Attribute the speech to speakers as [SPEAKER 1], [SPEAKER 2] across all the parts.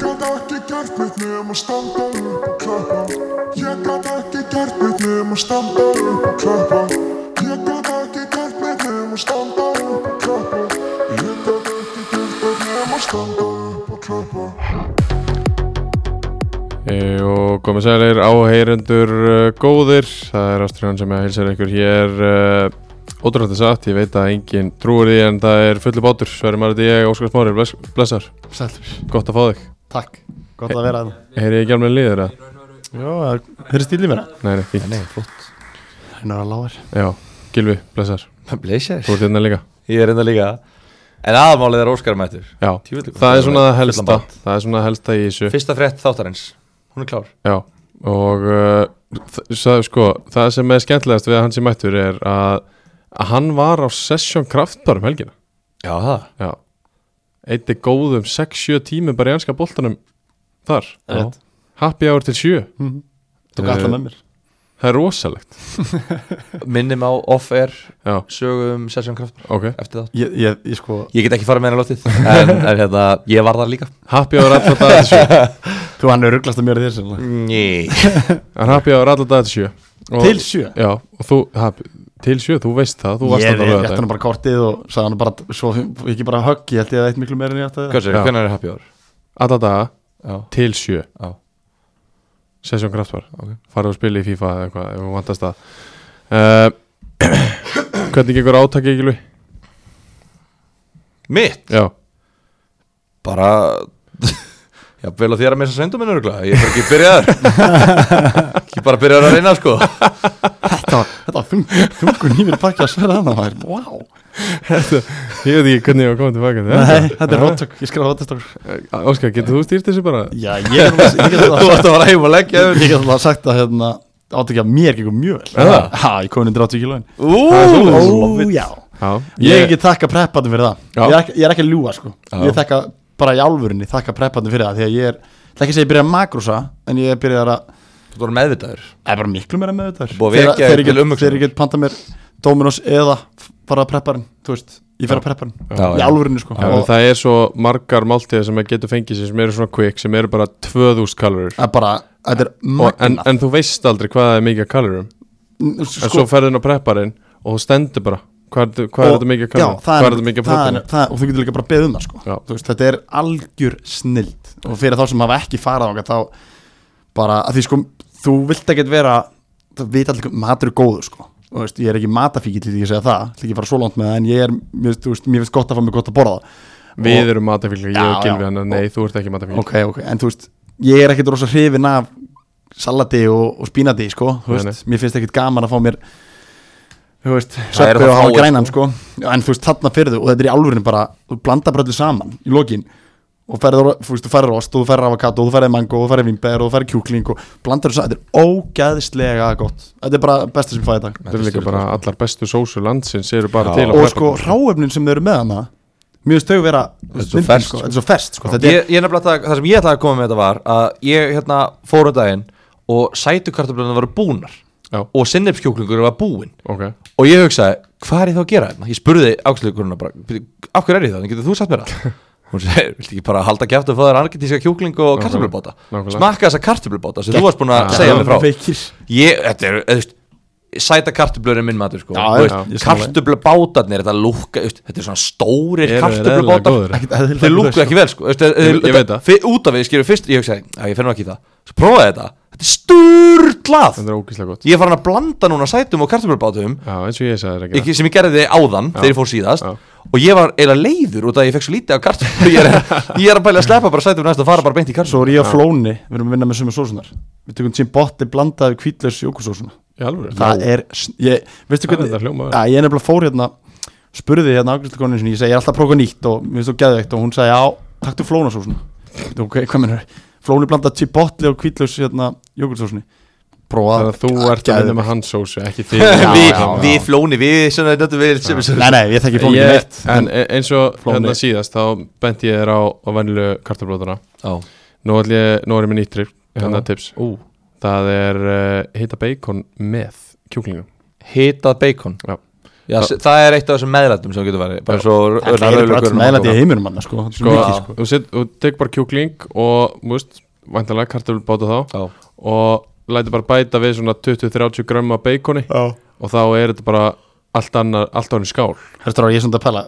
[SPEAKER 1] gat ekki gert mitt nema standa upp og klappa Ég gat ekki gert mitt nema standa upp og klappa Ég gat ekki gert mitt nema standa upp og klappa Ég gat ekki gert mitt nema standa upp og klappa
[SPEAKER 2] Eh, Og komið sælir áheyrendur uh, góðir, það er Ástriðan sem ég heilsar ykkur hér uh, Ótrúlega satt, ég veit að enginn trúir því en það er fullu bátur Sverri Marði, ég, Óskar Smári, bless, blessar,
[SPEAKER 3] Sælur,
[SPEAKER 2] gott að fá þig
[SPEAKER 3] takk Gott að vera hann
[SPEAKER 2] Heyri ég ekki alveg liður að?
[SPEAKER 3] Jó, hörðu stíl í mér
[SPEAKER 2] Nei, nei, fínt,
[SPEAKER 4] Nei, flott
[SPEAKER 3] Hennar að lágar
[SPEAKER 2] já, Gilvi, blessar,
[SPEAKER 4] Blazers
[SPEAKER 2] þú ert hérna líka
[SPEAKER 4] Ég er enda líka En aðmálið er Óskar mættur
[SPEAKER 2] Já,
[SPEAKER 4] Djöfull er gott.
[SPEAKER 2] það er svona það helsta,
[SPEAKER 4] Fullan bát.
[SPEAKER 2] það er svona það helsta í þessu
[SPEAKER 4] Fyrsta frétt þáttarins Hún er klár
[SPEAKER 2] Já, og uh, þ- sagði, sko, það sem er skemmtilegast við að hann sem mættur er að, að hann var á session kraftbarum helgina
[SPEAKER 4] Já, það
[SPEAKER 2] Já Eitt er góðum 6-7 tímum bara í anska boltanum þar
[SPEAKER 3] Rétt.
[SPEAKER 2] Happy hour til 7
[SPEAKER 3] Hmm. Tók alltaf með mér
[SPEAKER 2] Það er rosalegt
[SPEAKER 4] Minnum á off-air
[SPEAKER 2] Já,
[SPEAKER 4] Sögum Sessjón Kraftbar
[SPEAKER 2] ok
[SPEAKER 4] Eftir það
[SPEAKER 3] Ég, ég, ég sko
[SPEAKER 4] Ég get ekki farið með henni lótið en, en hérna Ég var það líka
[SPEAKER 2] Happy hour alltaf dag til 7
[SPEAKER 3] Þú hann er rugglast að mér í þér sem
[SPEAKER 4] Ný
[SPEAKER 2] Það er happy hour alltaf dag til 7 og,
[SPEAKER 3] Til sjö
[SPEAKER 2] Já, og þú, happy, til 7, þú veist það Þú varst
[SPEAKER 3] Ég
[SPEAKER 2] þarna á
[SPEAKER 3] rétti
[SPEAKER 2] laugardaginn.
[SPEAKER 3] hann bara kortið og sagði hann bara Svo ekki bara högg, ég held ég að eitt miklu meira en ég ætti að
[SPEAKER 4] Hversu,
[SPEAKER 2] Já.
[SPEAKER 4] hvernig er happy hour?
[SPEAKER 2] Alla daga
[SPEAKER 4] Já
[SPEAKER 2] til 7
[SPEAKER 4] Já.
[SPEAKER 2] Sessjón kraftbar
[SPEAKER 4] Ok.
[SPEAKER 2] Farðu að spila í FIFA eða eitthvað ef þú vantast það uh, Hvernig gengur átakið ekki
[SPEAKER 4] Mitt
[SPEAKER 2] Já,
[SPEAKER 4] Bara Já, vel á þér að missa svendum minn örgulega Ég er bara ekki byrjaður Ekki bara byrjaður að reyna sko
[SPEAKER 3] Þetta var, þetta var þung, þungur nýmir pakki að sverða hann Það er, wow
[SPEAKER 2] ég veit ekki hvernig ég var komið tilbaka til
[SPEAKER 3] Nei, þetta er róttök, ég skrifa róttök
[SPEAKER 2] þetta Óskar, getur þú stýrt þessu bara?
[SPEAKER 3] Já, ég er alveg- ég get
[SPEAKER 4] Þú
[SPEAKER 3] alveg
[SPEAKER 4] varst að fara heim og leggja
[SPEAKER 3] Ég get alveg sagt að hérna Átt ekki að mér gengur mjög vel
[SPEAKER 2] Er það?
[SPEAKER 3] Ha, ég kom undir 80 kílóin
[SPEAKER 4] Ú
[SPEAKER 3] já
[SPEAKER 2] Já,
[SPEAKER 3] Ég get þakka preppatum fyrir það
[SPEAKER 2] Já.
[SPEAKER 3] ég er, ekki, ég er ekki að ljúa sko
[SPEAKER 4] Já.
[SPEAKER 3] Ég þakka bara í alvörinni þakka preppatum fyrir það Því að ég er, það er ekki að segja ég byrja að makrosa En ég er byrjað að,
[SPEAKER 4] Þú voru meðvitaður
[SPEAKER 3] það er bara miklu meira með þetta
[SPEAKER 4] Búið að vekja þig
[SPEAKER 3] Þegar
[SPEAKER 4] til
[SPEAKER 3] ég get-
[SPEAKER 4] umhugsunar.
[SPEAKER 3] þegar ég get panta mér Dominos eða fara að prepparinn Þú veist, ég fer að prepparinn
[SPEAKER 4] Já,
[SPEAKER 3] Í
[SPEAKER 4] já.
[SPEAKER 3] alvörinni sko
[SPEAKER 2] Já,
[SPEAKER 3] Og
[SPEAKER 2] það er svo margar máltíðar sem maður getur fengið sér sem eru svona quick, sem eru bara 2000 kalorir
[SPEAKER 3] það er bara, þetta er
[SPEAKER 2] og, en,
[SPEAKER 3] magna
[SPEAKER 2] en þú veist aldrei hvað það er mikið af kalorum en
[SPEAKER 3] Sko,
[SPEAKER 2] svo ferðin á prepparinn og þú stendur bara hvað, er- hvað er
[SPEAKER 3] og-
[SPEAKER 2] þetta mikið af
[SPEAKER 3] já,
[SPEAKER 2] kalorum,
[SPEAKER 3] það
[SPEAKER 2] hvað er þetta mikið af
[SPEAKER 3] það er-
[SPEAKER 2] prótínum
[SPEAKER 3] það- og þú getur líka bara beðið um það sko.
[SPEAKER 2] Já.
[SPEAKER 3] Þú veist, þetta er algjör snild og fyrir þá sem hafa ekki farað okkar þá bara að því sko þú vilt ekkert vera það veit allir hvað matur er góður sko Þú veist, ég er ekki matafíkil til því að segja það ætla ekki að fara svo langt með það en ég er mér, þú veist, mér finnst gott að fá mér gott að borða
[SPEAKER 2] Við erum matafíklar, ég
[SPEAKER 3] Já,
[SPEAKER 2] og Gilvi
[SPEAKER 3] já.
[SPEAKER 2] hann Nei, þú ert ekki
[SPEAKER 4] Mm.
[SPEAKER 2] matafíklar
[SPEAKER 3] ok, ok, en þú veist ég er ekkert rosa hrifin af salati og, og spínati sko, þú
[SPEAKER 2] Nei,
[SPEAKER 3] veist, mér finnst ekkert gaman að fá mér þú veist,
[SPEAKER 4] eru
[SPEAKER 3] söppi
[SPEAKER 4] það
[SPEAKER 3] og hafa
[SPEAKER 4] fáir,
[SPEAKER 3] grænan sko Já, en þú veist, þarna fyrir þú, og þetta er í alvörinu bara þú blandar bara öllu saman í lokin og ferður, þú veist, þú ferður ost og þú ferður avokado og þú ferður mango og þú ferður vimber og þú ferður kjúkling og blandar þessu, þetta er ógæðislega gott þetta er bara besta sem ég fæði í dag
[SPEAKER 2] Þetta er líka bara allar bestu sósu landsins eru bara
[SPEAKER 4] Já.
[SPEAKER 2] til á
[SPEAKER 3] sko. og
[SPEAKER 2] prepparinn.
[SPEAKER 3] sko, ráefnin sem þau eru með hana mér finnst þau vera
[SPEAKER 4] er svo
[SPEAKER 3] myndin, sko,
[SPEAKER 4] ferskt, sko.
[SPEAKER 3] þetta er svo fest sko, þetta er,
[SPEAKER 4] Ég, ég nefnilega það, það sem ég ætlaði að koma með þetta var að ég hérna fór á daginn og sætukartöflunar voru búnar
[SPEAKER 2] Já.
[SPEAKER 4] og sinnefskjúklingur var búinn
[SPEAKER 2] Ok,
[SPEAKER 4] og ég hugsaði, hvað er ég þá að gera hérna? Ég spurði áksleikurinn bara, "Bíddu, af hverju er ég það? Getur þú sagt mér það? Hún segir, viltu ekki bara halda kjæftu og fá þér argentíska kjúkling og kartöflubóta?
[SPEAKER 2] Nákvæmlega.
[SPEAKER 4] Smakka þessa kartöflubóta sem þú varst búin að segja mér frá
[SPEAKER 3] feikir
[SPEAKER 4] ég, þetta er, eða, þú veist sæta kartöblur er minn matur sko
[SPEAKER 3] Já,
[SPEAKER 4] Þú
[SPEAKER 3] já,
[SPEAKER 4] veist,
[SPEAKER 3] ég sammála.
[SPEAKER 4] kartöblubátarnir, þetta lúkka þetta er svona stórir
[SPEAKER 2] Eru þeir eðlilega góðir?
[SPEAKER 4] kartöblubátar
[SPEAKER 3] Ekkert eðlilega
[SPEAKER 4] þeir lúkku
[SPEAKER 3] góðir,
[SPEAKER 4] ekki vel sko Þú veist, þeir-
[SPEAKER 2] Ég- ég veit það.
[SPEAKER 4] þetta- út af við skilur fyrst, ég hugsaði, að ég finnum ekki í það svo prófaði ég þetta, þetta er sturglað
[SPEAKER 2] þetta er ógíslega gott
[SPEAKER 4] ég er farin að blanda núna sætum og kartöblubátum
[SPEAKER 2] Já, eins og ég sagði þetta
[SPEAKER 4] ekki, sem ég gerði áðan þegar ég fór síðast
[SPEAKER 2] já.
[SPEAKER 4] og ég var eiginlega leiður út af að ég fekk svo lítið af kartöblur ég, er- ég er að bæla að sleppa bara sætum næst og fara bara beint í kartöblur
[SPEAKER 3] Svo er ég á flóni, við erum að vinna með sömu sósunar Við tökum Jimbotti blandaði kvítlaus jókursósuna
[SPEAKER 2] Í alvöru?
[SPEAKER 3] Það er, s- ég, veistu
[SPEAKER 2] Það er
[SPEAKER 3] hvernig
[SPEAKER 2] þetta hljóma vel.
[SPEAKER 3] Já, Ég er nefnilega fór hérna Spurði hérna afgriðsleikonin sinni, ég segi ég er alltaf að prófa eitthvað nýtt Og mér finnst þú geðveikt og hún segi já, taktu flóna sósuna Ég veit, Ok, hvað mennur Flóni blandaði Jimbotti og kvítlaus hérna jókursósunni
[SPEAKER 2] Þannig
[SPEAKER 3] Prófaði
[SPEAKER 2] að þú ert að vinna með hans sósu, ekki þig
[SPEAKER 3] Já,
[SPEAKER 4] við,
[SPEAKER 3] já, já.
[SPEAKER 4] við flóni, við, svona, þetta við, sem, sem,
[SPEAKER 3] Nei, nei, ég þekki flóni ekki
[SPEAKER 2] ég,
[SPEAKER 3] neitt
[SPEAKER 2] en e- eins og
[SPEAKER 3] Flóni.
[SPEAKER 2] hérna síðast þá benti ég þér á, á vennilu kartablótana
[SPEAKER 4] Já.
[SPEAKER 2] nú, ætla ég- nú er ég með nýttri hérna
[SPEAKER 4] Já.
[SPEAKER 2] tips e,
[SPEAKER 4] Ú.
[SPEAKER 2] það er uh, hita bacon með kjúklingum
[SPEAKER 4] hitað bacon
[SPEAKER 2] Já.
[SPEAKER 4] Já, það, það er eitt af þessum meðlætum sem getur verið bara svo
[SPEAKER 3] Það er bara alls meðlæti í heiminum manna sko, sko
[SPEAKER 2] Sko,
[SPEAKER 3] mikið, sko.
[SPEAKER 2] þú, set, þú tek bara kjúkling og, þú veist, væntalega kartöflubáta þá og læti bara bæta við svona 20-30 grömmu af beikoni og þá er þetta bara allt annar, allt ánum skál
[SPEAKER 3] Hörstu ráð, ég er svona að pæla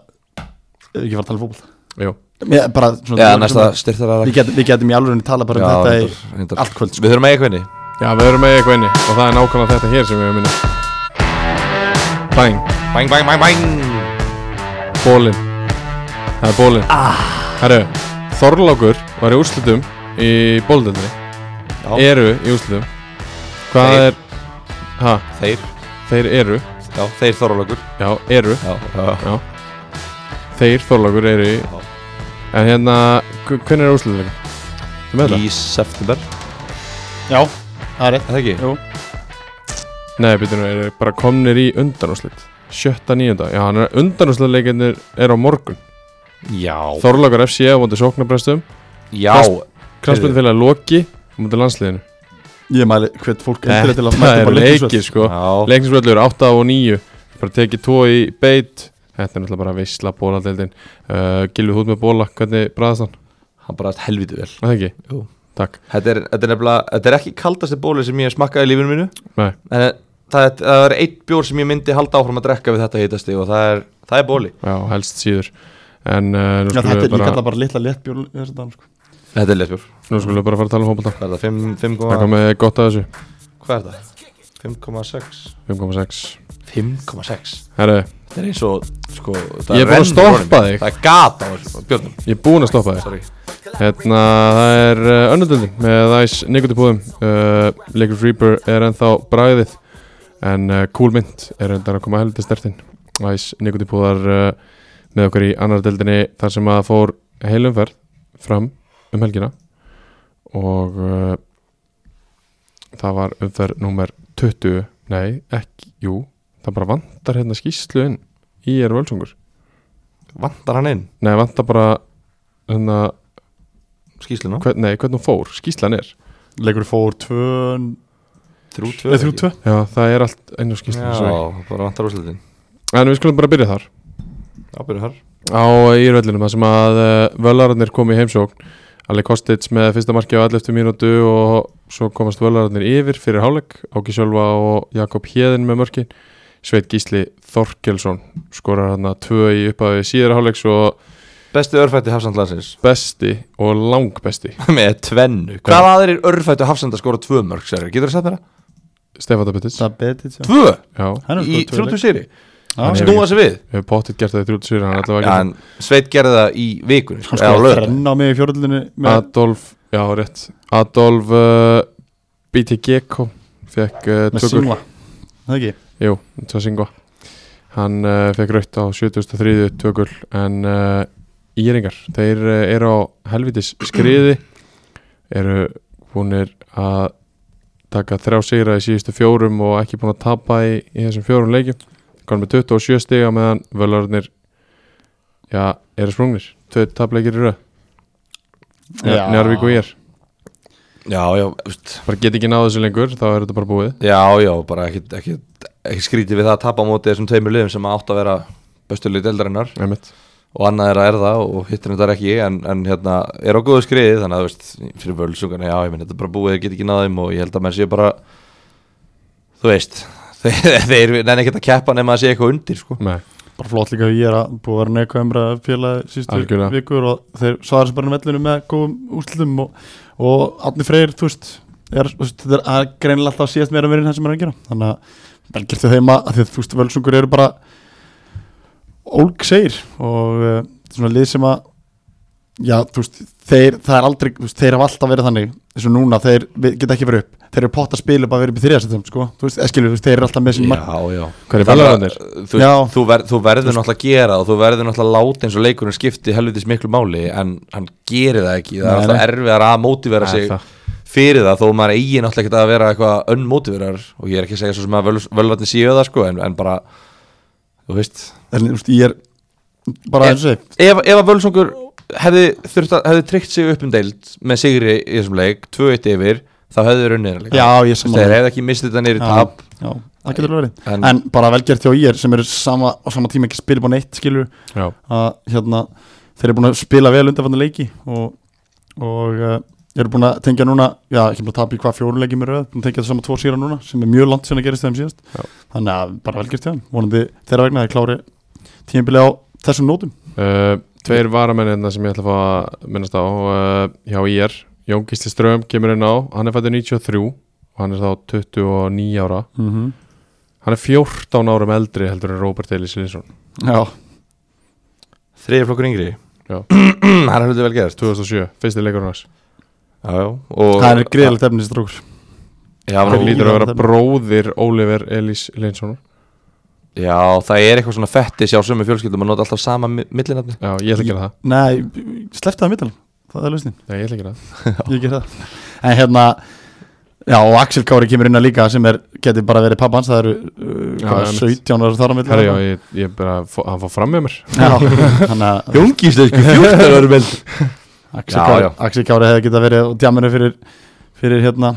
[SPEAKER 3] Ef við ekki fara að tala um fókbalt
[SPEAKER 2] Jú,
[SPEAKER 3] Mér, bara, svona,
[SPEAKER 4] Já, næsta styrtar að
[SPEAKER 3] Við getum, við getum í alveg tala bara um þetta í allt kvöld, sko.
[SPEAKER 4] Við þurfum að eiga hvernig
[SPEAKER 2] já, við erum með eitthvað inni og það er nákvæmlega þetta hér sem við erum inni Bang,
[SPEAKER 4] Bang, bang, bang, bang
[SPEAKER 2] bólin Það er bólin ah. Herru, Þorlákur var í úrslutum í bóldöndri
[SPEAKER 4] Já,
[SPEAKER 2] Eru í úrslutum Hvað
[SPEAKER 4] Þeir-
[SPEAKER 2] er, ha,
[SPEAKER 4] þeir
[SPEAKER 2] þeir eru
[SPEAKER 4] Já, þeir þorralögur
[SPEAKER 2] Já, eru
[SPEAKER 4] Já, já
[SPEAKER 2] Já Þeir Þorlákur eru í
[SPEAKER 4] Já.
[SPEAKER 2] En hérna, hvernig er úrslutuleika? Þú með það?
[SPEAKER 4] Í september
[SPEAKER 3] Já, það er rétt
[SPEAKER 4] Er það ekki?
[SPEAKER 3] Jú.
[SPEAKER 2] Nei, býtum við, eru bara komnir í undanúrslit Sjötta nýjunda Já, hann er undanúrslutuleikinnir er á morgun
[SPEAKER 4] Já
[SPEAKER 2] Þorlákur FC á móti sóknarbrestum
[SPEAKER 4] Já
[SPEAKER 2] Fast- Kransbyrðinfélag Loki á móti landsliðinu
[SPEAKER 3] Ég mæli hvert fólk endur til að
[SPEAKER 2] Þetta
[SPEAKER 3] mæta
[SPEAKER 2] er
[SPEAKER 3] bara leikisvöld
[SPEAKER 2] leikir sko
[SPEAKER 4] Já
[SPEAKER 2] Leiknisvöllur 8 og 9 Bara tekið 2 í beit Þetta er náttúrulega bara veisla bóladeldin uh, Gilvið hút með bóla, hvernig bræðast hann?
[SPEAKER 4] Hann bara helviti vel
[SPEAKER 2] Er Það ekki?
[SPEAKER 4] Jú.
[SPEAKER 2] Takk
[SPEAKER 4] Þetta er, þetta er nefnilega Þetta er ekki kaldasti bóli sem ég hef smakkað í lífinu mínu
[SPEAKER 2] Nei,
[SPEAKER 4] En það, það, það er eitt bjór sem ég myndi halda áfram að drekka við þetta hitasti Og það er, það er bóli
[SPEAKER 2] já, helst síður En uh, nú
[SPEAKER 3] Já,
[SPEAKER 2] skulum
[SPEAKER 3] þetta er
[SPEAKER 2] við
[SPEAKER 3] líka
[SPEAKER 2] bara,
[SPEAKER 3] alltaf bara litla léttbjörn í þessu dag, sko.
[SPEAKER 4] Þetta er lesbjór
[SPEAKER 2] nú skulum við bara fara að tala um hópa
[SPEAKER 4] Hvað er það? 5, 5,
[SPEAKER 2] Það kom með gott að þessu
[SPEAKER 4] hvað er það? 5,6
[SPEAKER 2] 5,6
[SPEAKER 4] 5,6
[SPEAKER 2] Herru,
[SPEAKER 4] Þetta er eins og sko,
[SPEAKER 2] Ég er búinn að stoppa þig.
[SPEAKER 4] Það er gata á þessu Björnum
[SPEAKER 2] ég er búinn að stoppa þér
[SPEAKER 4] Sorry
[SPEAKER 2] Hérna, það er uh, önnudöldin með æs nikotipúðum uh, Liquid Reaper er ennþá bragðið en uh, Cool Mint er ennþá að koma heldur stertinn Æs nikotipúðar uh, með okkur í annar döldinni þar sem að fór heilumferð fram um helgina og uh, það var umferð númer 20 nei, ekki, jú það bara vantar hérna skýslu inn í er völsungur
[SPEAKER 4] Vandar hann inn
[SPEAKER 2] nei, vantar bara hérna,
[SPEAKER 4] Skýsluna
[SPEAKER 2] hvern, nei, hvernig hún fór, skýslan er
[SPEAKER 3] Leikur fór 2
[SPEAKER 4] Þrjú, tvö
[SPEAKER 3] Nei, 3-2
[SPEAKER 2] Já, það er allt einu
[SPEAKER 4] Já,
[SPEAKER 2] skýrstum sorry.
[SPEAKER 4] bara vandar úrslutin
[SPEAKER 2] En við skulum bara byrja þar
[SPEAKER 4] Já, byrju þar
[SPEAKER 2] Á Írvellinum, það sem að uh, Völararnir kom í heimsókn Ali Kostic með fyrsta marki á 11. mínútu og svo komast Völararnir yfir fyrir hálfleik Áki Sjölva og Jakob Hjeðin með mörkin Sveit Gísli Þorkelsson skorar hann að tvö í upphafi síðara hálfleiks og
[SPEAKER 4] Besti örfætti hafsandlandsins
[SPEAKER 2] besti og langbesti
[SPEAKER 4] Með tvennu Hvað aðrir örfættu hafsanda skora tvö mörg sér Getur það sagt mér það?
[SPEAKER 2] Stefán Dabitis
[SPEAKER 3] Það sko. betið sér
[SPEAKER 4] Tvö
[SPEAKER 2] Já,
[SPEAKER 3] Hann er
[SPEAKER 4] Í
[SPEAKER 3] sko 2
[SPEAKER 4] þrjúttu sýri
[SPEAKER 2] Hann hefur
[SPEAKER 4] Snúa sig við
[SPEAKER 2] við hefum pottitt gert það í 30 síðan hann ætlaði að
[SPEAKER 4] Já,
[SPEAKER 2] gera
[SPEAKER 4] en Sveit gerði það í vikunni
[SPEAKER 3] Hann
[SPEAKER 4] eða á
[SPEAKER 3] sko
[SPEAKER 4] laugardaginn.
[SPEAKER 3] þrenna á mig í fjörðlunni með
[SPEAKER 2] Adolf, já rétt Adolf uh, BTGK fekk uh,
[SPEAKER 3] með
[SPEAKER 2] tökur
[SPEAKER 3] Singla Það ekki
[SPEAKER 2] Jú, tvað singva Hann uh, fekk raut á 73. tökur en uh, Íringar þeir uh, eru á helvitis skriði eru búinir að taka þrjá sigra í síðustu fjórum og ekki búin að tapa í, í þessum fjórum leikjum konum með 27 stiga meðan völarnir já, eru sprungnir tvö tapleikir í röð
[SPEAKER 3] Já.
[SPEAKER 2] Njárvík og ég
[SPEAKER 4] Já, já, veist
[SPEAKER 2] bara get ekki náðu þessu lengur, þá er þetta bara búið
[SPEAKER 4] Já, já, bara ekki, ekki, ekki skrítið við það að tapa á móti þessum tveimur liðum sem átt að vera besturlið deildarinnar
[SPEAKER 2] Einmitt.
[SPEAKER 4] og annað er að erða og hittir þetta ekki en, en hérna, er á góðu skriði þannig að þú veist, fyrir völsungana, já, ég minn þetta er bara búið, þeir get ekki náðum og ég held að menn séu bara þú veist þeir, þeir nenni ekki að keppa nema að sé eitthvað undir sko.
[SPEAKER 2] Nei,
[SPEAKER 3] Bara flott líka að ég er að búið að vera neikvæm umræða félagi sístu
[SPEAKER 2] Algjörlega.
[SPEAKER 3] vikur og þeir svara sér bara um vellinu með góðum úrslutum og, og Átni Freyr, þú veist er, þú veist, þetta er að greinilega alltaf síðast meira verið en það sem er að gera þannig að vel gert þau heima að því að þú veist völsungur eru bara ólg segir og uh, svona lið sem að já, þú veist, þeir, það er aldrei þú veist, þeir hafa alltaf verið þannig, eins og núna þeir við- geta ekki verið upp, þeir eru pott að spila bara verið upp í þriðasettum, sko, þú veist, eskilur, þú veist, þeir eru alltaf með sín mark,
[SPEAKER 4] já
[SPEAKER 2] Hver er
[SPEAKER 4] Þannig að,
[SPEAKER 2] Völvararnir?
[SPEAKER 4] Þú, veist,
[SPEAKER 3] Já.
[SPEAKER 4] þú, ver, þú verður náttúrulega að gera það og þú verður náttúrulega að láta eins og leikurinn skipti helvitis miklu máli en hann gerir það ekki það er
[SPEAKER 3] Nei,
[SPEAKER 4] alltaf erfiðar að mótivera
[SPEAKER 2] Nei,
[SPEAKER 4] sig
[SPEAKER 2] það.
[SPEAKER 4] fyrir það þó maður eigi náttúrulega ekki að vera eitthvað önnmótiverar og ég er ekki að segja svo sem að völvarnir séu það sko en, en bara þú veist
[SPEAKER 3] en þú veist, ég er bara eins og þeir
[SPEAKER 4] ef, ef að Völsungur hefði, þurft að- hefði tryggt sig upp um deild með sigri í þessum leik 2-1 yfir þá höfðu þeir unnið þennan leik.
[SPEAKER 3] já, ég
[SPEAKER 4] Þú veist, þeir
[SPEAKER 3] samanlega
[SPEAKER 4] hefði ekki mistið þetta niður í
[SPEAKER 3] Já.
[SPEAKER 4] tap
[SPEAKER 3] já, það getur alveg verið
[SPEAKER 4] en,
[SPEAKER 3] en bara velgjert hjá ég sem eru sama, á sama tíma ekki spila búin eitt skilur
[SPEAKER 2] Já,
[SPEAKER 3] að hérna, þeir eru búin að spila vel undanfannu leiki og, og uh, eru búin að tengja núna já, ekki búin að tapa í hvað fjóru leiki með röð búin að tengja það saman tvo síra núna sem er mjög langt sem að gerist þeim síðast
[SPEAKER 2] Já.
[SPEAKER 3] þannig að bara velgjert hjá þeim vonandi þeirra vegna að þeir klári tímabili á þessum nótum
[SPEAKER 2] Uh, tveir varamennirna sem ég ætla að fá að minnast á uh, hjá IR Jón Gísli Ström kemur inn á, hann er fættur 93 og hann er þá 29 ára
[SPEAKER 3] mm
[SPEAKER 4] Mhm.
[SPEAKER 3] -hmm.
[SPEAKER 2] hann er 14 árum eldri heldur en Robert Ellis Linsson
[SPEAKER 3] já,
[SPEAKER 4] þriði flokkur yngri
[SPEAKER 2] Já.
[SPEAKER 4] hann er hlutu vel gert
[SPEAKER 2] 2007, fyrsti leikurinn hans
[SPEAKER 4] já, já. Og,
[SPEAKER 3] það er greiðilegt efnins drókur
[SPEAKER 4] já,
[SPEAKER 2] hann
[SPEAKER 4] nú,
[SPEAKER 2] lítur að vera
[SPEAKER 3] Ívan-
[SPEAKER 2] bróðir Oliver Ellis Linsson
[SPEAKER 4] já, það er eitthvað svona fetti sjá sömu fjölskyldum að nota alltaf sama mi- millinafni
[SPEAKER 2] Já, ég ætla að gera það
[SPEAKER 3] nei, slepptu það mittal það er lausnin,
[SPEAKER 2] Já, ég ætla að gera það
[SPEAKER 3] ég ger það en hérna Já, og Axel Kári kemur inn að líka sem er, getur bara verið pappa hans, það eru uh,
[SPEAKER 2] Já,
[SPEAKER 3] hvað,
[SPEAKER 2] einmitt.
[SPEAKER 3] 17 ára þar á milli
[SPEAKER 2] Herra, já, ég, ég bara, fó- hann fór fram með mér
[SPEAKER 3] Já, þannig að
[SPEAKER 4] Jóngísleik 14 árum eldri
[SPEAKER 3] Axel
[SPEAKER 4] Já,
[SPEAKER 3] Kári,
[SPEAKER 4] já.
[SPEAKER 3] Axel Kári hefði getað verið og djaminu fyrir, fyrir hérna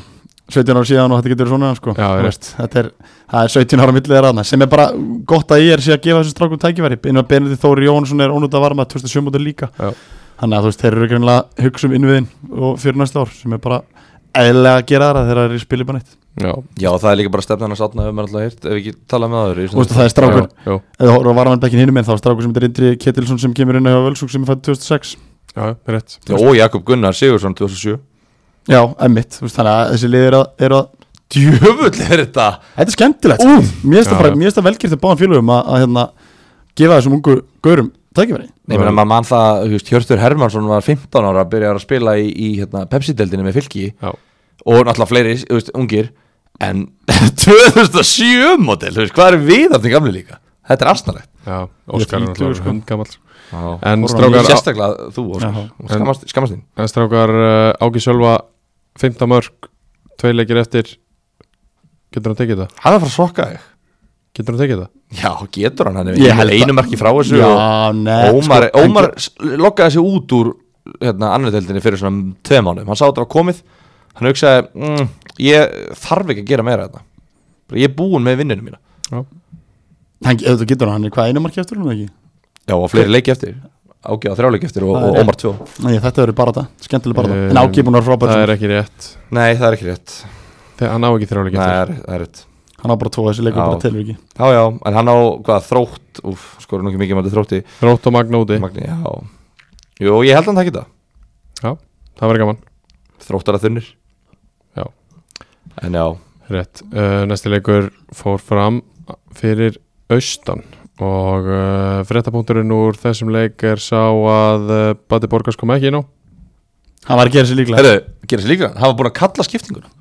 [SPEAKER 3] 17 ára síðan og þetta getur verið svona sko.
[SPEAKER 2] Já,
[SPEAKER 3] Þú
[SPEAKER 2] rétt.
[SPEAKER 3] veist, þetta er, það er 17 ára millið er aðna sem er bara gott að ég er síðan að gefa þessu strákum tækifæri inn á Benedikt Þóri Jónsson er ónútt að varma 2007 mútur líka
[SPEAKER 2] Já.
[SPEAKER 3] þannig að þú veist, þeir eru greinlega að hugsa um innviðin og fyrir næsta ár sem er bara eðlilega að gera það þegar þeir eru í spili bara neitt
[SPEAKER 2] Já,
[SPEAKER 4] já, það er líka bara stefnan að satna ef maður alltaf hýrt ef ekki talað með aður
[SPEAKER 3] og þú veist, það er strákur,
[SPEAKER 2] já, já,
[SPEAKER 3] ef þú horfður á varmannbekkin hinum en þá er strákur sem þetta er Indri Ketilsson sem kemur inn á Völsúk sem er fætt 2006
[SPEAKER 2] já, rétt
[SPEAKER 4] Já, og Jakob Gunnar Sigursson 2007
[SPEAKER 3] Já, emmitt, þú veist, þannig að þessi lið er að, er að
[SPEAKER 4] Djöfull er þetta
[SPEAKER 3] Þetta er skemmtilegt uh, Mér finnst
[SPEAKER 2] Já,
[SPEAKER 3] það bara,
[SPEAKER 2] já.
[SPEAKER 3] mér finnst það velgjert að báðan félögum að, að hérna, gefa þessum ungu gaurum tækifæri
[SPEAKER 4] Nei, menn maður mann það, þú veist, Hjörtur Hermansson var 15 ára að byrja að spila í, í hérna, Pepsi-deldinni með fylki
[SPEAKER 2] Já.
[SPEAKER 4] og náttúrulega fleiri, þú veist, ungir en 2007 model, þú veist, hvað er við af því gamli líka? Þetta er afsnarlegt
[SPEAKER 2] Já, Óskar er
[SPEAKER 3] Ég er þrítugur,
[SPEAKER 2] náttúrulega
[SPEAKER 3] sko.
[SPEAKER 2] hundgamall
[SPEAKER 4] en,
[SPEAKER 2] En
[SPEAKER 3] Horfum
[SPEAKER 2] strákar, á-
[SPEAKER 4] Sérstaklega þú, Óskar,
[SPEAKER 3] Jaha.
[SPEAKER 4] Og skammast, skammast þín
[SPEAKER 2] En strákar uh, Áki Sjölva 15 mörg, tvei leikir eftir Getur hann tekið það?
[SPEAKER 4] Hann er að fara að svokka þig
[SPEAKER 2] Getur hann tekið það?
[SPEAKER 4] Já, getur hann, hann
[SPEAKER 3] Ég
[SPEAKER 4] er
[SPEAKER 3] held að-
[SPEAKER 4] einu marki frá þessu
[SPEAKER 3] Já,
[SPEAKER 4] og
[SPEAKER 3] nei sko,
[SPEAKER 4] Ómar, Ómar s- lokkaði sig út úr hérna, annardeldinni fyrir svona tveim mánum, hann sá þetta var komið hann hugsaði, mm, ég þarf ekki að gera meira þetta ég er búinn með vinninu mína
[SPEAKER 3] Hann, ef þú getur hann, hann er hvað einu marki eftir hún ekki
[SPEAKER 4] Já, og fleiri leiki eftir Ági á þrjá leiki eftir og,
[SPEAKER 3] Það er
[SPEAKER 4] og
[SPEAKER 3] rétt.
[SPEAKER 4] Ómar 2
[SPEAKER 3] Nei, þetta verður bara þetta, skemmtileg bara
[SPEAKER 2] Um,
[SPEAKER 3] þetta En Áki er búin að vera
[SPEAKER 2] það
[SPEAKER 3] frábært
[SPEAKER 2] er ekki rétt
[SPEAKER 4] Nei, það er ekki rétt
[SPEAKER 2] Þegar hann á ekki þrjá
[SPEAKER 4] Nei,
[SPEAKER 2] leikir
[SPEAKER 4] það
[SPEAKER 2] eftir
[SPEAKER 4] er, það er rétt
[SPEAKER 3] Hann á bara tvo, þessi leikur
[SPEAKER 4] Já.
[SPEAKER 3] bara telur ekki
[SPEAKER 4] Já, já, en hann á hvað þrótt Úf, skora nú ekki mikið mætið þrótti
[SPEAKER 2] Rótt og magna úti,
[SPEAKER 4] Magni, já Jú, ég held að hann takki það
[SPEAKER 2] það verður gaman
[SPEAKER 4] Þróttar að þunnir
[SPEAKER 2] Já.
[SPEAKER 4] En já,
[SPEAKER 2] Rétt, uh, næsti leikur fór fram fyrir austan og uh, frettapunkturinn úr þessum leik er sá að uh, Bati Borgars kom ekki inn á
[SPEAKER 3] Hann var að gera sér líklega
[SPEAKER 4] herru, gera sér líka Hann var búinn að kalla skiptinguna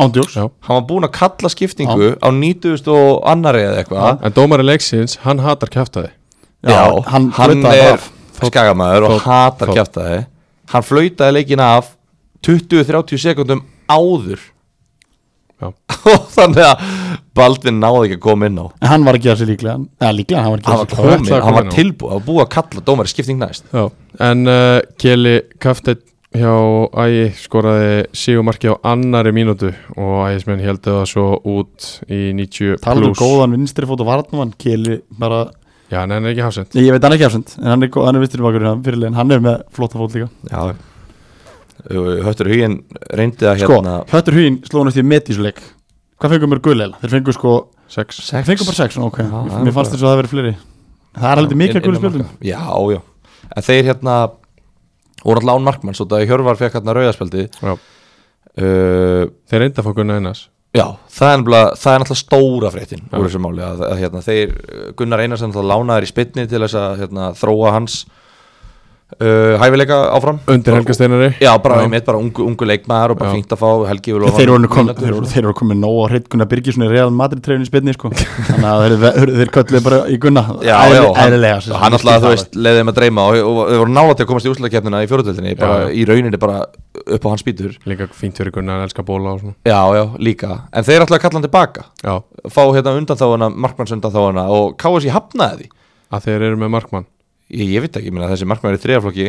[SPEAKER 3] Ándjóks
[SPEAKER 2] Já.
[SPEAKER 4] Hann var búinn að kalla skiptingu á 90 og annari eða eitthvað
[SPEAKER 2] en dómari leiksins, hann hatar kæftaði
[SPEAKER 3] hann,
[SPEAKER 4] hann
[SPEAKER 3] flautaði bara
[SPEAKER 4] er
[SPEAKER 3] af.
[SPEAKER 4] skagamæður og
[SPEAKER 2] Þótt-
[SPEAKER 4] hatar
[SPEAKER 2] Þótt.
[SPEAKER 4] kjátaði Hann flautaði leikin af 20-30 sekundum áður
[SPEAKER 2] Já.
[SPEAKER 4] og þannig að Baldvin náði ekki að koma inn á
[SPEAKER 3] En hann var að gera sér líklega Eða líklega, hann var að
[SPEAKER 4] Hann
[SPEAKER 3] gera
[SPEAKER 4] var
[SPEAKER 3] sér
[SPEAKER 2] kom-
[SPEAKER 3] líklega
[SPEAKER 4] komin,
[SPEAKER 2] ætlaði að
[SPEAKER 4] hann
[SPEAKER 2] koma
[SPEAKER 4] var
[SPEAKER 2] inn á.
[SPEAKER 4] tilbúið, hann var búið að kalla dómari skipting næst
[SPEAKER 2] Já. en uh, Kjeli Kaftet hjá Ægi skoraði sígumarki á annari mínútu og Ægismenn heldu það svo út í 90
[SPEAKER 3] Taldur
[SPEAKER 2] plus
[SPEAKER 3] um góðan vinstri fót og varnamann Keli bara
[SPEAKER 2] Já, en hann er ekki hafsend
[SPEAKER 3] Ég veit hann er ekki afsend En hann er, gó- hann er vinstri bakur Fyrirlegin, hann er með flotta fót líka
[SPEAKER 4] Já Höttur Hugin reyndi að
[SPEAKER 3] Sko,
[SPEAKER 4] hérna
[SPEAKER 3] Höttur Hugin sló hann eftir met í svo leik Hvað fengum mér gull eða? Þeir fengum sko,
[SPEAKER 2] 6
[SPEAKER 4] sex-
[SPEAKER 3] þeir fengum bara sex, ok
[SPEAKER 4] Já, það er
[SPEAKER 3] Mér fannst
[SPEAKER 4] bara-
[SPEAKER 3] þess að það verið fleiri Það er heldur mikla
[SPEAKER 4] Inn- inn
[SPEAKER 3] gullu
[SPEAKER 4] á
[SPEAKER 3] spjöldum
[SPEAKER 4] marka. Já, já En þeir hérna voru alltaf án markmann svo það Hjörvar fekk hérna rauðaspjaldi
[SPEAKER 2] Já.
[SPEAKER 4] uh,
[SPEAKER 2] Þeir reynda að fá Gunnar Einars
[SPEAKER 4] Já, það er, nefnilega- það er náttúrulega stóra fréttin úr þessu máli að, að hérna, þeir uh, Gunnar Einarsson náttúrulega lánaðir í spytni til þess að hérna, þróa hans uh, hæfileika áfram
[SPEAKER 2] Undir Helga Steinari
[SPEAKER 4] Já,
[SPEAKER 2] Já.
[SPEAKER 4] bara, einmitt, bara ungu, ungu leikmaður og bara
[SPEAKER 2] Já.
[SPEAKER 4] fínt að fá Helgi Viló
[SPEAKER 3] Þeir voru komin, þeir voru, þeir voru komin nóg á hreitt Gunnar Birgisson í Real Madrid trefinu í spilni sko. Þannig að þeir, þeir, þeir kölluðu bara í Gunna
[SPEAKER 4] Já, já, hann,
[SPEAKER 3] æðilega
[SPEAKER 4] hann alltaf, þú veist, leiðið um að dreyma og, og, og voru nála til að komast í úrslutakeppnina í fjóruðöldinni, bara
[SPEAKER 2] Já.
[SPEAKER 4] í rauninni bara upp á hans bítur
[SPEAKER 2] Líka fínt fyrir Gunnar, hann elskar bóla og svona
[SPEAKER 4] Já, já, líka, en þeir ætlaði að kalla hann tilbaka
[SPEAKER 2] Já,
[SPEAKER 4] fá hérna undanþáuna, markmanns undanþáuna og KSI hafnaði því
[SPEAKER 2] að þeir eru með Markmann
[SPEAKER 4] Ég, ég veit ekki, ég meina, þessi markmaður í þriðaflokki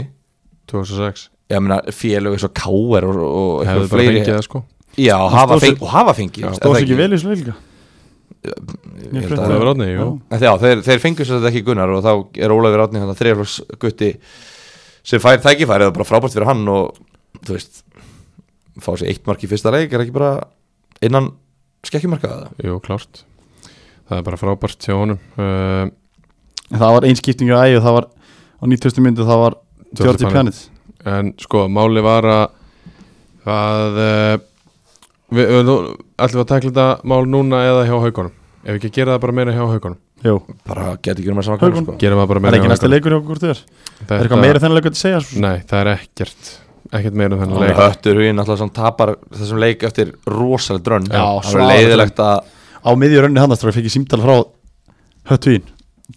[SPEAKER 2] 2006
[SPEAKER 4] ég meina félög eins og káer og, og
[SPEAKER 2] hefðu
[SPEAKER 4] eitthvað
[SPEAKER 2] bara fengið það sko
[SPEAKER 4] já, og hafa,
[SPEAKER 3] stóð sig-
[SPEAKER 4] feng, og hafa fengið er það
[SPEAKER 3] stóðs ekki vel í svona líka
[SPEAKER 4] Ég
[SPEAKER 3] Ég
[SPEAKER 4] held
[SPEAKER 3] frétti
[SPEAKER 4] að-
[SPEAKER 2] Það var átni, jú
[SPEAKER 3] Já.
[SPEAKER 4] En Já, þeir, þeir fengur sér þetta ekki Gunnar og þá er Ólafur Átni þannig að þrejaflóks gutti sem fær tækifæri það er bara frábært fyrir hann og þú veist, fá sér eitt mark í fyrsta leik er ekki bara innan skekkjumarka það
[SPEAKER 2] Jú, klárt Það er bara frábært hjá honum uh,
[SPEAKER 3] En það var einskiptingu að ægju, það var á 90. myndu það var Georgi Pjanic
[SPEAKER 2] En sko, máli var að að uh, við, við, nú- ætlum við að tækla þetta mál núna eða hjá haugunum Ef við ekki gera það bara meira hjá haugunum
[SPEAKER 3] Jú,
[SPEAKER 4] bara geti ekki um að saman
[SPEAKER 3] Haukum.
[SPEAKER 4] kannar sko
[SPEAKER 2] Gerum það bara
[SPEAKER 3] það er
[SPEAKER 2] meira
[SPEAKER 3] ekki
[SPEAKER 2] hjá
[SPEAKER 3] næsta
[SPEAKER 2] haugunum
[SPEAKER 3] leikur hjá hvort þér Er
[SPEAKER 2] Þetta, Mm.
[SPEAKER 3] eitthvað meira þennan leikur að segja? svo?
[SPEAKER 2] Nei, það er ekkert Ekkert meira um þennan
[SPEAKER 4] Þannig
[SPEAKER 2] leik
[SPEAKER 4] höttur huginn alltaf sem tapar þessum leik eftir rosalega drönn
[SPEAKER 3] Já,
[SPEAKER 4] það er
[SPEAKER 3] svaðalegt.
[SPEAKER 4] leiðilegt að
[SPEAKER 3] Á miðjur önni hann að fekk ég símtal frá Hötvín,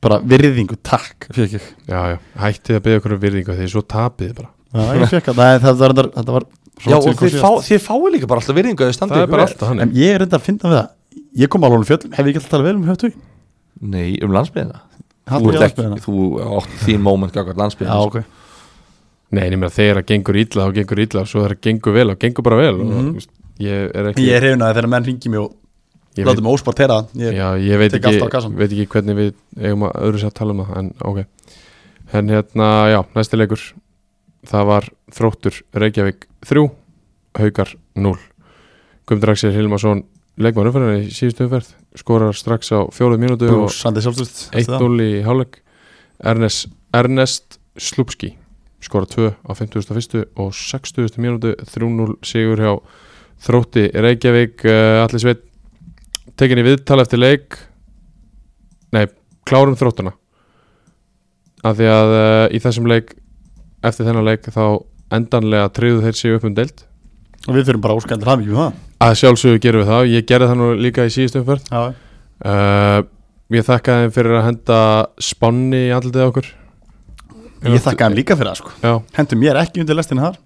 [SPEAKER 3] bara virðingu, takk fekk ég
[SPEAKER 2] Já, já, hættið að byggja okkur um virðingu því svo tapið þið bara
[SPEAKER 3] Já, ég fekk að, nei, það var reyndar, þetta var
[SPEAKER 4] Já, og þið, fá, þið fáið líka bara alltaf virðingu að þið
[SPEAKER 2] Það
[SPEAKER 4] standa
[SPEAKER 2] er bara alltaf
[SPEAKER 3] En
[SPEAKER 2] hann
[SPEAKER 3] ég er reyndar að finna við það Ég kom alveg á honum fjöllum, hef ég ekki alltaf talað vel um Hötvín?
[SPEAKER 4] Nei, um landsbyðina
[SPEAKER 3] Hann
[SPEAKER 4] Þú,
[SPEAKER 3] er
[SPEAKER 4] ert
[SPEAKER 3] í
[SPEAKER 4] ekki,
[SPEAKER 3] landsbyggðina.
[SPEAKER 4] þú átt þín moment sko. gagvart
[SPEAKER 3] Já,
[SPEAKER 4] landsbyðina
[SPEAKER 3] ok
[SPEAKER 2] Nei, nema þegar það gengur illa þá gengur illa og svo þegar það gengur vel þá gengur bara vel og,
[SPEAKER 3] Mhm.
[SPEAKER 2] þú veist, Ég er ekki
[SPEAKER 3] Ég er hefnaði þegar menn ringi mig og
[SPEAKER 2] ég veit-
[SPEAKER 3] láta mig óspart hera Ég
[SPEAKER 2] Já, ég veit
[SPEAKER 3] tek
[SPEAKER 2] ekki,
[SPEAKER 3] allt á kassann.
[SPEAKER 2] veit ekki hvernig við eigum að öðru sér að tala um það en ok en hérna, já, næsti leikur það var þróttur Reykjavík 3, Haukar 0 Guðmundur Axel Hilmarsson leikmann umferðinni í síðustu umferð skorar strax á fjóruð mínútu og
[SPEAKER 3] brúsandi sjálfsvist
[SPEAKER 2] 1-0 í hálfleik Ernest, Ernest Slupski skora 2 á 51. og 60. mínútu 3-0 sigur hjá þrótti Reykjavík uh, allir sveit tekin í viðtal eftir leik nei, klárum þróttuna af því að uh, í þessum leik eftir þennan leik þá endanlega treyðu þeir sig upp um deild
[SPEAKER 3] Og við þurfum bara óskandir hafði ekki það
[SPEAKER 2] að sjálfsögur gerum við það, ég gerði það nú líka í síðustu umferð
[SPEAKER 3] Já,
[SPEAKER 2] Uh, ég þakka þeim fyrir að henda spanni í andlitið á okkur
[SPEAKER 3] Ég þakka þeim líka fyrir það sko
[SPEAKER 2] Já,
[SPEAKER 3] Hentum mér ekki undir lestina þar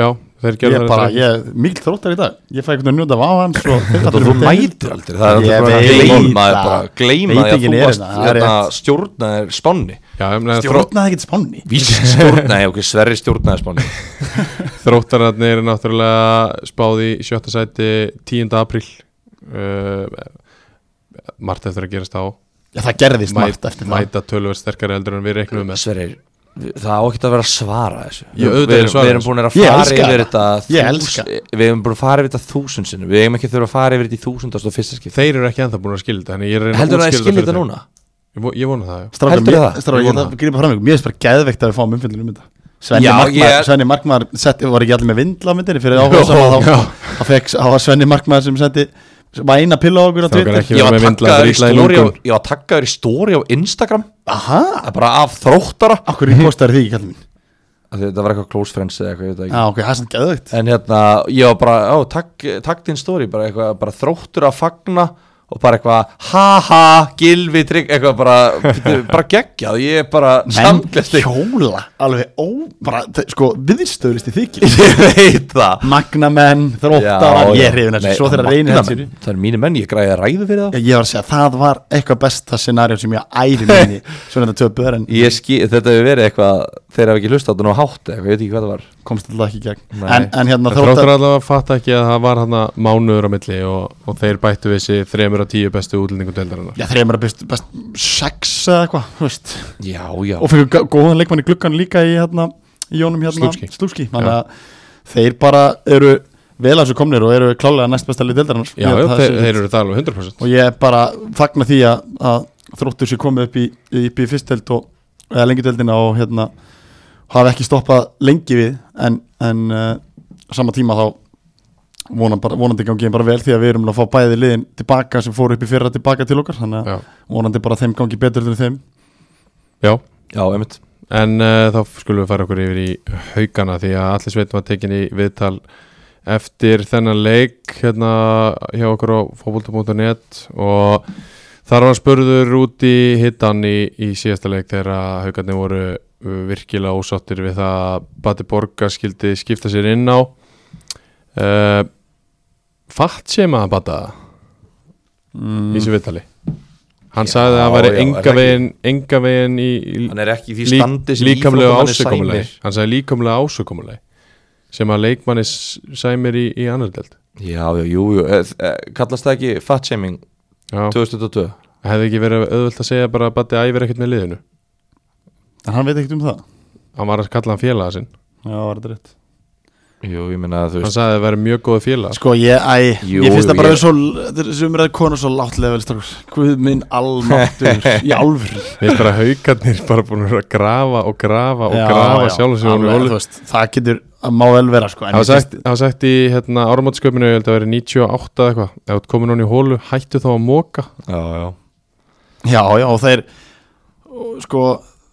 [SPEAKER 2] já, þeir gerðu
[SPEAKER 3] Ég er
[SPEAKER 2] það
[SPEAKER 3] bara,
[SPEAKER 2] reyndar.
[SPEAKER 3] ég er mikil þróttar í dag Ég fæ einhvern veginn að njóta af hans og þeir
[SPEAKER 4] Þetta
[SPEAKER 3] allir
[SPEAKER 4] þú
[SPEAKER 3] um daginn.
[SPEAKER 4] mætir aldrei Það
[SPEAKER 3] Ég
[SPEAKER 4] er bara
[SPEAKER 3] veit
[SPEAKER 4] gleym-
[SPEAKER 3] það.
[SPEAKER 4] maður bara gleyma því að
[SPEAKER 3] Veitingin
[SPEAKER 4] þú
[SPEAKER 3] er
[SPEAKER 4] varst
[SPEAKER 3] hérna, það er
[SPEAKER 4] hérna,
[SPEAKER 3] rétt.
[SPEAKER 4] stjórnaðir spánni
[SPEAKER 2] Já, um ég meina, þró,
[SPEAKER 3] Stjórnaði ekkert spánni
[SPEAKER 4] Vísir stjórnaði, ok, Sverri stjórnaði spánni
[SPEAKER 2] þróttararnir er náttúrulega spáði í sjötta sæti 10. apríl uh, margt eftir að gerast á
[SPEAKER 3] Já, það gerðist margt eftir það
[SPEAKER 2] mæta tölver sterkari eldur en við reiknum með
[SPEAKER 4] Sverri, við- það á ekki að vera að svara þessu
[SPEAKER 2] Ég auðvitað
[SPEAKER 4] Við
[SPEAKER 2] er
[SPEAKER 4] erum,
[SPEAKER 2] svara
[SPEAKER 4] við erum búin að
[SPEAKER 3] Ég
[SPEAKER 4] fara
[SPEAKER 3] elska
[SPEAKER 4] yfir
[SPEAKER 3] það.
[SPEAKER 4] þetta
[SPEAKER 3] Ég
[SPEAKER 4] þús-
[SPEAKER 3] elska.
[SPEAKER 4] Við erum búin að fara yfir þetta þúsund sinnum Við eigum ekki að þurfa að fara yfir þetta í þúsundast og fyrsta skipti
[SPEAKER 2] Þeir eru ekki ennþá búin að skilja þetta þannig ég er að reyna
[SPEAKER 4] Heldur það að
[SPEAKER 2] útskýra
[SPEAKER 4] ég skilja þetta
[SPEAKER 2] fyrir
[SPEAKER 4] núna?
[SPEAKER 2] þeim. Ég, vo- ég vona það, já
[SPEAKER 3] Strákar,
[SPEAKER 4] Heldurðu
[SPEAKER 3] mér-
[SPEAKER 4] það?
[SPEAKER 3] Strákar,
[SPEAKER 4] Ég
[SPEAKER 3] ég
[SPEAKER 4] vona
[SPEAKER 3] ætla að grípa fram ykkur Mér finnst bara geðveikt að við fáum umfyllunum um þetta Svenni
[SPEAKER 4] Já,
[SPEAKER 3] Markmaður,
[SPEAKER 4] ég-
[SPEAKER 3] Svenni Markmaður setti, voru ekki allir með vindla á myndinni fyrir áhuga saman þá, þá, fekk, þá var Svenni Markmaður sem setti sem var eina pilla á okkur á
[SPEAKER 2] Strákar,
[SPEAKER 3] Twitter
[SPEAKER 2] ekki-
[SPEAKER 4] Ég var
[SPEAKER 2] með vindla,
[SPEAKER 4] takkaður
[SPEAKER 2] drilla
[SPEAKER 4] í
[SPEAKER 2] í
[SPEAKER 4] stóri á,
[SPEAKER 2] lungun.
[SPEAKER 4] ég var takkaður í stóri á Instagram
[SPEAKER 3] Aha,
[SPEAKER 4] Það er bara af þróttara
[SPEAKER 3] af hverju postaði því ekki allir minn
[SPEAKER 4] Af því Þetta var eitthvað close friends eða eitthvað, ég veit það ekki
[SPEAKER 3] Já, ok, það er sann geðveikt
[SPEAKER 4] En hérna, ég var bara, ó, takk, takk þín stóri, bara eitthvað, bara þróttur að fagna og bara eitthvað, ha ha, gilvi, trygg, eitthvað bara, bara geggjað, ég er bara samglesti.
[SPEAKER 3] hjóla Alveg ó, bara, þe- sko, viðstöðlist í þykir
[SPEAKER 4] Ég veit það.
[SPEAKER 3] Magnamenn, þróttara,
[SPEAKER 4] Já,
[SPEAKER 3] ég
[SPEAKER 4] já.
[SPEAKER 3] er hrifin þessu
[SPEAKER 4] Nei,
[SPEAKER 3] Svo þegar
[SPEAKER 4] magna
[SPEAKER 3] reynir
[SPEAKER 4] menn.
[SPEAKER 3] þessu
[SPEAKER 4] Það er mínu menn, ég græði að ræðu fyrir það.
[SPEAKER 3] Ég var að segja, það var eitthvað besta scenarió sem ég æri minni Svona þetta töpuður en
[SPEAKER 4] Ég skil, þetta hefur verið eitthvað, þeir hafa ekki hlust á þetta nú hátt eða eitthvað, ég veit ekki hvað það var.
[SPEAKER 3] komst alltaf ekki í gegn
[SPEAKER 4] Nei.
[SPEAKER 3] en, en hérna
[SPEAKER 2] Þróttar
[SPEAKER 3] þróttar
[SPEAKER 2] allavega fatta ekki að það var hann mánuður á milli og, og þeir bættu við sig 3-10 bestu útlendingu deildarinnar
[SPEAKER 3] Já, þreymur að best, best sex eða eitthvað, þú veist
[SPEAKER 4] Já, já.
[SPEAKER 3] Og fyrir góðan leikmann í gluggan líka í hérna í Jónum hérna
[SPEAKER 2] Slúpski.
[SPEAKER 3] Slúpski Þannig að þeir bara eru vel að þessu komnir og eru klálega næst besta lið deildarinnar
[SPEAKER 2] Já,
[SPEAKER 3] Ég
[SPEAKER 2] já
[SPEAKER 3] held að það
[SPEAKER 2] þeir,
[SPEAKER 3] sé-
[SPEAKER 2] þeir eru það alveg 100%
[SPEAKER 3] Og ég bara fagna því að, að þróttur sér komið upp í, upp í fyrstdelt og eða lengjudeldina og hérna hafa ekki stoppað lengi við en, en uh, sama tíma þá vonan bara, vonandi gangi þeim bara vel því að við erum að fá bæði liðin tilbaka sem fóru upp í fyrra tilbaka til okkar þannig
[SPEAKER 2] Já.
[SPEAKER 3] að vonandi bara þeim gangi betur en þeim
[SPEAKER 2] Já,
[SPEAKER 4] Já, einmitt.
[SPEAKER 2] En uh, þá skulum við fara okkur yfir í haugana því að allir sveitum að tekin í viðtal eftir þennan leik hérna hjá okkur á fókbólta.net og þar var spurður út í hittan í, í síðasta leik þegar að haugarnir voru uh, virkilega ósáttir við það að Bati Borga skildi skipta sér inn á uh, Fatt sem að Bata í þessu viðtali Hann
[SPEAKER 4] Mm. Já,
[SPEAKER 2] sagði að hann væri
[SPEAKER 4] já, er
[SPEAKER 2] enga
[SPEAKER 4] það ekki-
[SPEAKER 2] veginn, enga veginn í, í
[SPEAKER 4] Hann er ekki í því
[SPEAKER 2] Lík-
[SPEAKER 4] standi sem
[SPEAKER 2] líkamlega
[SPEAKER 4] íþróttamanni sæmir.
[SPEAKER 2] ásökumuleg hann sagði líkamlega ásökumuleg sem að leikmanni s- sæmir í, í annar delt
[SPEAKER 4] Já, já, jú, jú, eh, eh, kallast það ekki fat shaming
[SPEAKER 2] Já,
[SPEAKER 4] 2022
[SPEAKER 2] hefði ekki verið auðvöld að segja bara að Batti æfir ekkert með liðinu
[SPEAKER 3] en hann veit ekkert um það
[SPEAKER 2] hann var að kalla hann félaga sinn
[SPEAKER 3] já, var þetta rétt
[SPEAKER 4] Jú, ég meina þú
[SPEAKER 2] hann
[SPEAKER 4] veist
[SPEAKER 2] sagði að það væri mjög góð félaga
[SPEAKER 3] sko ég, æ,
[SPEAKER 4] Jú,
[SPEAKER 3] ég finnst það bara
[SPEAKER 4] ég-
[SPEAKER 3] ég... svo, þetta er sumir að kona svo látt level stróks, guð minn almáttur í alvur
[SPEAKER 2] Við erum bara haukarnir bara búin að vera að grafa og grafa og grafa sjálfum sér ofan í holu.
[SPEAKER 3] það getur, það má vel vera sko, en
[SPEAKER 2] Það var
[SPEAKER 3] ég finnst-
[SPEAKER 2] sagt, það var sagt í hérna, áramátssköpinu, ég held að vera 98 eða eitthvað, ef þú ert komin hún í hólu, hættu þá að móka.
[SPEAKER 4] Já, já
[SPEAKER 3] já, já, og þeir og sko,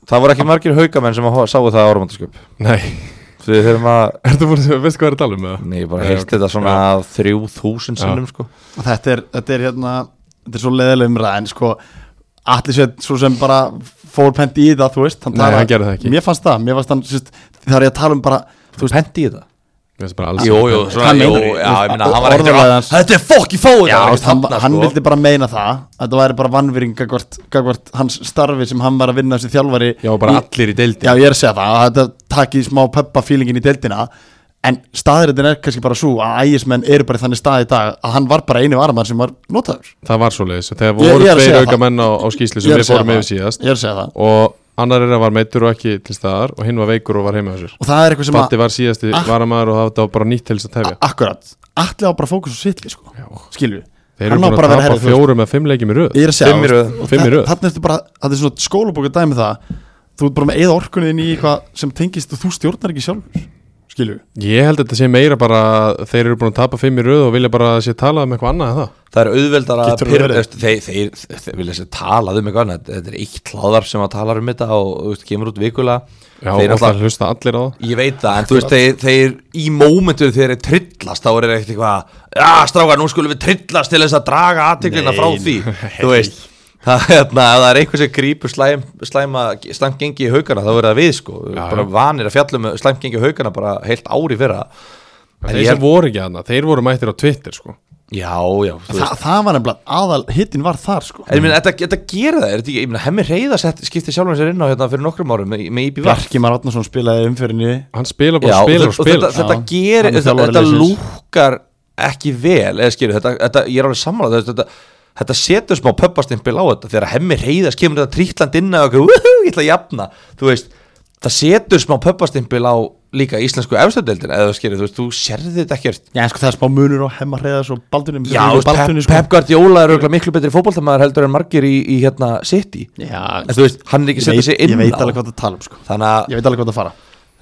[SPEAKER 4] Það voru ekki margir haukamenn sem að ho- sáu það áramöndasköp
[SPEAKER 2] Nei,
[SPEAKER 4] Því þegar maður,
[SPEAKER 2] ertu búin að veist hvað er að tala um með það?
[SPEAKER 4] nei, ég bara
[SPEAKER 2] Nei,
[SPEAKER 4] heist
[SPEAKER 2] ok.
[SPEAKER 4] þetta svona þrjú þúsund
[SPEAKER 2] Já.
[SPEAKER 4] sinnum, sko
[SPEAKER 3] þetta er, þetta er hérna þetta er svo leðileg umræð en sko allir sér svo sem bara fór pent í það, þú veist
[SPEAKER 2] Nei, hann gerði það ekki.
[SPEAKER 3] mér fannst það, mér fannst hann, sérst, það er ég að tala um bara þú veist,
[SPEAKER 4] Penti í það?
[SPEAKER 2] Ég veist bara alls
[SPEAKER 4] Jú, jú,
[SPEAKER 2] ekki.
[SPEAKER 4] svona,
[SPEAKER 3] Hann
[SPEAKER 4] jú,
[SPEAKER 3] meinar
[SPEAKER 4] já,
[SPEAKER 3] því.
[SPEAKER 4] ég meina,
[SPEAKER 3] Or-
[SPEAKER 4] hann var ekkert
[SPEAKER 3] orðalagið
[SPEAKER 4] að
[SPEAKER 3] hans-
[SPEAKER 4] Þetta er fokk í fóið,
[SPEAKER 3] já,
[SPEAKER 4] það var
[SPEAKER 3] veist, hann, hann
[SPEAKER 4] ekkert
[SPEAKER 2] sko.
[SPEAKER 4] þarna, sko.
[SPEAKER 3] vildi bara meina það að það væri bara vannvýring gagvart, gagvart hans starfi sem hann var að vinna sem þjálfari
[SPEAKER 2] Já, bara
[SPEAKER 3] í-
[SPEAKER 2] allir í deildi.
[SPEAKER 3] Já, ég er að segja það, að þetta takið smá peppa fílingin í deildina En staðrættin er kannski bara svo að ægismenn eru bara í þannig stað í dag að hann var bara einu varmann sem var notaður
[SPEAKER 2] Það var svo leiðis. Þegar
[SPEAKER 3] Ég-
[SPEAKER 2] voru
[SPEAKER 3] ég er að
[SPEAKER 2] tveir
[SPEAKER 3] segja
[SPEAKER 2] auka menn á, á skýsli
[SPEAKER 3] Ég
[SPEAKER 2] sem
[SPEAKER 3] er að
[SPEAKER 2] við
[SPEAKER 3] segja
[SPEAKER 2] fórum
[SPEAKER 3] það.
[SPEAKER 2] yfir síðast
[SPEAKER 3] Ég er að segja það
[SPEAKER 2] og annar er að var meittur og ekki til staðar og hinn var veikur og var heima þessir.
[SPEAKER 3] Og það er eitthvað sem
[SPEAKER 2] Batti var síðasti
[SPEAKER 3] Ah.
[SPEAKER 2] varamaður og það var bara nýtt til þess að tefja.
[SPEAKER 3] að Akkurat, allir á bara fókus og sitli sko
[SPEAKER 2] Já.
[SPEAKER 3] Skilju
[SPEAKER 2] Þeir eru búin að tapa fjórum eða fimm leikjum í röð.
[SPEAKER 3] Ég er að segja sko.
[SPEAKER 4] Fimm í röð.
[SPEAKER 2] Fimm í röð.
[SPEAKER 3] Þannig er þetta bara, þetta er svona skólabóka dæmi það Þú ert bara með eða orkunni inn í eitthvað sem tengist og þú stjórnar ekki sjálfur Skilju
[SPEAKER 2] Ég held að þetta sé meira bara að þeir eru búin að tapa fimm í röð og vilja bara að sé talað um eitthvað annað en það.
[SPEAKER 4] Það er auðveldar að
[SPEAKER 3] Getur það
[SPEAKER 4] pyrra,
[SPEAKER 3] verið?
[SPEAKER 4] veist, þeir, þeir, þeir vilja sér talað um eitthvað annað, þetta er eitt hlaðar sem að tala um þetta og þú veist, kemur út
[SPEAKER 2] Já,
[SPEAKER 4] vikulega Þeir
[SPEAKER 2] og
[SPEAKER 4] náttúrulega-
[SPEAKER 2] það hlusta allir á það.
[SPEAKER 4] Ég veit það, en þú veist, þeir, þeir í mómentu þegar þeir trillast, þá er þeir ekkert eitthvað Já, strákar, nú skulum við trillast til þess að draga aðteklina
[SPEAKER 3] Nei,
[SPEAKER 4] frá því Þú veist, það, hérna, ef það er eitthvað sem grípur slæm, slæma slæmt gengi í haugana, þá verður það við, sko
[SPEAKER 2] Já,
[SPEAKER 4] Bara
[SPEAKER 2] já.
[SPEAKER 4] vanir að fjalla um slæmt gengi í haugana bara heilt ári fyrra En
[SPEAKER 2] Þeir
[SPEAKER 4] ég-
[SPEAKER 2] sem voru ekki aðna, þeir voru mættir á Twitter sko.
[SPEAKER 4] Já, já,
[SPEAKER 3] Þa,
[SPEAKER 4] þú veist
[SPEAKER 3] Það var nefnilega aðal, hittin var þar sko
[SPEAKER 4] En ég meina, þetta, þetta gerir það, er þetta ekki, ég meina, hemmi reyða sett, skipti sjálfum sér inn á hérna fyrir nokkrum árum með, með IBV
[SPEAKER 3] Bjarki Már Átnarsson spilaði umfyrinni
[SPEAKER 2] Hann spila bara
[SPEAKER 4] Já,
[SPEAKER 2] og spila
[SPEAKER 4] og
[SPEAKER 2] og spila.
[SPEAKER 4] þetta, þetta
[SPEAKER 3] Já,
[SPEAKER 4] gerir,
[SPEAKER 3] hann er
[SPEAKER 4] þetta,
[SPEAKER 3] þjálfari
[SPEAKER 4] þetta
[SPEAKER 3] liðsins.
[SPEAKER 4] lúkar ekki vel eða skilur, þetta, þetta, ég er alveg samanlega þetta, þetta, þetta setur smá pöppastimpil á þetta þegar hemmi reyðast kemur þetta trítland inn og okkur, "Woohoo, ég ætla að jafna þú veist, það setur smá pöppastimpil á líka íslensku efstöldildin eða skilur, þú veist, þú sérði þetta ekkert
[SPEAKER 3] Já, sko það er spá munur á Hemma Hreðars og Baldunum
[SPEAKER 4] Já, þú veist,
[SPEAKER 3] sko.
[SPEAKER 4] Pep, Pep Guardiola er auðvitað miklu betri fótboltamaður heldur en margir í, í hérna City
[SPEAKER 3] Já,
[SPEAKER 4] en þú veist, hann er ekki
[SPEAKER 3] ég,
[SPEAKER 4] að setja sig
[SPEAKER 3] veit, ég
[SPEAKER 4] inn
[SPEAKER 3] veit
[SPEAKER 4] á
[SPEAKER 3] alveg hvað það tala um sko
[SPEAKER 4] þannig að
[SPEAKER 3] Ég veit alveg hvað um. það fara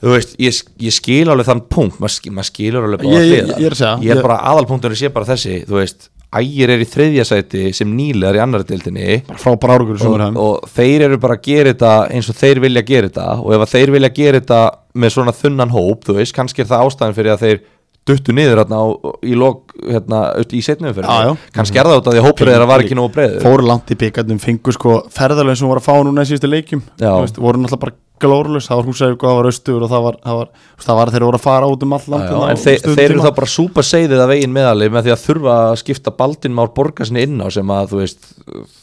[SPEAKER 4] þú veist, ég, ég skil alveg þann punkt maður skil, mað skilur alveg bara
[SPEAKER 3] Ég- ég-
[SPEAKER 4] hliðar.
[SPEAKER 3] ég er að segja,
[SPEAKER 4] ég er
[SPEAKER 3] ég-
[SPEAKER 4] bara aðalpunktunum sé bara þessi, þú veist ægir er í þriðja sæti sem nýlegar í annar deildinni
[SPEAKER 3] Bara frá bara árugur í
[SPEAKER 4] og,
[SPEAKER 3] sumurhæm
[SPEAKER 4] og þeir eru bara að gera þetta eins og þeir vilja gera þetta og ef að þeir vilja gera þetta með svona þunnan hóp, þú veist, kannski er það ástæðan fyrir að þeir duttu niður hérna á, í lok, hérna, auðvitað í setnum fyrir
[SPEAKER 3] Já, já.
[SPEAKER 4] kannski er það út af því að hópur þeirra var ekki nógu breiður
[SPEAKER 3] Fóru langt í byggarnum, fengu sko ferðarlegin sem voru að fá núna í síðustu leikjum
[SPEAKER 4] Já.
[SPEAKER 3] Þú veist, Voru náttúrulega bara glórlös, það var húsæðu það var austur og það var, það var, þú veist, það var að þeir voru að fara út um all land
[SPEAKER 4] Já, já, en þeir, þeir eru þá bara súpa seiðið að veginn meðalið með því að þurfa að skipta Baldin Már Borgarsinni inn á sem að þú veist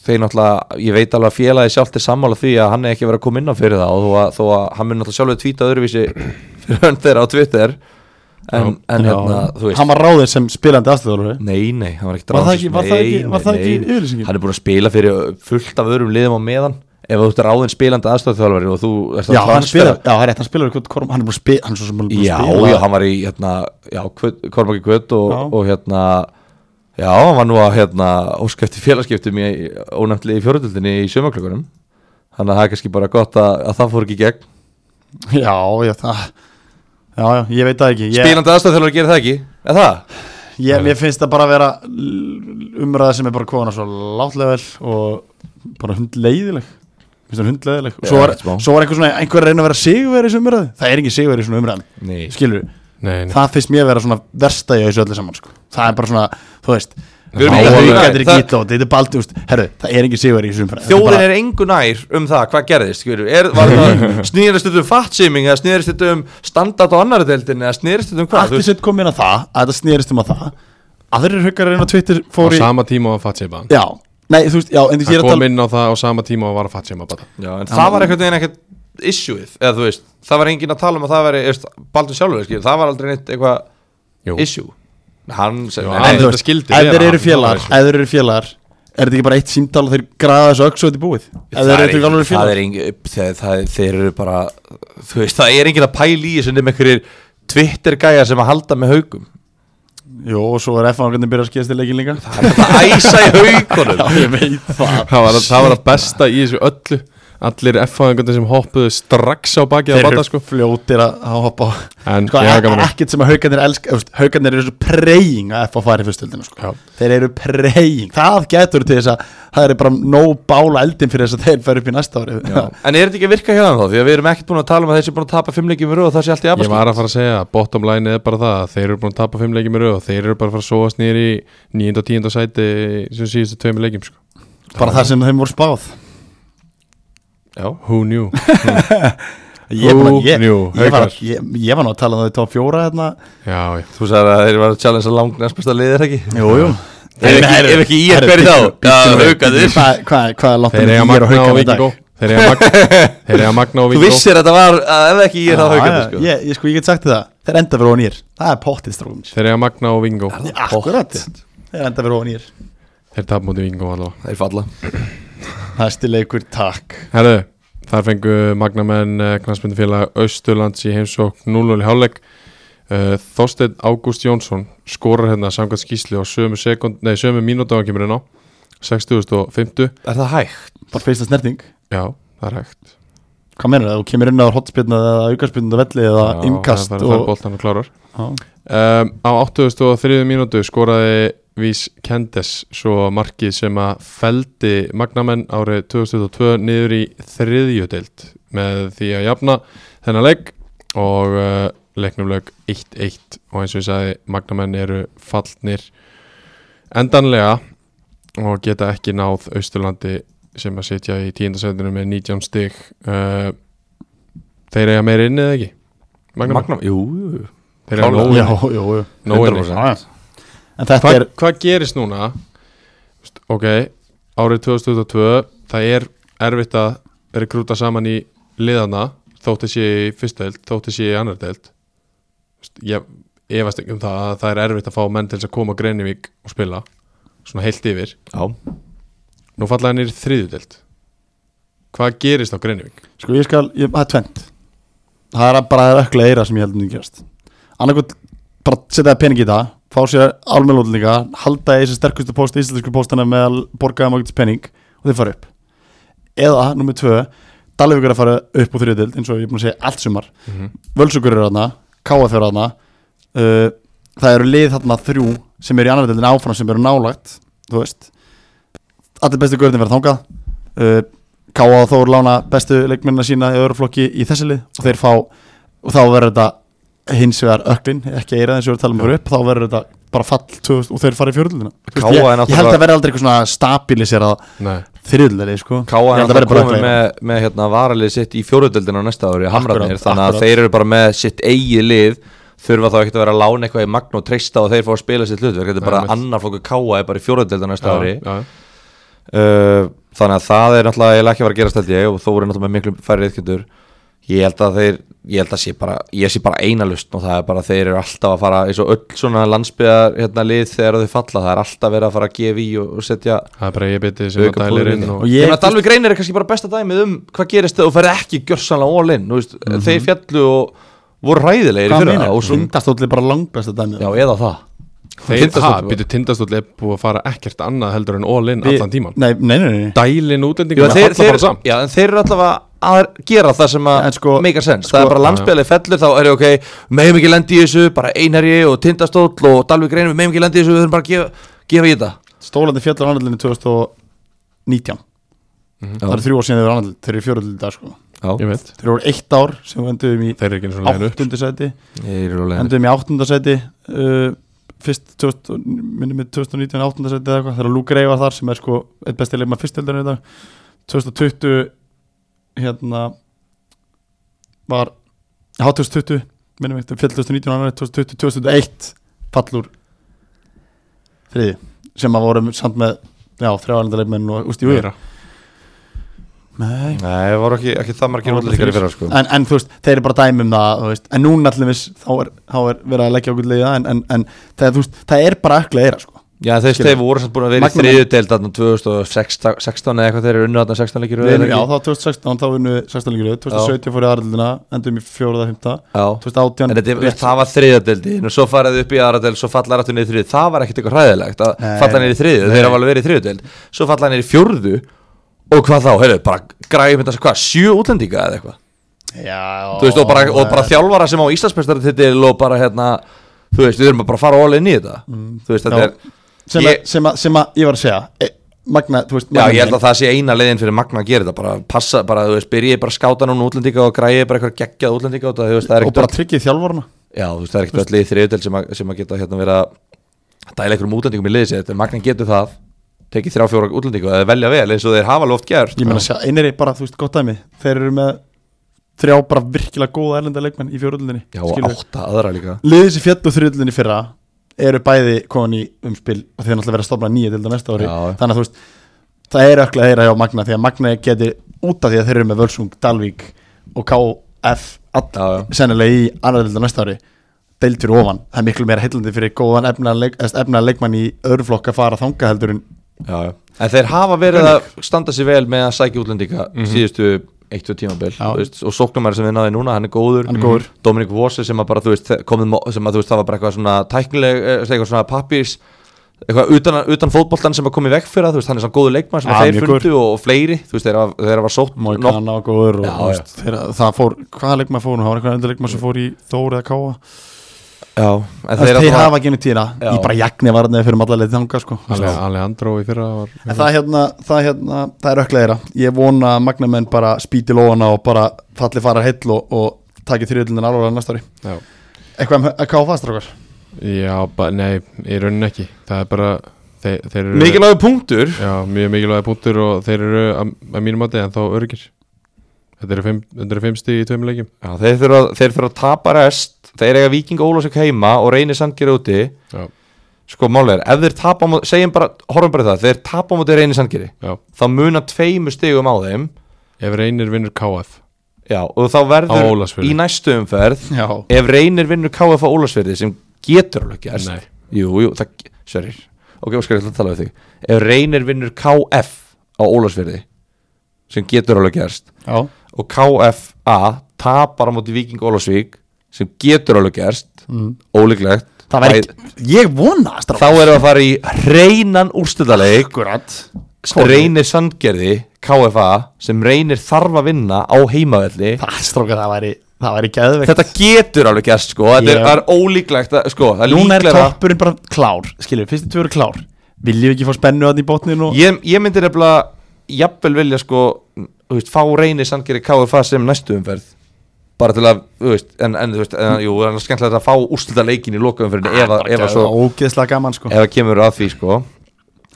[SPEAKER 4] þeir náttúrulega, ég veit alveg að félagi sjálft er sammála því að hann er ekki verið að koma inn á fyrir það og þó að, þó að hann mun náttúrulega sjálfur tvíta öðruvísi fyrir hönd þeirra á Twitter en, en hérna, þú veist Mm.
[SPEAKER 3] Hann var ráðið sem spilandi aðstöðalveri
[SPEAKER 4] Nei, nei, hann var ekkert
[SPEAKER 3] Var það
[SPEAKER 4] ráðinn
[SPEAKER 3] ekki-
[SPEAKER 4] sem-
[SPEAKER 3] var það ekki-
[SPEAKER 4] nei,
[SPEAKER 3] var það
[SPEAKER 4] nei,
[SPEAKER 3] ekki
[SPEAKER 4] nei.
[SPEAKER 3] yfirlýsingin?
[SPEAKER 4] Hann er búin að spila fyrir fullt af öðrum liðum á meðan ef þú ert ráðin spilandi aðstofþjálfari og þú ert að
[SPEAKER 3] Já, hann
[SPEAKER 4] transfera-
[SPEAKER 3] spilaði, já, það er rétt, hann spilaði eitthvað korm, hann er búin að spila, hann er svo sem alveg búinn
[SPEAKER 4] Já,
[SPEAKER 3] að spila
[SPEAKER 4] já, hann var í hérna, já, Kvöt- Kormáki Kvöt og,
[SPEAKER 3] Já.
[SPEAKER 4] og hérna Já, hann var nú að hérna, óskæfti félagskiptum í ónefnli í fjóruðöldinni í sömaklökunum Þannig að það er kannski bara gott að, að það fór ekki í gegn
[SPEAKER 3] Já, já, það Já, já, ég veit það ekki ég,
[SPEAKER 4] Spilandi aðstofþjálfur gerir það ekki, er það?
[SPEAKER 3] ég, Mér finnst það bara að vera l- umræða sem er bara kona svo látlega vel og bara hundleiðileg Mér finnst það hundleiðileg
[SPEAKER 4] Já,
[SPEAKER 3] Svo var,
[SPEAKER 4] ekkert smá.
[SPEAKER 3] svo var einhver, svona, einhver að reyna að vera sigurveri í svona umræðu Það er ekki sigurveri í svona umræðan
[SPEAKER 4] Nei
[SPEAKER 3] Skilur,
[SPEAKER 2] Nei, nei.
[SPEAKER 3] það finnst mér vera svona versta í þessu öllu saman sko. Það er bara svona, þú veist
[SPEAKER 4] Við erum
[SPEAKER 3] Má
[SPEAKER 4] ekki að-
[SPEAKER 3] að
[SPEAKER 4] Nei,
[SPEAKER 3] hauka þetta
[SPEAKER 4] það-
[SPEAKER 3] er gítlót, þetta er baldi úst, Herru, það er ekki sigurveri í svona umræðu Þetta
[SPEAKER 4] Þjóðin
[SPEAKER 3] bara-
[SPEAKER 4] er engu nær um það hvað gerðist skilur. er, Var það snýrist þetta um fatsiming eða snýrist þetta um standart á annari deildin eða snýrist þetta um hvað
[SPEAKER 3] Allt í sett kom inn að það, að þetta snerist um að það Aðrir huggar reyna Twitter
[SPEAKER 2] Á
[SPEAKER 3] fóri
[SPEAKER 2] sama tíma og Fatsi bara.
[SPEAKER 3] Já, nei, þú veist, já, en þú veist,
[SPEAKER 2] Hann
[SPEAKER 3] ég er að
[SPEAKER 2] kom
[SPEAKER 3] tala
[SPEAKER 2] inn á það á sama tíma og var að Fatsi bara.
[SPEAKER 4] Já, en það var einhvern veginn ekkert issueið eða þú veist, það var enginn að tala um að það veri þú veist, Baldur sjálfur, skil, það var aldrei neitt eitthvað
[SPEAKER 2] Jú.
[SPEAKER 4] issue hann, sem,
[SPEAKER 2] Jú,
[SPEAKER 4] nei,
[SPEAKER 2] hann-
[SPEAKER 4] nei,
[SPEAKER 2] þetta
[SPEAKER 3] þú veist,
[SPEAKER 2] skildi
[SPEAKER 3] ef þeir
[SPEAKER 2] vera,
[SPEAKER 3] eru
[SPEAKER 2] hann-
[SPEAKER 3] félagar
[SPEAKER 2] hann
[SPEAKER 3] ef þeir eru félagar er þetta ekki bara eitt símtál og þeir graða þessu öksu og þetta er búið ef
[SPEAKER 4] það
[SPEAKER 3] þeir eru
[SPEAKER 4] er enginn-
[SPEAKER 3] ekki alveg
[SPEAKER 4] það
[SPEAKER 3] félagar
[SPEAKER 4] er enginn það, það, þeir eru bara, þú veist, það er enginn að pæla í þessu nefn einhverjir Twitter gæja sem að halda með haugum
[SPEAKER 3] Jó, og svo er F-fangarnir að byrja að skýrast í leikin líka
[SPEAKER 4] það er bara að æsa í haugunum
[SPEAKER 3] Já, ég veit það
[SPEAKER 2] það var, það var að besta í þessu öllu allir F-fæðingarnir sem hoppuðu strax á bakið
[SPEAKER 3] Þeir
[SPEAKER 2] að bata
[SPEAKER 3] eru
[SPEAKER 2] sko
[SPEAKER 3] fljótir að að hoppa á
[SPEAKER 2] en
[SPEAKER 3] Sko,
[SPEAKER 2] ég hafa gaman að
[SPEAKER 3] ekkert sem að haugarnir elska Haugarnir eru svo preying að F að fara í fyrstöldina sko.
[SPEAKER 2] Já.
[SPEAKER 3] Þeir eru preying Það getur til þess að það er bara nóg bála eldin fyrir þess að þeir fer upp í næsta ári
[SPEAKER 4] en er þetta ekki að virka hjá þeim þá, því að við erum ekkert búin að tala um að þeir sem búin að tapa fimmleikin við röð og það sé
[SPEAKER 3] e-
[SPEAKER 4] allt í
[SPEAKER 2] Ég var
[SPEAKER 4] abaskýt
[SPEAKER 2] að fara að segja að bottom line er bara það að þeir eru búin að tapa fimm leikjum í röð og þeir eru bara að fara að sóast nýri í 9. og 10. sæti sem síðustu tveimur leikjum sko.
[SPEAKER 3] Bara það sem þeim voru spáð
[SPEAKER 4] Já.
[SPEAKER 2] Who knew?
[SPEAKER 3] Ég, bara,
[SPEAKER 2] Who
[SPEAKER 3] ég,
[SPEAKER 2] knew,
[SPEAKER 3] ég, var,
[SPEAKER 2] Haukar?
[SPEAKER 3] ég, ég var nú að tala um það í top 4 hérna.
[SPEAKER 2] Já, já.
[SPEAKER 4] Þú sagði að þeir var að challenge að langt næst besta liðir ekki
[SPEAKER 3] Jú, jú
[SPEAKER 4] Ef ekki- ef ekki í er hverju þá? Já, haukarnir.
[SPEAKER 3] Hvað hvað- hvað er langt
[SPEAKER 2] Þeir eiga
[SPEAKER 3] í er og
[SPEAKER 2] magna og
[SPEAKER 3] haukarnir í dag?
[SPEAKER 2] vikingó Þeir eiga magna, þeir eiga magna og
[SPEAKER 4] Þú
[SPEAKER 2] vikingó
[SPEAKER 4] vissir að þetta var, að ef ekki í er þá
[SPEAKER 3] Já,
[SPEAKER 4] haugandi
[SPEAKER 3] já,
[SPEAKER 4] sko
[SPEAKER 3] Ég, ég, sko, ég get sagt þér það Þeir enda verið ónýr Það er pottið strókum
[SPEAKER 2] Þeir eiga magna og vikingó
[SPEAKER 3] Akkurat Þeir enda verið ónýr
[SPEAKER 2] Þeir tap mútið vikingó allavega
[SPEAKER 4] Þeir falla
[SPEAKER 3] Næsti leikur, takk
[SPEAKER 2] Herðu, þar fengu magnamenn knastmyndufélag Östurlands í heimsókn 0-0 í hálfleik Eh, Þorsteinn Ágúst Jónsson skorar hérna samkvæmt skýsli á sömu, sekund, nei, sömu mínútu á hann kemur inn á 60.50
[SPEAKER 4] Er það hægt?
[SPEAKER 3] Bara fyrsta snerting
[SPEAKER 2] Já, það er hægt
[SPEAKER 3] Hvað meinar það? Þú kemur inn á hotspilna eða aukarspilna velli eða
[SPEAKER 2] Já,
[SPEAKER 3] innkast
[SPEAKER 2] Það er að fara
[SPEAKER 3] og...
[SPEAKER 2] boltan og klárar
[SPEAKER 3] Já.
[SPEAKER 2] um, Á 83. mínútu skoraði Vís Kendes svo markið sem að feldi Magnamenn árið 2022 niður í þriðju deild með því að jafna þennan leik og uh, leiknum lög 1-1 og eins og ég sagði Magnamenn eru fallnir endanlega og geta ekki náð Austurlandi sem að sitja í tíundasætinu með 19 stig uh, Þeir eiga meira inni eða ekki? Magnamenn?
[SPEAKER 4] Magnum, jú, jú, jú
[SPEAKER 2] Þeir eru
[SPEAKER 4] Klárlega.
[SPEAKER 2] nógu
[SPEAKER 3] Já,
[SPEAKER 2] inni.
[SPEAKER 3] jú, jú
[SPEAKER 2] Nógu inni.
[SPEAKER 4] 100%.
[SPEAKER 3] Já, já. En þetta
[SPEAKER 2] Hvað
[SPEAKER 3] er
[SPEAKER 2] hva gerist núna? Veist, Ok, árið 2022 það er erfitt að rekrúta saman í liðana þótt þessi í fyrsta deild, þótt þessi í annar deild Veist, Ég efast ekki um það að það er erfitt að fá menn til þess að koma á Greinivík og spila svona heilt yfir
[SPEAKER 4] Já
[SPEAKER 2] Nú falla hann í þriðju deild Hvað gerist á Greinivík?
[SPEAKER 3] Sko ég skal, ég, það er tvent Það er að- bara það er ökla eira sem ég held að myndi gerast Annarkot, bara setja það pening í það Fá sér álmjölóðlinga Halda í þessi sterkustu post, íslensku postana Með að borga um ágætis pening Og þeir fara upp Eða, nummið tvö, Dalvíkur er að fara upp úr þriðdild Eins og ég er búin að segja allt sumar
[SPEAKER 2] Mm
[SPEAKER 4] Mhm.
[SPEAKER 2] -hmm.
[SPEAKER 3] Völsugur eru þarna, KF eru þarna uh, Það eru lið þarna þrjú sem eru í annar deildin áfram sem eru nálægt þú veist Allir bestu guðurinn verða þangað uh, K.A. og Þór lána bestu leikmennina sína í öðru flokki í þessi lið og þeir fá og þá verður þetta hins vegar öklin, ekki eira eins og við erum að tala um fyrir upp þá verður þetta bara fall 2000 og þeir fara í fjörðlina
[SPEAKER 4] KA
[SPEAKER 3] ég,
[SPEAKER 4] er
[SPEAKER 3] ég held
[SPEAKER 4] náttúrulega-
[SPEAKER 3] að verða aldrei eitthvað svona stabiliserað
[SPEAKER 2] Nei,
[SPEAKER 3] þriðlili sko
[SPEAKER 4] Káa
[SPEAKER 3] Ég held
[SPEAKER 4] er
[SPEAKER 3] að
[SPEAKER 4] alltaf
[SPEAKER 3] verði bara
[SPEAKER 4] komið
[SPEAKER 3] ökla
[SPEAKER 4] með, með hérna, varalið sitt í fjóruðöldinu á næsta ári, hamrarnir,
[SPEAKER 3] Akkurat,
[SPEAKER 4] þannig að
[SPEAKER 3] akkurat.
[SPEAKER 4] þeir eru bara með sitt eigi lið þurfa þá ekkert að vera að lána eitthvað í magn og treysta og þeir fá að spila sitt hlutverk, þetta er bara
[SPEAKER 2] Einmitt.
[SPEAKER 4] annar flokku káa er bara í fjóruðöldinu næsta ári
[SPEAKER 2] já, já.
[SPEAKER 4] uh, þannig að það er náttúrulega eiginlega ekki að vera að gerast held ég og þó eru náttúrulega með miklu færri reyðkjöndur ég held að þeir, ég held að sé bara ég sé bara eina lust og það er bara að þeir eru alltaf að fara eins og öll svona landsbyðar hérna lið þegar þau falla, það er alltaf verið að fara að gefa í og, og setja
[SPEAKER 2] Það er bara ég betið sem að
[SPEAKER 4] Auka
[SPEAKER 2] dælir inn
[SPEAKER 4] púðurinn.
[SPEAKER 2] og
[SPEAKER 3] Og
[SPEAKER 4] Ég
[SPEAKER 3] ég,
[SPEAKER 4] meina, Dalvik Reynir er kannski bara besta dæmið um hvað gerist þegar þú ferð ekki gjörsanlega all in, þú veist, þeir fjallu og voru ræðilegir í
[SPEAKER 3] hvað
[SPEAKER 4] fyrra
[SPEAKER 3] meina,
[SPEAKER 4] og svo,
[SPEAKER 3] hindastóli bara langbesta dæmið
[SPEAKER 4] já, eða það
[SPEAKER 2] Þeir,
[SPEAKER 4] Tindastóll
[SPEAKER 2] ha,
[SPEAKER 4] bara.
[SPEAKER 2] byrju tindastóll er búið að fara ekkert annað heldur en all in
[SPEAKER 3] Við-
[SPEAKER 2] allan tíman
[SPEAKER 3] Nei, nei, nei, nei.
[SPEAKER 2] Dælin
[SPEAKER 4] Ég
[SPEAKER 2] útlendingum
[SPEAKER 4] meina, þeir,
[SPEAKER 2] falla bara
[SPEAKER 4] þeir,
[SPEAKER 2] saman
[SPEAKER 4] já, en þeir eru allavega að gera það sem að
[SPEAKER 3] En sko-
[SPEAKER 4] make a sense,
[SPEAKER 3] sko-
[SPEAKER 4] það er bara landsbjörlega fellur þá er ég ok, meðum ekki lendi í þessu bara einherji og tindastóll og Dalvik Reynir meðum ekki lendi í þessu, við þurfum bara að gefa, gefa í þetta
[SPEAKER 3] Stólandi fjallar annarlinni 2019
[SPEAKER 4] Mhm.
[SPEAKER 3] Það eru þrjú ár síðan þeir eru annarlinni Þeir eru fjörðlinni í dag sko
[SPEAKER 2] Ég veit,
[SPEAKER 3] Þeir eru eitt ár sem við enduðum í
[SPEAKER 2] þeir eru ekki eins og leginu upp
[SPEAKER 3] áttundu sæti
[SPEAKER 4] ég er alveg
[SPEAKER 3] Enduðum í áttundu sæti uh, Fyrst 2000 minnum við 2019 áttundu sæti eða eitthvað Þeir eru Lúk Reyvar þar sem er sko Eitt besti leikma fyrstöldurinn í dag 2020 Hérna Var Há 2020 Minnum við fjöld 2019 annar 2020 2021 Fallur Þriði Sem að vorum samt með Já, þrjáarlenda leikmenn og úst í
[SPEAKER 2] Meira.
[SPEAKER 3] Nei
[SPEAKER 4] Nei, það voru ekki, ekki það margir
[SPEAKER 3] Það voru
[SPEAKER 4] útlendingar í
[SPEAKER 3] þrír.
[SPEAKER 4] fyrra sko
[SPEAKER 3] en, en þú veist, þeir eru bara dæmi um það þú veist, en núna allir viss, þá er, þá er verið að leggja okkur leiða en, en, en það, þú veist, það er bara ökla eira sko.
[SPEAKER 4] Já, en þeir
[SPEAKER 3] Skilur.
[SPEAKER 4] steif voru samt búin að vera
[SPEAKER 3] Magnús-
[SPEAKER 4] í þriðu deild þarna 2016 eða eitthvað þeir eru unnu þarna 16 leikir í röð,
[SPEAKER 3] Við erum,
[SPEAKER 4] eða
[SPEAKER 3] já,
[SPEAKER 4] ekki?
[SPEAKER 3] þá 2016, þá vinnum við 16 líkur 2017 fór í aðrildina, endum í 4. og 5.
[SPEAKER 4] já
[SPEAKER 3] 2018
[SPEAKER 4] En þetta,
[SPEAKER 3] rétt.
[SPEAKER 4] rétt, það var þriða deildin og svo faraði upp í aðra deild svo falla aftur niður í þriðu, það var ekkert eitthvað hræðilegt að
[SPEAKER 3] Nei.
[SPEAKER 4] falla niður í þriðu, þeir hafa alveg verið í þriðu deild svo falla niður í fjórðu og hvað þá, heyrðu, bara græði með þessu hvað sjö útlendinga eða eitthvað,
[SPEAKER 3] já,
[SPEAKER 4] þú veist, og bara, og bara þjálfara sem á Íslandsmestari og bara hérna þú veist, við erum bara að fara all inn í þetta þú veist, þetta
[SPEAKER 3] Mm. Já. sem,
[SPEAKER 4] er Ég-
[SPEAKER 3] ég, sem, að, sem að ég var að segja e, Magna, þú veist
[SPEAKER 4] Já,
[SPEAKER 3] Magna
[SPEAKER 4] ég held að það sé eina leiðin fyrir Magna að gera þetta bara passa, bara, þú veist, byrjið bara að skáta núna útlendinga og græði bara eitthvað geggjað útlendinga og það, þú veist, það er
[SPEAKER 3] og
[SPEAKER 4] ekkert
[SPEAKER 3] bara
[SPEAKER 4] öll,
[SPEAKER 3] tryggið þjálfvarna
[SPEAKER 4] já, þú veist, það er ekkert öll lið þriðutel sem, að- sem að geta hérna verið að dæla einhverjum útlendingum í liðið sér, en Magna getur það tekið þrjá fjóra útlendinga og velja vel eins og þeir hafa alveg oft gert
[SPEAKER 3] ég meina að segja, einir er bara, þú veist, gott dæmi þeir eru með þrjá bara virkilega góða erlenda leikmenn í fjóröldinni
[SPEAKER 4] Já, og átta aðra líka
[SPEAKER 3] liðið sem fjall og þrjöldinni fyrra eru bæði komin í umspil og þeir náttúrulega verið að stopna nýja til þetta næsta ári
[SPEAKER 4] Já.
[SPEAKER 3] þannig að þú veist, það er ökla þeirra hjá Magna því að Magna geti út af því að þeir eru með Völsung, Dalvík og KF all,
[SPEAKER 4] Já, já.
[SPEAKER 3] sennilega í annar til næsta ári deilt fyrir ofan, það er miklu meira heillandi fyrir góðan efnaðan leik, efna leikmann í öðru flokk að fara þanga heldur en
[SPEAKER 4] já, já. En þeir hafa verið að standa sér vel með að sækja útlendinga síðustu eitt og tímabil
[SPEAKER 3] Mhm. Já.
[SPEAKER 4] þú veist, og sóknumæri sem við náði núna, hann er góður,
[SPEAKER 3] Hann er góður.
[SPEAKER 4] Dominik Vosse sem að bara, þú veist, komið, sem að þú veist, það var bara eitthvað svona tæknileg, eh, eitthvað svona pappís eitthvað utan, utan fótboltan sem að komið veg fyrir það, þú veist, hann er svona góður leikmæri sem
[SPEAKER 3] Já,
[SPEAKER 4] að þeir
[SPEAKER 3] mjög
[SPEAKER 4] fundu og, og fleiri, þú veist, þeir hafa, þeir hafa sótt nokk-
[SPEAKER 3] Moikana og góður og,
[SPEAKER 4] Já,
[SPEAKER 3] já, veist, þeirra, það fór, hvaða leikmann fór hún, það var eitthvað endur leikmann sem fór í Þór eða Káa
[SPEAKER 4] já, en þeir,
[SPEAKER 3] þeir, þeir
[SPEAKER 4] alltaf-
[SPEAKER 3] hafa genið tína,
[SPEAKER 4] Já.
[SPEAKER 3] ég bara jagni varðið fyrir alla leið þanga sko
[SPEAKER 2] Ale- Alejandro í fyrra var
[SPEAKER 3] En það hérna, það hérna, það er ökla þeirra Ég vona að magnamenn bara spýti lóana og bara falli fara heill og, og taki þriðlindin alveg næsta ári
[SPEAKER 2] Já.
[SPEAKER 3] Eitthvað um að káfa strákar
[SPEAKER 2] Já, ba, nei, í rauninni ekki Það er bara þeir, þeir eru
[SPEAKER 4] mikilvægur punktur
[SPEAKER 2] Já, mjög mikilvægi punktur og þeir eru að, að mínum mati en þá örgir Þetta eru fimm, þetta eru fimm stig í tveim leikjum
[SPEAKER 4] já, þeir þurfa þeir þurfa að tapa rest þeir eiga viking Ólásök heima og reynir sandgerði úti
[SPEAKER 2] Já,
[SPEAKER 4] sko málega er, ef þeir tapa á móti- segjum bara, horfum bara í það, þeir tapa á móti reynir sandgeri
[SPEAKER 2] já
[SPEAKER 4] þá muna tveimur stigum á þeim
[SPEAKER 2] Ef reynir vinnur KF
[SPEAKER 4] já, og þá
[SPEAKER 2] Á
[SPEAKER 4] verður
[SPEAKER 2] Ólafsfirði.
[SPEAKER 4] í næstu umferð
[SPEAKER 3] Já,
[SPEAKER 4] ef reynir vinnur KF á Ólasverði sem getur alveg gerst
[SPEAKER 2] Nei.
[SPEAKER 4] jú, jú, það, sverir ok, Óskar, ég ætla að tala við þig ef reynir vinnur KF á Ólasverði sem getur alveg gerst
[SPEAKER 3] já,
[SPEAKER 4] og KFA tapar á móti Viking Ólasvík sem getur alveg gerst mm. ólíklegt
[SPEAKER 3] það væri ekki, ég vona
[SPEAKER 4] þá
[SPEAKER 3] strákar
[SPEAKER 4] erum við að fara í reynan úrstundaleik
[SPEAKER 3] Akkurat
[SPEAKER 4] reynir sandgerði KFA sem reynir þarf að vinna á heimavelli
[SPEAKER 3] Það strákar, það væri, það væri geðveikt
[SPEAKER 4] þetta getur alveg gæst sko þetta
[SPEAKER 3] Ég-
[SPEAKER 4] er, það er ólíklegt að, sko, það er
[SPEAKER 3] Núna er
[SPEAKER 4] líklegra
[SPEAKER 3] toppurinn bara klár, skiljum, fyrstu tvö eru klár Viljum við ekki fá spennu að í botnin og
[SPEAKER 4] ég, ég myndi nefnilega jafnvel vilja sko þú veist, fá reynir sandgerði KFA sem næstu umferð bara til að, þú veist, en, en þú veist, en, jú, það er skemmtilegt að fá úrslita leikin í lokaumferðinu ef, að- ef, að svo,
[SPEAKER 3] Ógeðslega gaman sko
[SPEAKER 4] ef að kemur að því sko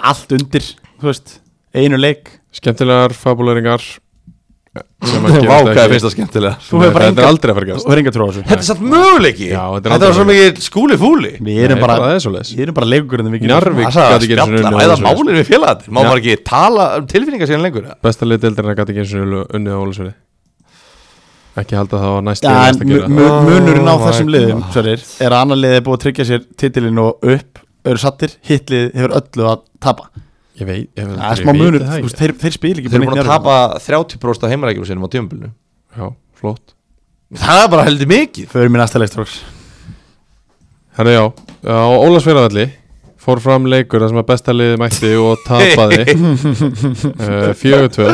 [SPEAKER 3] Allt undir, þú veist, einu leik
[SPEAKER 2] Skemmtilegar fabuleringar sem að gerast
[SPEAKER 4] vákaði
[SPEAKER 2] ekki.
[SPEAKER 4] finnst það skemmtilega
[SPEAKER 3] Þú hefur bara
[SPEAKER 2] Þetta er
[SPEAKER 3] engan-
[SPEAKER 2] aldrei að fara að
[SPEAKER 3] og
[SPEAKER 2] gerast
[SPEAKER 3] það er enga trú á þessu
[SPEAKER 4] þetta er satt möguleiki
[SPEAKER 2] Já, þetta er
[SPEAKER 4] þetta var
[SPEAKER 2] aldrei
[SPEAKER 4] svo mikið skúli fúli
[SPEAKER 3] Við
[SPEAKER 2] Nei,
[SPEAKER 3] erum bara,
[SPEAKER 2] það er svoleiðis.
[SPEAKER 3] við erum bara leikurinn við getum-
[SPEAKER 2] Njarðvík gat
[SPEAKER 4] það er
[SPEAKER 2] ekki einu sinni
[SPEAKER 4] spjalla,
[SPEAKER 2] unnið á
[SPEAKER 4] ræða
[SPEAKER 2] Ólafsfirði.
[SPEAKER 4] málin við félagarnir má
[SPEAKER 2] Já.
[SPEAKER 4] maður ekki tala um tilfinningar síðan lengur eða?
[SPEAKER 2] Besta liðdeildirna gæti ekki eins og unnið á Ólusveri Ekki halda það á næstu
[SPEAKER 3] Já,
[SPEAKER 2] ja,
[SPEAKER 3] en
[SPEAKER 2] að gera
[SPEAKER 3] mu- mu-
[SPEAKER 4] Oh
[SPEAKER 3] munurinn á
[SPEAKER 4] my
[SPEAKER 3] þessum liðum sverir, er að annar liðið er búið að tryggja sér titilinn og upp, eru sattir hitt liðið hefur öllu að tapa
[SPEAKER 2] Ég veit, ég veit,
[SPEAKER 3] það
[SPEAKER 2] ég
[SPEAKER 3] er smá
[SPEAKER 2] veit
[SPEAKER 3] munur,
[SPEAKER 2] það
[SPEAKER 3] þú
[SPEAKER 2] ekki.
[SPEAKER 3] veist, þeir, þeir spil ekki
[SPEAKER 4] þeir eru búin að
[SPEAKER 3] neitt
[SPEAKER 4] tapa 30% af heimarækjum sínum á tímabilinu
[SPEAKER 2] Já, flott
[SPEAKER 4] það er bara heldur mikið
[SPEAKER 3] Förum í næsta leik stróks
[SPEAKER 2] Herra já, á Ólasfjörðavalli fór fram leikur þar sem að besta liði mætti og tapaði uh, 4-2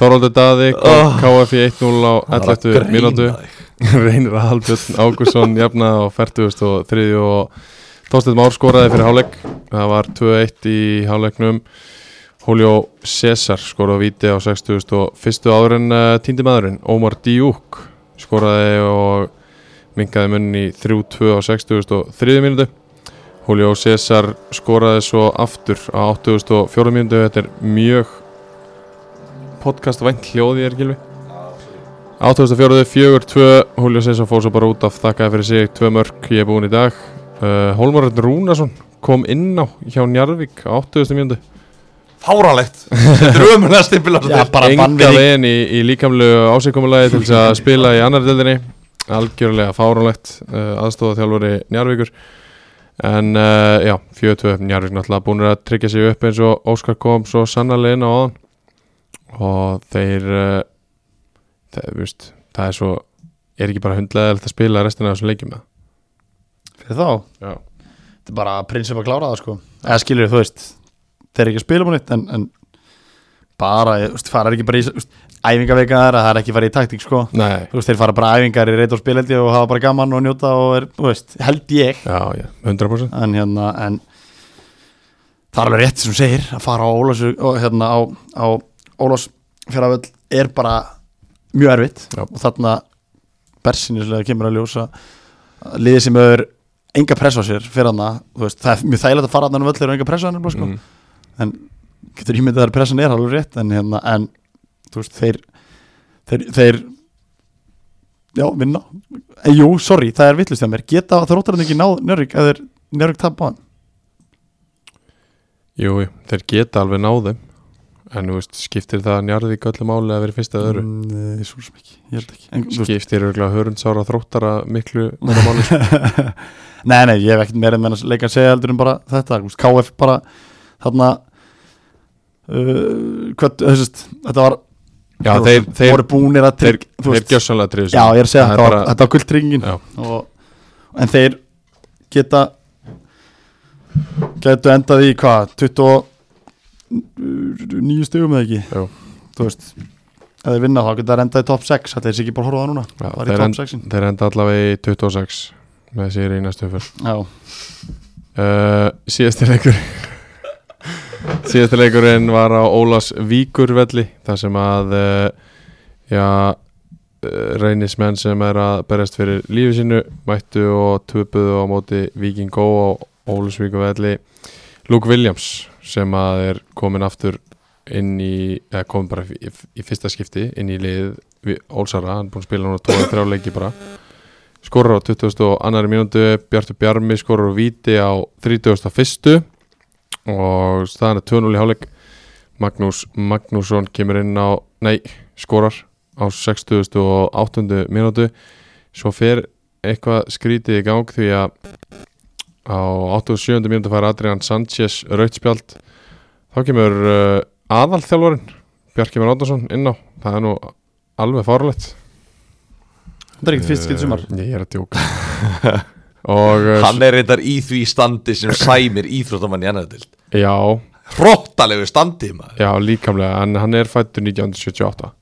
[SPEAKER 2] Þorvaldur Daði kom
[SPEAKER 4] Oh.
[SPEAKER 2] KFI 1-0 á
[SPEAKER 4] Það var
[SPEAKER 2] 11.
[SPEAKER 4] að greina
[SPEAKER 2] mínútu
[SPEAKER 4] þig.
[SPEAKER 2] Reynir Aðalbjörn Ágússon jafnaði á 40 og 3 og Þorsteinn Már skoraði fyrir hálfleik það var 2-1 í hálfleiknum Julio César skoraði á víti á 60 og fyrstu áður en uh, týndi maðurinn Ómar Díúk skoraði og minkaði munn í 3-2 á 60 og 3 mínútu Julio César skoraði svo aftur á 84 mínútu þetta er mjög podcastvænt hljóð ég er gilvi 84. 4-2 Julio César fór svo bara út af þakkaði fyrir sig tvö mörg ég er búin í dag uh, Hólmarinn Rúnarsson kom inn á hjá Njarvík á 80. mjöndu
[SPEAKER 4] fáralegt Þetta er ömulega stimpilast
[SPEAKER 3] Já, bara bann
[SPEAKER 2] enga
[SPEAKER 3] við því.
[SPEAKER 2] veginn í, í líkamlu ásíkomulagi til þess að spila í annar deildinni algjörlega fáránlegt uh, aðstofa þjálfari Njarvíkur en uh, já, 42 Njarvík náttúrulega búinir að tryggja sig upp eins og Óskar kom svo sannarlega inn á áðan og þeir uh, það, viðst, það er svo er ekki bara hundlega að spila restina af þessum leikjum með
[SPEAKER 3] Fyrir þá,
[SPEAKER 2] Já,
[SPEAKER 3] þetta er bara prinsip að klára það sko eða skilur þú veist, þeir eru ekki að spila múnit en, en bara, þú veist, fara ekki bara í þú veist, æfingaveikaðar, það er ekki farið í taktík sko
[SPEAKER 2] nei
[SPEAKER 3] þú veist, þeir fara bara æfingar í reyta og spileldi og hafa bara gaman og njóta og er, þú veist, held ég
[SPEAKER 2] Já, já, 100%
[SPEAKER 3] en hérna, en það er alveg rétt sem þú segir, að fara á Ólás og hérna á, á Ólás fjaraföll er bara mjög erfitt
[SPEAKER 2] Já.
[SPEAKER 3] og þarna bersinislega kemur að ljósa liðið sem hefur enga pressa á sér fyrir hana, þú veist, það er mjög þægilegt að fara hann um völlir og enga pressa á hann, sko,
[SPEAKER 4] Mm.
[SPEAKER 3] en getur ímyndið að pressan er alveg rétt en hérna, en þú veist, þeir þeir, þeir já, vinna en jú, sorry, það er vittlust hjá mér geta þróttarinn ekki náð njörg eða er njörg tap á hann
[SPEAKER 2] Jú, jú, þeir geta alveg náðum en þú veist, skiptir það Njarvík öllu máli að vera í fyrsta eða öðru
[SPEAKER 3] Mm, Nei, svo sem ekki, ég held ekki en, þú veist,
[SPEAKER 2] skiptir örgulega hörundsára þróttara miklu meira máli sko.
[SPEAKER 3] nei, nei, ég hef ekkert meira með leika að segja heldur en bara þetta, þú veist, KF bara þarna uh, hvað, þú veist, þetta var
[SPEAKER 2] Já, þeir, þeir,
[SPEAKER 3] voru búnir að
[SPEAKER 2] þeir,
[SPEAKER 3] trygg, þú
[SPEAKER 2] þeir
[SPEAKER 3] veist,
[SPEAKER 2] gjössanlega triðu
[SPEAKER 3] já, ég er að segja, þetta var,
[SPEAKER 2] bara,
[SPEAKER 3] þetta var gulltryggingin
[SPEAKER 2] já,
[SPEAKER 3] og, en þeir geta getu endað í hvað 29 stugum eða ekki
[SPEAKER 2] Jú.
[SPEAKER 3] þú veist eða þeir vinna þá geta þeir endað í top 6 þetta er sér ekki bara að horfa á það núna
[SPEAKER 2] já,
[SPEAKER 3] bara í
[SPEAKER 2] þeir,
[SPEAKER 3] top
[SPEAKER 2] end,
[SPEAKER 3] 6 -in.
[SPEAKER 2] þeir enda allavega í 26 með sér í næstu fyrr
[SPEAKER 3] já,
[SPEAKER 2] uh, síðasti leikur síðasti leikurinn var á Ólas Víkurvelli þar sem að uh, já uh, reynismenn sem er að berjast fyrir lífi sínu mættu og töpuðu á móti Viking Go á Ólasvíkurvelli Luke Williams sem að er komin aftur inn í, eða komin bara í, í fyrsta skipti inn í lið við Ólsara, hann er búin að spila núna 2-3 leiki bara skorur á 22. mínútu Bjartur Bjarmi skorur á víti á 31. og staðan er 2-0 í hálfleik Magnús Magnússon kemur inn á nei, skorar á 68. mínútu svo fer eitthvað skrítið í gang því að á 87. mínútu fær Adrian Sanchez rautspjald þá kemur uh, aðalþjálfarin Bjarki Már Átnarsson inn á það er nú alveg fárlegt
[SPEAKER 3] þetta er ekkert fyrst skilt sumar
[SPEAKER 2] Nei, Ég er að djóka Og eh,
[SPEAKER 4] Hann er reyndar í því standi sem sæmir íþróttamann í annaðdild
[SPEAKER 2] já,
[SPEAKER 4] Hróttalegu standi maður
[SPEAKER 2] já, líkamlega En hann er fættur 1978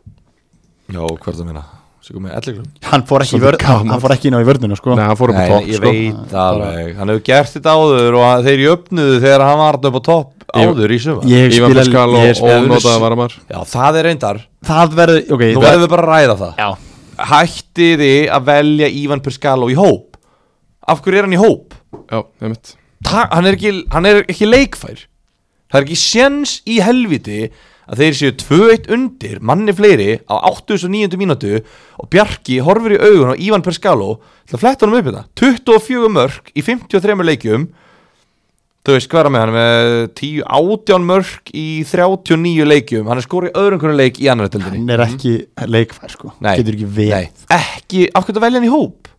[SPEAKER 4] Já, hvað er það að minna? Sigur með 11 klum?
[SPEAKER 3] hann fór ekki, í vörn, hann, hann fór ekki inn á í vörnina sko.
[SPEAKER 2] Nei, hann fór upp á
[SPEAKER 4] Nei,
[SPEAKER 2] topp
[SPEAKER 4] ég
[SPEAKER 2] sko.
[SPEAKER 4] veit alveg Hann hefur gert þetta áður og hann- þeir jöfnuðu þegar hann var þarna upp á topp
[SPEAKER 2] Ég-
[SPEAKER 4] áður í sumar
[SPEAKER 3] ég
[SPEAKER 2] Ívan
[SPEAKER 3] spila
[SPEAKER 2] Fiskal
[SPEAKER 3] ég
[SPEAKER 2] og
[SPEAKER 3] spila
[SPEAKER 2] ónótaða varamar
[SPEAKER 4] Já, það er reyndar
[SPEAKER 3] það verður, ok
[SPEAKER 4] Nú
[SPEAKER 3] það-
[SPEAKER 4] verðum við bara að ræða það
[SPEAKER 3] já,
[SPEAKER 4] Hætti þið að velja Ivan Perskaló í hóp? Af hverju er hann í hóp?
[SPEAKER 2] Já, nefnt
[SPEAKER 4] Ta hann, er ekki, hann er ekki leikfær Það er ekki séns í helviti að þeir séu 2-1 undir manni fleiri á 89. mínútu og Bjarki horfir í augun á Ivan Perskaló til að fletta honum upp hérna. þetta 24 mörg í 53 leikjum þú veist hvað er hann með hann er með 10 átján mörg í 39 leikjum hann er skorið í öðrum hvernig leik í annar tildinni
[SPEAKER 3] hann er ekki leikfær sko. getur ekki við
[SPEAKER 4] nei, ekki, af hverju að velja hann í hóp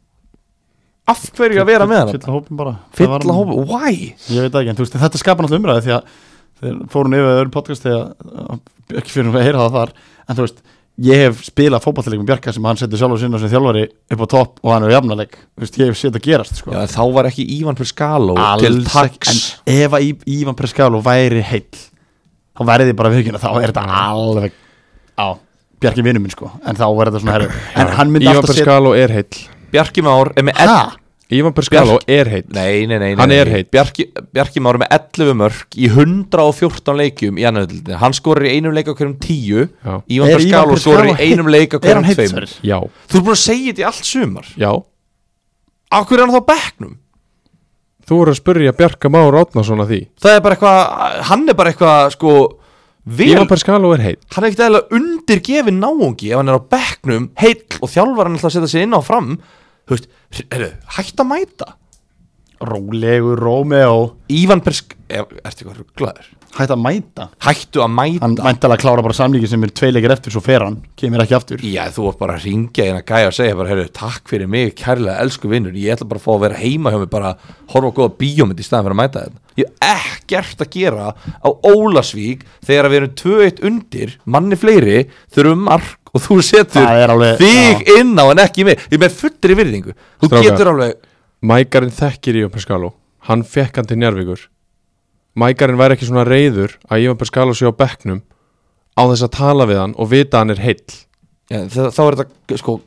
[SPEAKER 4] af hverju að vera með hann
[SPEAKER 3] fylla hópin bara Það var
[SPEAKER 4] fylla
[SPEAKER 3] hann-
[SPEAKER 4] hóp, why?
[SPEAKER 3] Ég veit það ekki, en þú veist, þetta skapar náttúrulega umræði því að þeir fórun yfir öðru podcast þegar eh, ekki fyrir að heyra það þar en þú veist, ég hef spilað fótballtilegum Bjarka sem hann setur sjálfur sinna sem þjálfari upp á topp og hann er jafnaleg, þú veist, ég hef séð þetta gerast sko.
[SPEAKER 4] Já, en þá var ekki Ívan Perskaló til
[SPEAKER 3] Alls ekki,
[SPEAKER 4] taks
[SPEAKER 3] en ef að Í- Ívan Preskalo væri heill þá væri þið bara viðkynna, þá er þetta alveg á, Bjarki vinnum minn sko en þá verður þetta svona herru, en hann myndi
[SPEAKER 2] Ívan
[SPEAKER 3] alltaf setja
[SPEAKER 2] Perskalo er heill
[SPEAKER 4] Bjarki Már er með
[SPEAKER 3] Ha?
[SPEAKER 2] Ívan Perskalo er heill
[SPEAKER 4] Nei, nei, nei, nei
[SPEAKER 2] Hann
[SPEAKER 4] nei.
[SPEAKER 2] er heill.
[SPEAKER 4] Bjarki, Bjarki Már er með 11 mörg í 114 leikjum í annaðildinni Hann skorir í einum leik á hverjum 10
[SPEAKER 2] Já.
[SPEAKER 4] Ívan
[SPEAKER 3] Er
[SPEAKER 4] Perskaló
[SPEAKER 3] Ivan
[SPEAKER 4] skorir í
[SPEAKER 3] Perscalo
[SPEAKER 4] einum leik á
[SPEAKER 3] heill? Er hann
[SPEAKER 4] hverjum
[SPEAKER 3] heill,
[SPEAKER 4] tveim
[SPEAKER 3] Sverrir?
[SPEAKER 2] Já,
[SPEAKER 4] Þú er búin að segja þetta í allt sumar
[SPEAKER 2] já
[SPEAKER 4] Á hverju er hann þá á bekknum?
[SPEAKER 2] Þú voru að spurja Bjarka Már Átnarsson að því
[SPEAKER 4] Það er bara eitthvað, hann er bara eitthvað sko vel,
[SPEAKER 2] Ívan Perskalo er heill
[SPEAKER 4] hann er ekkert eðla undirgefin náungi ef hann er á bekknum heill og þjálfar hann ætla að setja sig inn á fram Þú veist, heyrðu, hætt að mæta
[SPEAKER 3] Rólegur Rómeó
[SPEAKER 4] Ívan Persk, er, ertu eitthvað rugglaður?
[SPEAKER 3] Hætt að mæta
[SPEAKER 4] Hættu að mæta
[SPEAKER 3] Hann mæntalega klára bara samlíki sem er tveilegir eftir svo fer hann, kemur ekki aftur
[SPEAKER 4] Já, þú var bara að ringja hérna gæja og segja bara, heyrðu, takk fyrir mig, kærlega, elsku vinnur ég ætla bara að fá að vera heima hjá mig bara horfa á góða bíómynd í staðan fyrir að mæta þetta Ég hef ekkert að gera á Ólasvík þegar við erum 2-1 undir manni fleiri, þurfum mark og þú setur
[SPEAKER 3] Það er alveg-
[SPEAKER 4] þig inn á en ekki mig, ég er með fullri virðingu Þú
[SPEAKER 2] Strákar.
[SPEAKER 4] getur alveg,
[SPEAKER 2] Mækarinn þekkir Ívan Pescalo Hann fekk hann til Njarvíkur Mækarinn væri ekki svona reyður að Ívan Pescalo sé á bekknum á þess að tala við hann og vita að hann er heill
[SPEAKER 4] já, það, þá er þetta sko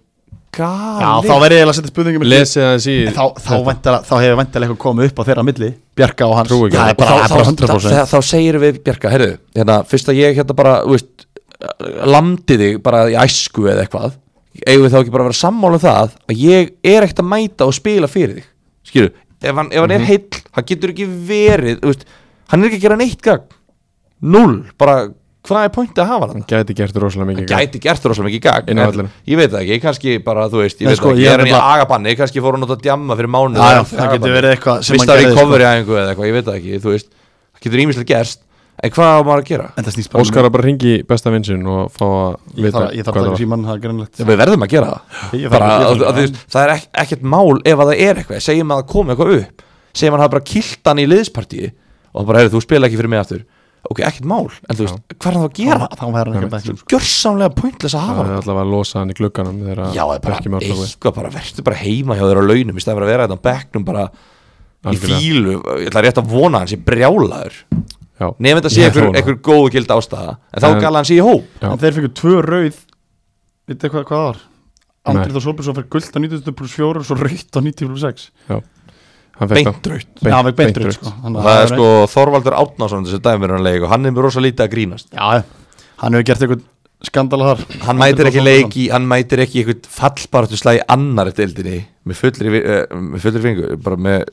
[SPEAKER 3] Já,
[SPEAKER 4] gali
[SPEAKER 3] þá verði ég eiginlega að setja spurningum
[SPEAKER 2] Lesið aðeins í
[SPEAKER 3] En þá, þá, væntanlega- þá hefur væntalega eitthvað komið upp á þeirra milli Bjarka og hans
[SPEAKER 2] Trúi ekki.
[SPEAKER 3] Það er bara,
[SPEAKER 4] og
[SPEAKER 3] bara
[SPEAKER 4] þá, þá,
[SPEAKER 3] 100%
[SPEAKER 4] þá, þá segir við Bjarka, heyrðu, hérna, fyrst að ég hérna bara, þú veist, landi þig bara í æsku eða eitthvað eigum við þá ekki bara að vera sammála um það að ég er ekkert að mæta og spila fyrir þig skilu, ef hann, ef hann
[SPEAKER 3] Mhm.
[SPEAKER 4] er heill hann getur ekki verið, þú veist hann er ekki að gera neitt gagn null, bara hvað er pointið að hafa hann
[SPEAKER 2] Gæti gert rosalega mikið gagn.
[SPEAKER 4] gæti gert rosalega mikið gagn
[SPEAKER 2] Inn á
[SPEAKER 4] en
[SPEAKER 2] vellina.
[SPEAKER 4] ég veit það ekki, kannski bara þú veist ég,
[SPEAKER 3] Nei,
[SPEAKER 4] veit
[SPEAKER 3] sko,
[SPEAKER 4] það ekki,
[SPEAKER 3] ég
[SPEAKER 4] ég
[SPEAKER 3] er
[SPEAKER 4] er hann í
[SPEAKER 3] nefnilega-
[SPEAKER 4] agabanni kannski fór hann út að djamma fyrir mánu
[SPEAKER 3] Já, já, það getur verið eitthvað sem
[SPEAKER 4] sem
[SPEAKER 3] hann
[SPEAKER 4] hann
[SPEAKER 3] gerði,
[SPEAKER 4] gerði
[SPEAKER 3] sko.
[SPEAKER 4] eða eitthvað, ég veit það ekki, þú veist það getur ímislega gerst, en hvað á maður að gera?
[SPEAKER 3] En það snýst bara um-
[SPEAKER 2] Óskar að bara ringi besta vinsinn og fá að
[SPEAKER 3] Ég
[SPEAKER 2] vita
[SPEAKER 3] þarf ég þarf að taka
[SPEAKER 2] var
[SPEAKER 3] síman, það er greinlegt
[SPEAKER 4] Já, við verðum að gera það
[SPEAKER 3] Ég þarf
[SPEAKER 4] bara,
[SPEAKER 3] að- ég þarf
[SPEAKER 4] að,
[SPEAKER 3] að-
[SPEAKER 4] að, þú veist, það er ekk, ekkert mál ef að það er eitthvað segjum að það kom eitthvað upp segjum að það bara kilt hann í liðspartíi og bara, heyrðu, þú spila ekki fyrir mig aftur ok, ekkert mál, en þú veist, hvað er það sko. að gera?
[SPEAKER 3] Þá verður hann ekki að bækja
[SPEAKER 4] gjörsamlega pointless að hafa
[SPEAKER 2] Það er
[SPEAKER 4] hann
[SPEAKER 2] alltaf að losa hann í glugganum þegar
[SPEAKER 4] Já, það er bara
[SPEAKER 2] Bekkjum aflögu.
[SPEAKER 4] eitthvað bara verður bara heima hjá þér á launum í stæðan fyrir að vera þetta á bekknum bara í
[SPEAKER 2] Algjörlega.
[SPEAKER 4] fílu, ég ætla rétt að vona að hann sé brjálaður
[SPEAKER 2] Já.
[SPEAKER 4] nefn þetta sé
[SPEAKER 2] Ég
[SPEAKER 4] einhver,
[SPEAKER 2] þoli það.
[SPEAKER 4] einhver góð gild ástæða en þá
[SPEAKER 2] En-
[SPEAKER 4] gala hann sé í hóp
[SPEAKER 2] Já.
[SPEAKER 3] En þeir fengur tvö rauð Vitið hvað, hvað það var? Andrið
[SPEAKER 2] Nei.
[SPEAKER 3] og Solbjörn svo fyrir guld á 90 pluss 4 og svo rauðt á 90 pluss 6
[SPEAKER 2] Hann fékk það.
[SPEAKER 4] beintraut
[SPEAKER 3] Já,
[SPEAKER 2] Beint-
[SPEAKER 3] hann fekk beint
[SPEAKER 2] beint
[SPEAKER 3] rauð
[SPEAKER 2] rautt.
[SPEAKER 3] sko.
[SPEAKER 4] og
[SPEAKER 3] Þannig að
[SPEAKER 4] það er
[SPEAKER 3] rautt.
[SPEAKER 4] sko Þorvaldur Átnásson þessi dæmir hann leik og hann er mér rosa lítið að grínast
[SPEAKER 3] Já, hann hefur gert eitthvað skandala þar
[SPEAKER 4] hann mætir ekki leik í, hann mætir ekki eitthvað fallbaratu slæði annar deildinni með fullri, vi- eh, með fullri fingu bara með,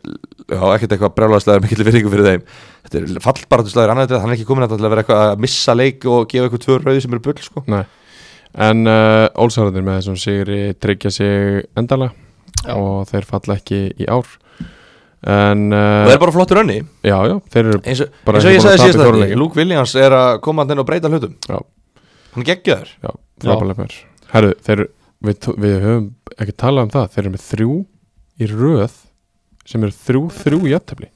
[SPEAKER 4] já, ekkert eitthvað brjálega slæði mikill virðingu fyrir þeim þetta er fallbaratu slæði annar deildinni, hann er ekki komin að til að vera eitthvað að missa leik og gefa eitthvað tvö rauði sem eru bull sko.
[SPEAKER 2] Nei. En uh, Ólsarðir með þessum sigri tryggja sig endalega og þeir falla ekki í ár En
[SPEAKER 4] og það
[SPEAKER 2] uh,
[SPEAKER 4] er bara flottur önni
[SPEAKER 2] já, já, þeir eru
[SPEAKER 4] eins og,
[SPEAKER 2] Bara
[SPEAKER 4] eins og
[SPEAKER 2] ekki
[SPEAKER 4] ég
[SPEAKER 2] búin að tapa í
[SPEAKER 4] sagði síðast
[SPEAKER 2] fjórum
[SPEAKER 4] að
[SPEAKER 2] leikjum.
[SPEAKER 4] Luke Williams er að koma að þenn og breyta hlutum
[SPEAKER 2] Já.
[SPEAKER 4] hann geggjaður
[SPEAKER 2] Já, frábælega mér Herru, þeir, við, tó- við höfum ekki talað um það Þeir eru með þrjú í röð sem eru þrjú, þrjú í jættefli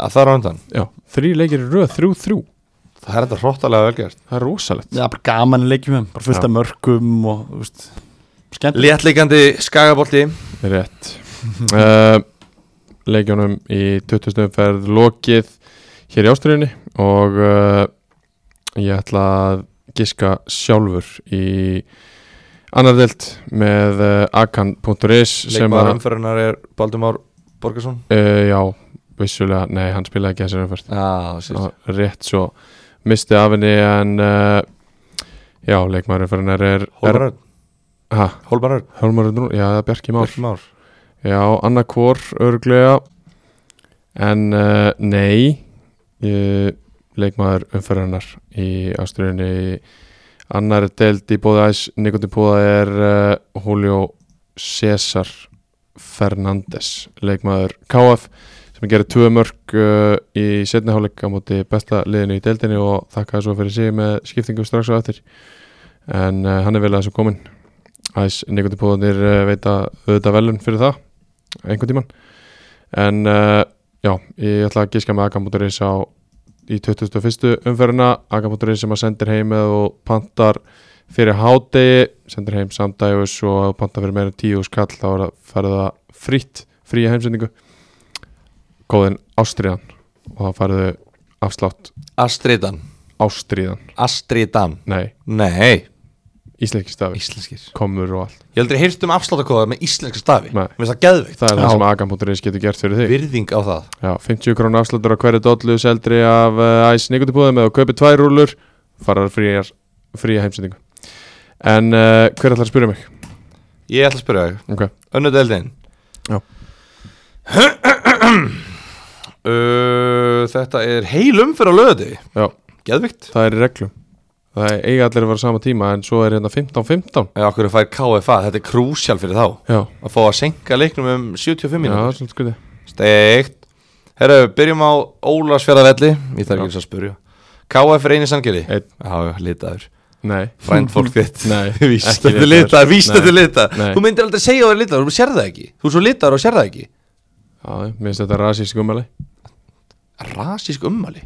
[SPEAKER 4] að það er á undan,
[SPEAKER 2] Já, þrjú leikir í röð, þrjú, þrjú
[SPEAKER 4] það er þetta hróttalega velgjart
[SPEAKER 2] Það er rosalegt
[SPEAKER 3] Já, bara gaman að leikjum þeim Bara fullt
[SPEAKER 2] Já.
[SPEAKER 3] af mörkum og, þú veist Skemmt
[SPEAKER 4] léttleikandi skagabolti
[SPEAKER 2] Rétt uh, Leikjónum í 20. umferð lokið hér í ástriðinni og uh, ég ætla að giska sjálfur í annar delt með uh, akan.is sem
[SPEAKER 4] leikmaður
[SPEAKER 2] að,
[SPEAKER 4] umferðunar er Baldumár Borgarsson
[SPEAKER 2] uh, já, vissulega nei, hann spilaði ekki þessar umferð
[SPEAKER 4] Já, síst.
[SPEAKER 2] og rétt svo misti af henni en uh, já, leikmaður umferðunar er, er
[SPEAKER 4] Hólmaröð
[SPEAKER 2] ha,
[SPEAKER 4] Hólmaröð
[SPEAKER 2] Hólmarur Nú, já, það er Bjarki Már
[SPEAKER 4] Björkmár
[SPEAKER 2] Já, annarkvor örglega en uh, nei ég, leikmaður umferðarnar í ástriðinni annar deild í bóða æs Nikotin bóða er uh, Julio César Fernández, leikmaður KF sem gerir tvö mörg uh, í setni hálfleik á móti besta liðinu í deildinni og þakkaði svo fyrir sig með skiptingu strax á eftir en uh, hann er vel að þessu komin æs Nikotin bóðanir uh, veita auðvitað velun fyrir það einhvern tíman en uh, já, ég ætla að giska með Agamotoris á í 21. umferðina Agamotoris sem að sendir heim eða og pantar fyrir hádegi sendir heim samdægus og ef þú pantar fyrir meira en 10 skall þá er það færið það frýtt fríja heimsendingu kóðin Ástriðan og þá færðu afslátt
[SPEAKER 4] Astridan
[SPEAKER 2] Ástriðan,
[SPEAKER 4] Astridan
[SPEAKER 2] nei,
[SPEAKER 4] Nei,
[SPEAKER 2] íslenski stafi
[SPEAKER 4] íslenskir
[SPEAKER 2] komur og allt,
[SPEAKER 4] Ég heldur ég heyrt um afsláttakóða með íslenska stafi
[SPEAKER 2] Nei.
[SPEAKER 4] Mér finnst það geðveikt
[SPEAKER 2] það er
[SPEAKER 3] Já.
[SPEAKER 2] það sem Agamotoris getur gert fyrir þig
[SPEAKER 4] Virðing á það
[SPEAKER 2] Já, 50 krónu afslutur á hverju dollu seldri af uh, æs nikotipúðum eða kaupið tvær rúlur farar fríjar, fríja heimsendingu En uh, hver ætlar að spyrja mig?
[SPEAKER 4] Ég ætla að spyrja þig
[SPEAKER 2] Ok,
[SPEAKER 4] Önnu deildin
[SPEAKER 2] Já.
[SPEAKER 4] uh, Þetta er heil umferð á löði
[SPEAKER 2] já,
[SPEAKER 4] Geðveikt
[SPEAKER 2] það er í reglum Það er eiga allir að vera á sama tíma en svo er hérna 15-15
[SPEAKER 4] Já, okkur fær KFA Þetta er krúsjál fyrir þá
[SPEAKER 2] Já,
[SPEAKER 4] Að fá að senka leiknum um 75
[SPEAKER 2] já,
[SPEAKER 4] mínútur
[SPEAKER 2] svolítið skrítið
[SPEAKER 4] Steikt Herra, byrjum á Ólasfjörðavelli Ég þarf ekki eins að spyrja KF er eini sangeri
[SPEAKER 2] Einn.
[SPEAKER 4] Já, litaður
[SPEAKER 2] Nei
[SPEAKER 4] Frænd fólk þitt
[SPEAKER 2] Nei,
[SPEAKER 4] Víst
[SPEAKER 2] ekki
[SPEAKER 4] að þú
[SPEAKER 2] litaður.
[SPEAKER 4] litaður Víst
[SPEAKER 2] Nei,
[SPEAKER 4] að þú litaður
[SPEAKER 2] nei.
[SPEAKER 4] Þú myndir aldrei segja að þú er litaður Þú sér það ekki Þú er svo litaður og sér það ekki
[SPEAKER 2] Já, mér finnst þetta rasísk umæli
[SPEAKER 4] Rasísk ummali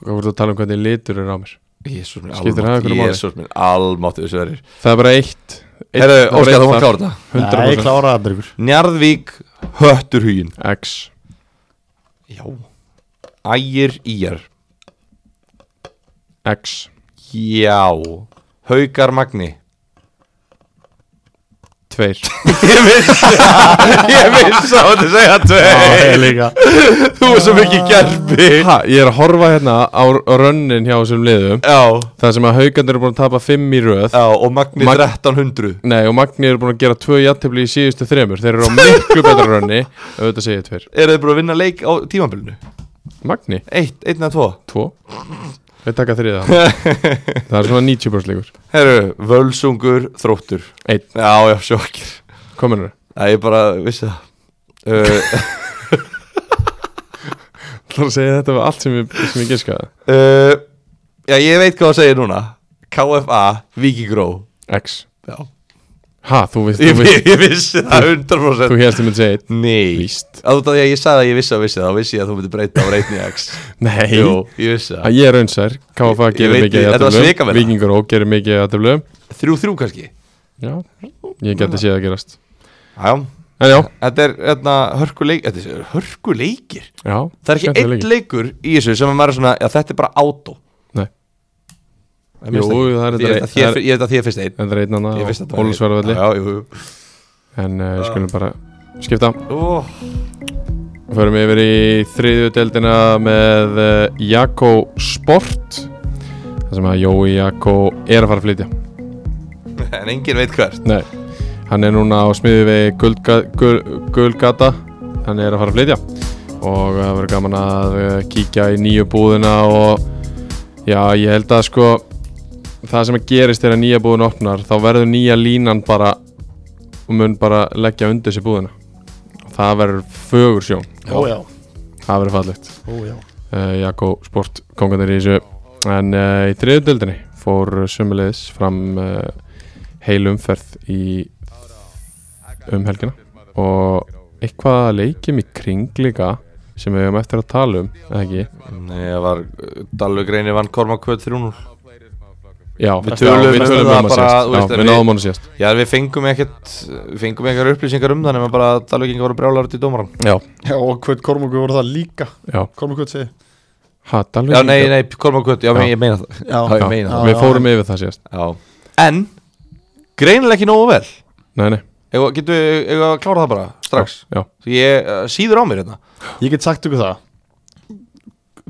[SPEAKER 2] Hvað voru þú að tala um hvernig litur er á mér?
[SPEAKER 4] Jésús minn
[SPEAKER 2] Skiptir það
[SPEAKER 4] almáttugur
[SPEAKER 2] einhverju máli?
[SPEAKER 4] Jésús minn almáttugur þessu verður
[SPEAKER 2] Það er bara eitt eitt-
[SPEAKER 4] Herra,
[SPEAKER 2] það er
[SPEAKER 4] Óskar,
[SPEAKER 2] eitt
[SPEAKER 4] þú mátt
[SPEAKER 2] þar. 100%
[SPEAKER 4] klára þetta
[SPEAKER 3] Nei, klára það ykkur
[SPEAKER 4] Njarðvík Hötturhugin
[SPEAKER 2] X
[SPEAKER 4] Já Ægir Íjar
[SPEAKER 2] X
[SPEAKER 4] Já Haukar Magni
[SPEAKER 2] Tveir
[SPEAKER 4] Ég vissi það Ég vissi það að segja
[SPEAKER 3] Ég
[SPEAKER 4] tvei
[SPEAKER 3] líka
[SPEAKER 4] Þú er svo mikið gerfi
[SPEAKER 2] ha, Ég er að horfa hérna á, á rönnin hjá þessum liðum
[SPEAKER 4] Já
[SPEAKER 2] Það sem að haugandir eru búin að tapa 5 í röð
[SPEAKER 4] Já og Magni
[SPEAKER 2] Mag-
[SPEAKER 4] 1300
[SPEAKER 2] Nei og Magni eru búin að gera 2 jættefli í síðustu þremur Þeir eru á miklu betra rönni Auðvitað segja ég tveir
[SPEAKER 4] Eru þið búin að vinna leik á tímambilinu?
[SPEAKER 2] Magni,
[SPEAKER 4] Eitt, einn eða tvo
[SPEAKER 2] 2 Við taka þriða Það er svona 90% líkur
[SPEAKER 4] Herru, Völsungur, Þróttur
[SPEAKER 2] 1
[SPEAKER 4] Já, já, sjokkir
[SPEAKER 2] Kominur
[SPEAKER 4] Það ég bara vissi það uh,
[SPEAKER 2] Það segja þetta var allt sem ég, sem ég giskaði
[SPEAKER 4] uh, Já, ég veit hvað það segir núna KFA, Víkigró
[SPEAKER 2] X
[SPEAKER 4] Já
[SPEAKER 2] Ha, þú veist
[SPEAKER 4] Ég,
[SPEAKER 2] Þú,
[SPEAKER 4] ég,
[SPEAKER 2] veist,
[SPEAKER 4] ég vissi það 100%
[SPEAKER 2] þú helst um að segja 1
[SPEAKER 4] Nei
[SPEAKER 2] Víst.
[SPEAKER 4] Að Þú veist að ég sagði að ég vissi að vissi það Þá vissi ég að þú myndi breyta á reytni X
[SPEAKER 2] Nei
[SPEAKER 4] Jú, ég vissi
[SPEAKER 2] Að
[SPEAKER 4] það
[SPEAKER 2] Ég er raunsær KFA
[SPEAKER 4] Ég- ég
[SPEAKER 2] gerir
[SPEAKER 4] veit
[SPEAKER 2] mikið
[SPEAKER 4] því, þetta var
[SPEAKER 2] jætteflum
[SPEAKER 4] svikamylla.
[SPEAKER 2] Víkingur og gerir mikið jætteflum
[SPEAKER 4] Þrjú þrjú kannski
[SPEAKER 2] Já, ég geti séð að gerast
[SPEAKER 4] Já
[SPEAKER 2] En já,
[SPEAKER 4] Þetta er hérna, hörkuleik Þetta er hörkuleikir
[SPEAKER 2] já
[SPEAKER 4] Það er ekki einn leikur í þessu sem að maður er svona Já, þetta er bara átó
[SPEAKER 2] Nei,
[SPEAKER 4] Ég finnst
[SPEAKER 2] Jú,
[SPEAKER 4] ekki-
[SPEAKER 2] það er
[SPEAKER 4] Ég
[SPEAKER 2] þetta-
[SPEAKER 4] veit að þér- ég veit að því er fyrst einn
[SPEAKER 2] en það er einn
[SPEAKER 4] Ég
[SPEAKER 2] annað
[SPEAKER 4] finnst þetta
[SPEAKER 2] Ólusverðvalli
[SPEAKER 4] Já, jú, jú
[SPEAKER 2] En uh, skulum bara skipta
[SPEAKER 4] Ó,
[SPEAKER 2] Við förum yfir í þriðju deildina með uh, Jakko Sport Það sem að Jói Jakko er að fara að flytja
[SPEAKER 4] En enginn veit hvert
[SPEAKER 2] Nei, hann er núna á smiði við Guldga- Gul- Gulgata Hann er að fara að flytja Og það verður gaman að eh, kíkja í nýju búðina Og já, ég held að sko Það sem að gerist þegar nýja búðin opnar Þá verður nýja línan bara Og mun bara leggja undir sér búðina Og það verður fögur sjón
[SPEAKER 3] Ójá,
[SPEAKER 2] Það verður fallegt
[SPEAKER 3] ójá
[SPEAKER 2] uh, Jakko Sport kongandir í þessu en uh, í þriðutöldinni fór sömulegis fram uh, heil umferð í um helgina og eitthvað leikjum í kring líka sem við höfum eftir að tala um eða ekki,
[SPEAKER 4] Nei, það var Dalveg reynir vann Kormak 2-3-0
[SPEAKER 2] já,
[SPEAKER 4] Við tölum
[SPEAKER 2] já, við tölum
[SPEAKER 4] um það
[SPEAKER 2] um hann
[SPEAKER 4] bara,
[SPEAKER 2] síðast já,
[SPEAKER 4] þú veist,
[SPEAKER 2] við
[SPEAKER 4] en
[SPEAKER 2] náðum hann síðast
[SPEAKER 4] Já, við fengum ekkert við Fengum ekkert upplýsingar um það Nefnum bara að Dalvegingar voru brjálar út í dómaran
[SPEAKER 2] já,
[SPEAKER 3] Já, og hvað Kormungur voru það líka
[SPEAKER 2] já,
[SPEAKER 3] Kormungur segi
[SPEAKER 2] ha, Dalvík
[SPEAKER 4] Já, nei, nei, Kormak 2 Já,
[SPEAKER 2] Já.
[SPEAKER 4] já. ég meina það
[SPEAKER 3] Já,
[SPEAKER 4] ég meina
[SPEAKER 3] það.
[SPEAKER 2] við fórum yfir það síðast
[SPEAKER 4] Já En Greinilega ekki nógu vel
[SPEAKER 2] nei, nei,
[SPEAKER 4] Egu, Getum við eigum við að klára það bara Strax
[SPEAKER 2] já,
[SPEAKER 4] Því Ég uh, síður á mér hérna
[SPEAKER 3] Ég get sagt ykkur það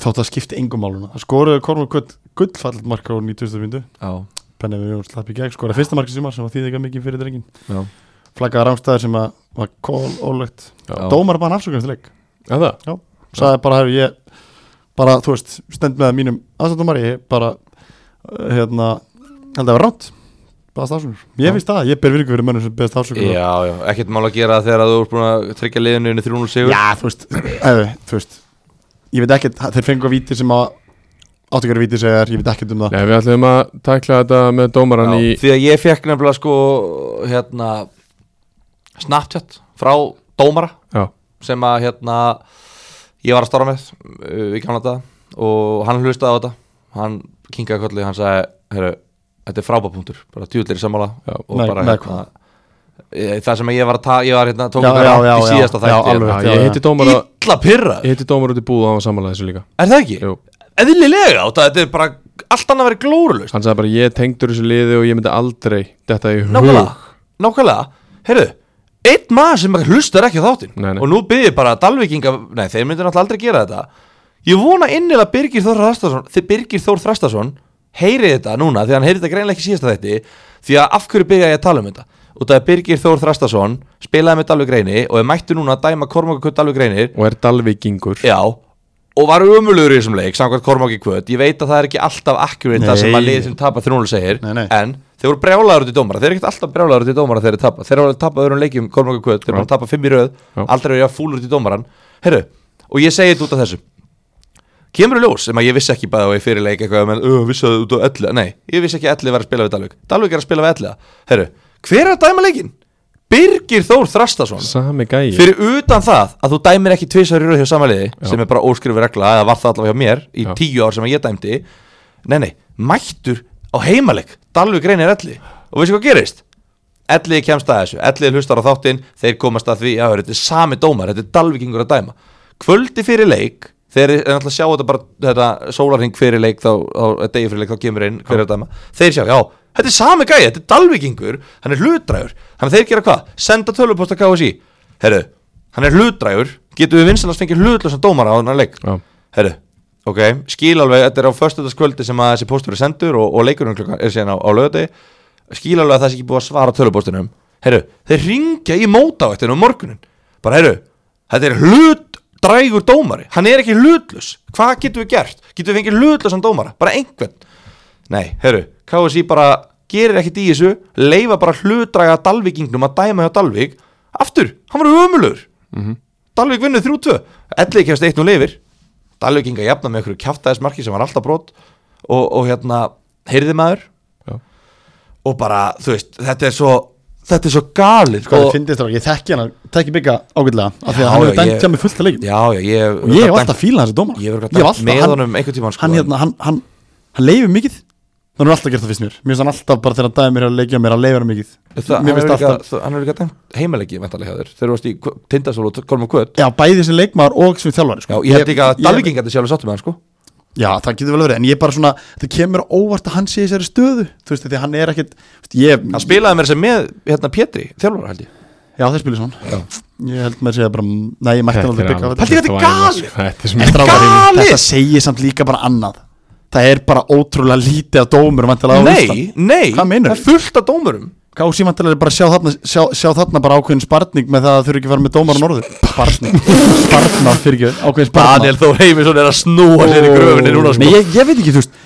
[SPEAKER 3] Þátt að skipti engum máluna Það skoruðu Kormur Gutt gullfallet marka á 90. myndu
[SPEAKER 4] Já
[SPEAKER 3] Pennið við Jóns slapp í gegn Skoraði fyrsta marka sumar sem var þýðið ekki mikið fyrir drengin
[SPEAKER 4] Já
[SPEAKER 3] Flaggaði rámstæðar sem að var kól ólögt
[SPEAKER 4] Já.
[SPEAKER 3] Dómar bara afsökunast leik
[SPEAKER 2] já það
[SPEAKER 3] Saði bara hefur ég Bara, þú veist, stend með mínum aðstændumar Ég bara, uh, hérna Held að það var rámt Baðast afsökunar
[SPEAKER 4] Já.
[SPEAKER 3] Ég finnst það, ég ber virku fyrir mönnum sem beðast afsökunar
[SPEAKER 4] Já, já Ekkert mál að gera þegar þú ert búin að tryggja liðinu inn í 3-0 sigur
[SPEAKER 3] Já, þú veist, eða, þú veist Ég veit ekkert, þeir fengu að víti sem að Áttu ykkur víti segjar, ég veit ekkert um það
[SPEAKER 2] nei, við ætlum að tækla þetta með dómaran í
[SPEAKER 4] Já, Því að ég fekk nefnilega sko hérna Snapchat frá dómara
[SPEAKER 2] já,
[SPEAKER 4] sem að hérna ég var að starfa með uh, í gamla þetta og hann hlustaði á þetta hann kinkaði kolli, hann sagði Heru, þetta er frábapunktur, bara djúðlir sammála
[SPEAKER 2] Já,
[SPEAKER 4] og
[SPEAKER 3] nei,
[SPEAKER 4] bara
[SPEAKER 3] nei,
[SPEAKER 4] hérna eh, það sem ég var að ta, ég var hérna tók
[SPEAKER 3] Já,
[SPEAKER 4] þetta
[SPEAKER 3] já,
[SPEAKER 4] rangt
[SPEAKER 3] já,
[SPEAKER 4] í
[SPEAKER 3] já.
[SPEAKER 4] síðasta
[SPEAKER 3] Já,
[SPEAKER 4] þætti
[SPEAKER 3] alveg.
[SPEAKER 4] hérna.
[SPEAKER 2] já, ég hitti dómara
[SPEAKER 4] illa pyrra,
[SPEAKER 2] ég hitti dómara út í búð og hann var samanlega þessu líka
[SPEAKER 4] er það ekki?
[SPEAKER 2] Jú.
[SPEAKER 4] eðlilega, og það- þetta er bara allt annað að vera glórulaust
[SPEAKER 2] hann sagði bara ég er tengdur þessu liði og ég myndi aldrei þetta í hug
[SPEAKER 4] Nákvæmlega, nákvæmlega Heyrðu, einn maður sem hlustar ekki á þáttinn
[SPEAKER 2] Nei, nei.
[SPEAKER 4] Og nú byrðir bara Dalvíkinga Nei, þeir myndir náttúrulega aldrei gera þetta Ég vona innilega Birgir Þór Þrastason Þegar Birgir Þór Þrastason Heyri þetta núna, því hann heyri þetta greinlega ekki síðasta þetta Því að af hverju byrja ég að tala um þetta Út af að Birgir Þór Þrastason Spilaði með Dalvík reyni og er mættu núna að dæma Kormakakut Dalvík reynir
[SPEAKER 2] og er dalvíkingur
[SPEAKER 4] Já og var umulugur í þessum leik samkvæmt Kormáki Kvöt, ég veit að það er ekki alltaf akkurat það
[SPEAKER 3] Nei.
[SPEAKER 4] sem að liðið sem tapar 3-0 segir
[SPEAKER 3] Nei, nei.
[SPEAKER 4] en þeir voru brjálaður út í dómara, þeir eru ekkert alltaf brjálaður út í dómara þegar þeir tapa, þeir eru alveg tapað öðrum leikjum Kormáka Kvöt, þeir eru
[SPEAKER 2] Já.
[SPEAKER 4] bara tapað fimm í röð
[SPEAKER 2] Já.
[SPEAKER 4] aldrei verið að fúlur út í dómaran Heru, og ég segi þetta út af þessu kemur í ljós sem að ég vissi ekki bæða og ég fyrirleik eitthvað með, uh, vissi það út á ellu nei, ég vissi ekki að ellu var að spila við Dalvik Dalvik er að spila við ellu, herru, hver er að dæma leikin? Birgir Þór Þrastason
[SPEAKER 2] Sami gæi
[SPEAKER 4] fyrir utan það að þú dæmir ekki tvisar í rauð hjá samaliði sem er bara óskrifu regla eða var það allavega hjá mér í
[SPEAKER 2] Já.
[SPEAKER 4] tíu ár sem ég dæmdi nei nei, mættur á heimaleg Dalvik reynir elli og veistu hvað gerist? Elliði kemst að þessu, Elliði hlustar á þáttinn þeir komast að því, já, þetta er sami dómar þetta er Dalvíkingur að dæma kvöldi fyrir leik, þeir er náttúrulega að sjá þetta bara, þetta sólarhing fyrir leik þá, þá degi fyrir leik, þá kemur inn hver er að dæma þeir sjá, já, þetta er sami gæja, þetta er Dalvíkingur hann er hlutdrægur, þannig að þeir gera hvað senda tölvupost að KSI herru, hann er hlutdrægur, getum við vinsalast fengið hlutlösa dómara á þennan leik
[SPEAKER 2] Já.
[SPEAKER 4] herru, ok, skil alveg þetta er á föstudagskvöldi sem að þessi póstur er sendur og, og leikurinn klukkan er síðan á, á lögati skil alveg að það sé ekki búið að svara tölupóstunum herru, þeir ringja í mótávættinu um morgunin, bara herru þetta er hlut drægur dómari hann er ekki hlutlus, hvað getum við gert getum við fengið hlutlusan dómara, bara einhvern nei, herru, KSI bara gerir ekkit í þessu, leifa bara hlutdraga Dalvíkingnum að dæma hjá Dalvík aftur, hann var ömulur
[SPEAKER 3] Mhm.
[SPEAKER 4] Dalvik vinnur 3-2 Elli kemst 1-0 yfir Dalvik inga jafna með einhverju kjáftæðismarki sem var alltaf brot og, og hérna heyrði maður
[SPEAKER 2] Já.
[SPEAKER 4] og bara, þú veist, þetta er svo þetta er svo galið
[SPEAKER 3] Hvað
[SPEAKER 4] og-
[SPEAKER 3] þið finnist það, ég þekki hann, þekki byggja ágætlega af því
[SPEAKER 4] Já,
[SPEAKER 3] að hann hefur
[SPEAKER 4] já,
[SPEAKER 3] dæmt
[SPEAKER 4] ég-
[SPEAKER 3] hjá mig fullt að leikum
[SPEAKER 4] Já, já, ég
[SPEAKER 3] og ég hef alltaf fílað þessi dómar
[SPEAKER 4] Ég hef örugglega dæmt með honum einhvern tímann, sko,
[SPEAKER 3] hann,
[SPEAKER 4] en-
[SPEAKER 3] hérna, hann, hann, hann leifir mikið þannig er alltaf gert það fyrst mér mér finnst hann alltaf bara þegar hann dæmi mér að leikja mér að leifir hann mikið
[SPEAKER 4] Það, hann
[SPEAKER 3] mér
[SPEAKER 4] er
[SPEAKER 3] finnst
[SPEAKER 4] líka,
[SPEAKER 3] alltaf
[SPEAKER 4] það- hann er líka dæmt heimalegi vantarlega hjá þér þegar þú varst í Kv- Tindasól og Kolm og Kvöt
[SPEAKER 3] já bæði sem leikmaður og sem þjálfari
[SPEAKER 4] Já,
[SPEAKER 3] sko.
[SPEAKER 4] ég hef líka að
[SPEAKER 3] ég-
[SPEAKER 4] Dalvíking gæti sjálf sáttum með hann sko
[SPEAKER 3] já það getur vel verið en ég bara svona það kemur á óvart að hann sé í þessari stöðu þú veist því að hann er ekkit þú veist, ég,
[SPEAKER 4] Hann spilaði mér sem með hérna Pétri, þjálfara held ég
[SPEAKER 3] já það spilir svona ég held með að segja bara nei ég mætti hann aldrei bygga á
[SPEAKER 2] alveg
[SPEAKER 3] þetta.
[SPEAKER 4] þetta er
[SPEAKER 2] þvæla,
[SPEAKER 4] galið.
[SPEAKER 2] sko. Þetta er sem
[SPEAKER 3] Þetta er alveg-
[SPEAKER 4] galið.
[SPEAKER 3] þetta segir samt líka bara annað það er bara ótrúlega lítið af dómur
[SPEAKER 4] Nei, nei,
[SPEAKER 3] Hvað meinarðu?
[SPEAKER 4] það er fullt af dómurum
[SPEAKER 3] Kási vantilega er bara að sjá þarna, sjá, sjá þarna bara ákveðin spartning með það að þau eru ekki að fara með dómar á norður Spartning Spartnar fyrir ekki ákveðin spartnar
[SPEAKER 4] Daniel Þó Heimisson er að snúa sér í gröfinni núna sko
[SPEAKER 3] Nei, ég, ég veit ekki, þú veist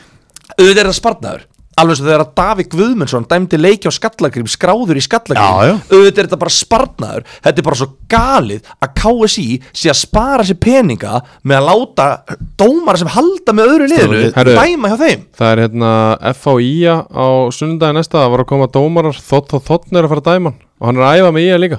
[SPEAKER 4] auðvitað er það spartnaður alveg eins og þegar að Davík Guðmundsson dæmdi leiki á skallagrým skráður í
[SPEAKER 3] Já, já.
[SPEAKER 4] skallagrým auðvitað er þetta bara spartnaður þetta er bara svo galið að KSI sé að spara sér peninga með að láta dómara sem halda með öðru liðinu
[SPEAKER 2] Herru.
[SPEAKER 4] dæma hjá þeim
[SPEAKER 2] Það er hérna FHÍA á sunnudagi næsta það var að koma dómarar, þótt og þóttn er að fara að dæma hann og hann er að æfa með IA líka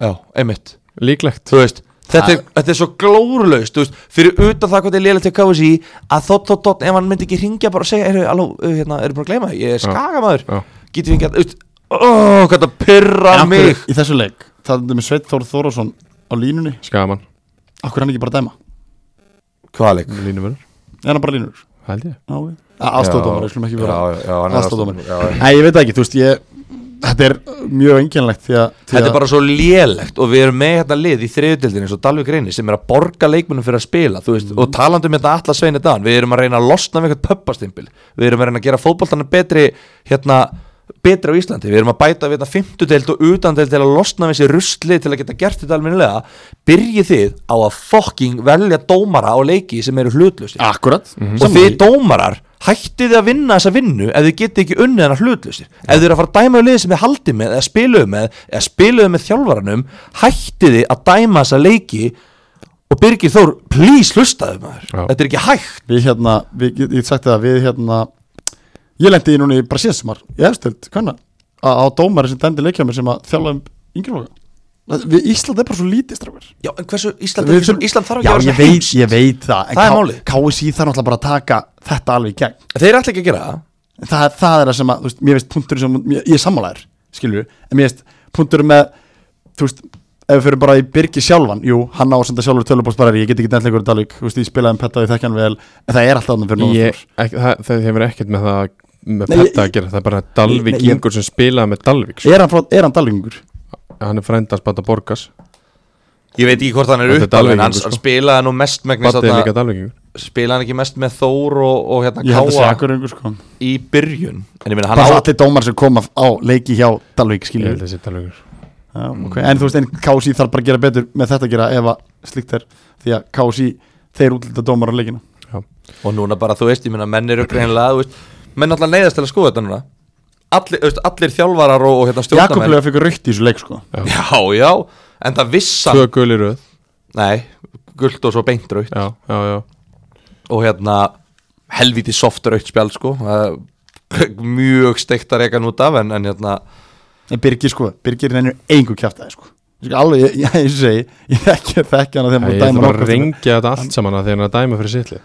[SPEAKER 4] já, einmitt
[SPEAKER 2] líklegt
[SPEAKER 4] þú veist Þetta er, þetta er svo glórulaust, þú veist, fyrir utan það hvað er lélega til KSI að þótt, þótt, þótt, ef hann myndi ekki ringja bara og segja, eru, aló, uh, hérna, eru búin að gleyma, því? ég er skagamæður,
[SPEAKER 2] Já.
[SPEAKER 4] getur við ekki að, þú veist, óh, hvað það pyrra
[SPEAKER 3] En af hverju-
[SPEAKER 4] mig.
[SPEAKER 3] Í þessu leik, það er með Sveit Þór Þórásson á línunni
[SPEAKER 2] Skaman,
[SPEAKER 3] Akkur hann ekki bara að dæma?
[SPEAKER 4] Hvað leik?
[SPEAKER 2] línumörður,
[SPEAKER 3] Er hann bara línur?
[SPEAKER 2] held ég
[SPEAKER 3] Já, ok. Aðstofdómar, ég skulum ekki vera
[SPEAKER 4] Já, já, hann er
[SPEAKER 3] Aðstofdómar
[SPEAKER 4] aðstoðardómari, já, já.
[SPEAKER 3] Nei, ég veit það ekki, þú veist, ég Þetta er mjög engjannlegt því að því
[SPEAKER 4] Þetta
[SPEAKER 3] að-
[SPEAKER 4] er bara svo lélegt og við erum með hérna lið í þriðutildinu eins og Dalvik reynir sem er að borga leikmunum fyrir að spila þú veist, og talandi um þetta alla sveinu dan við erum að reyna að losna við eitthvað pöppastimpil við erum að reyna að gera fótboltana betri hérna, betri á Íslandi við erum að bæta við þetta fimmtudeld og utandeld til að losna við þessi rusli til að geta gert þetta alminnilega byrjið þið á að fokking velja dómara á leiki sem eru hlutlusti
[SPEAKER 3] Akkurat
[SPEAKER 4] Mhm. og þið dómarar hættið þið að vinna þessa vinnu ef þið getið ekki unnið hennar hlutlusir ef þið eru að fara að dæma á liðið sem þið haldið með eða spiluðu með, eða spiluðu með þjálfaranum hættið þið að dæma þessa leiki og Birgir Þór please hlustaðu maður,
[SPEAKER 2] Já.
[SPEAKER 4] þetta er ekki hægt
[SPEAKER 3] Við hérna, við, ég ég get sagt það, við hérna Ég lendi í núna í bara síðan sumar Ég efstöld, hvernig Á dómari sem dændi leikja mér sem að þjálfa um yngirfloka Við Ísland er bara svo lítið strafur
[SPEAKER 4] já, en hversu Ísland, er ekki, svona- Ísland
[SPEAKER 3] Já,
[SPEAKER 4] þarf ekki að vera
[SPEAKER 3] ég
[SPEAKER 4] svona
[SPEAKER 3] veit,
[SPEAKER 4] heimskt.
[SPEAKER 3] ég veit það
[SPEAKER 4] Það er
[SPEAKER 3] K-
[SPEAKER 4] málið.
[SPEAKER 3] KSÍ þarf náttúrulega bara að taka þetta alveg í gegn
[SPEAKER 4] þeir ætla ekki að gera það
[SPEAKER 3] En það, það er það sem að, þú veist, mér veist punktur sem, ég, ég er sammálaður, skilur en mér veist punktur með, þú veist ef við fyrir bara í Birgi sjálfan, jú, hann á að senda sjálfur tölubóðsparari, ég get ekki dæntleikur í Dalík, þú veist, ég spilaði um petta, ég þekki hann vel en það er alltaf þannig fyrir
[SPEAKER 2] ég,
[SPEAKER 3] Norðurþór.
[SPEAKER 2] ekki, það, það hefur ekkert með það með
[SPEAKER 3] Nei, ég-
[SPEAKER 2] petta að gera, það er bara Dalvík
[SPEAKER 3] Nei, ég-
[SPEAKER 2] Ingur sem spilaði með Dalvík sko.
[SPEAKER 3] Er hann, frá, er hann Dalíkingur?
[SPEAKER 2] hann er frændas Bata Borgas
[SPEAKER 4] ég veit ekki hvort hann er
[SPEAKER 2] Þetta er
[SPEAKER 4] upp alveg, en hann
[SPEAKER 2] Dalvíkingur,
[SPEAKER 4] hann
[SPEAKER 2] sko.
[SPEAKER 4] spilaði nú mest megnis
[SPEAKER 2] Bata er líka
[SPEAKER 4] þarna-
[SPEAKER 2] Dalvík
[SPEAKER 4] spilaði hann ekki mest með Þór og, og hérna
[SPEAKER 3] Ég held að segja
[SPEAKER 4] Káa
[SPEAKER 3] Akureyringur, sko
[SPEAKER 4] í byrjun en ég meina hann
[SPEAKER 3] Bara
[SPEAKER 4] á
[SPEAKER 3] allir dómar sem koma á leiki hjá Dalík,
[SPEAKER 2] ég
[SPEAKER 3] skilur
[SPEAKER 2] held þessi Dalvíkur
[SPEAKER 3] Já, okay. En þú veist, en KSI þarf bara að gera betur með þetta að gera ef að slíkt er því að KSI, þeir útlita dómar á leikina
[SPEAKER 2] Já.
[SPEAKER 4] og núna bara þú veist, ég meina menn eru greinilega þú veist, menn alltaf neyðast til að skoða þetta núna allir, þú veist, allir þjálfarar og, og hérna
[SPEAKER 3] Jakob
[SPEAKER 4] stjórnarmenn
[SPEAKER 3] Löf fikk rautt í þessu leik sko
[SPEAKER 4] Já, já, en það vissan
[SPEAKER 2] Tvö gulir röð
[SPEAKER 4] Nei, guld og svo beint raut
[SPEAKER 2] Já, já, já
[SPEAKER 4] og hérna helviti soft raukt spjald sko Það er mjög steikt að reyka nút af en, en hérna
[SPEAKER 3] En Birgir sko, Birgir reynir engu kjaftaði sko Ég skal Alveg, ég, ég, ég segi, ég þekki, þekki hana þegar
[SPEAKER 2] Ég
[SPEAKER 3] maður
[SPEAKER 2] þarf
[SPEAKER 3] dæmar
[SPEAKER 2] bara að
[SPEAKER 3] okkar
[SPEAKER 2] ringja þetta allt saman að því hann er að dæma fyrir sitli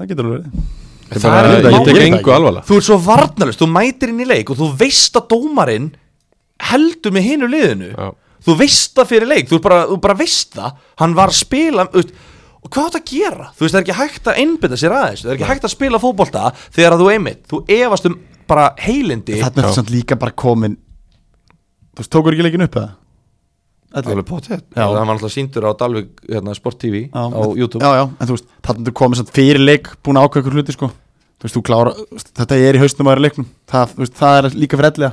[SPEAKER 3] Það getur alveg verið
[SPEAKER 2] Ég,
[SPEAKER 4] Það
[SPEAKER 2] bara,
[SPEAKER 4] er
[SPEAKER 2] ég
[SPEAKER 4] málið.
[SPEAKER 2] tek engu alvarlega
[SPEAKER 4] þú ert svo varnalust, þú mætir inn í leik og þú veist að dómarinn heldur með hinu liðinu
[SPEAKER 2] Já.
[SPEAKER 4] þú veist það fyrir leik, þú ert bara, þú bara veist það hann var að spila þú veist, og hvað áttu að gera, þú veist það er ekki hægt að einbytta sér aðeins, það er ekki hægt að spila fótbolta þegar að þú einmitt, þú efast um bara heilindi
[SPEAKER 3] Þannig er samt líka bara komin Þú veist, tókur ekki leikin upp eða? Ellefu?
[SPEAKER 4] alveg potið,
[SPEAKER 3] Já.
[SPEAKER 4] það var alltaf síndur á Dalvik hérna, Sport TV á
[SPEAKER 3] en-
[SPEAKER 4] YouTube
[SPEAKER 3] Já, já, en þú veist, þannig að þú komið samt fyrir leik búin að ákveða ykkur hluti sko Þú veist, þú klára, þú veist, þetta er í haustum aðra leiknum það, þú veist, það er líka fyrir ellega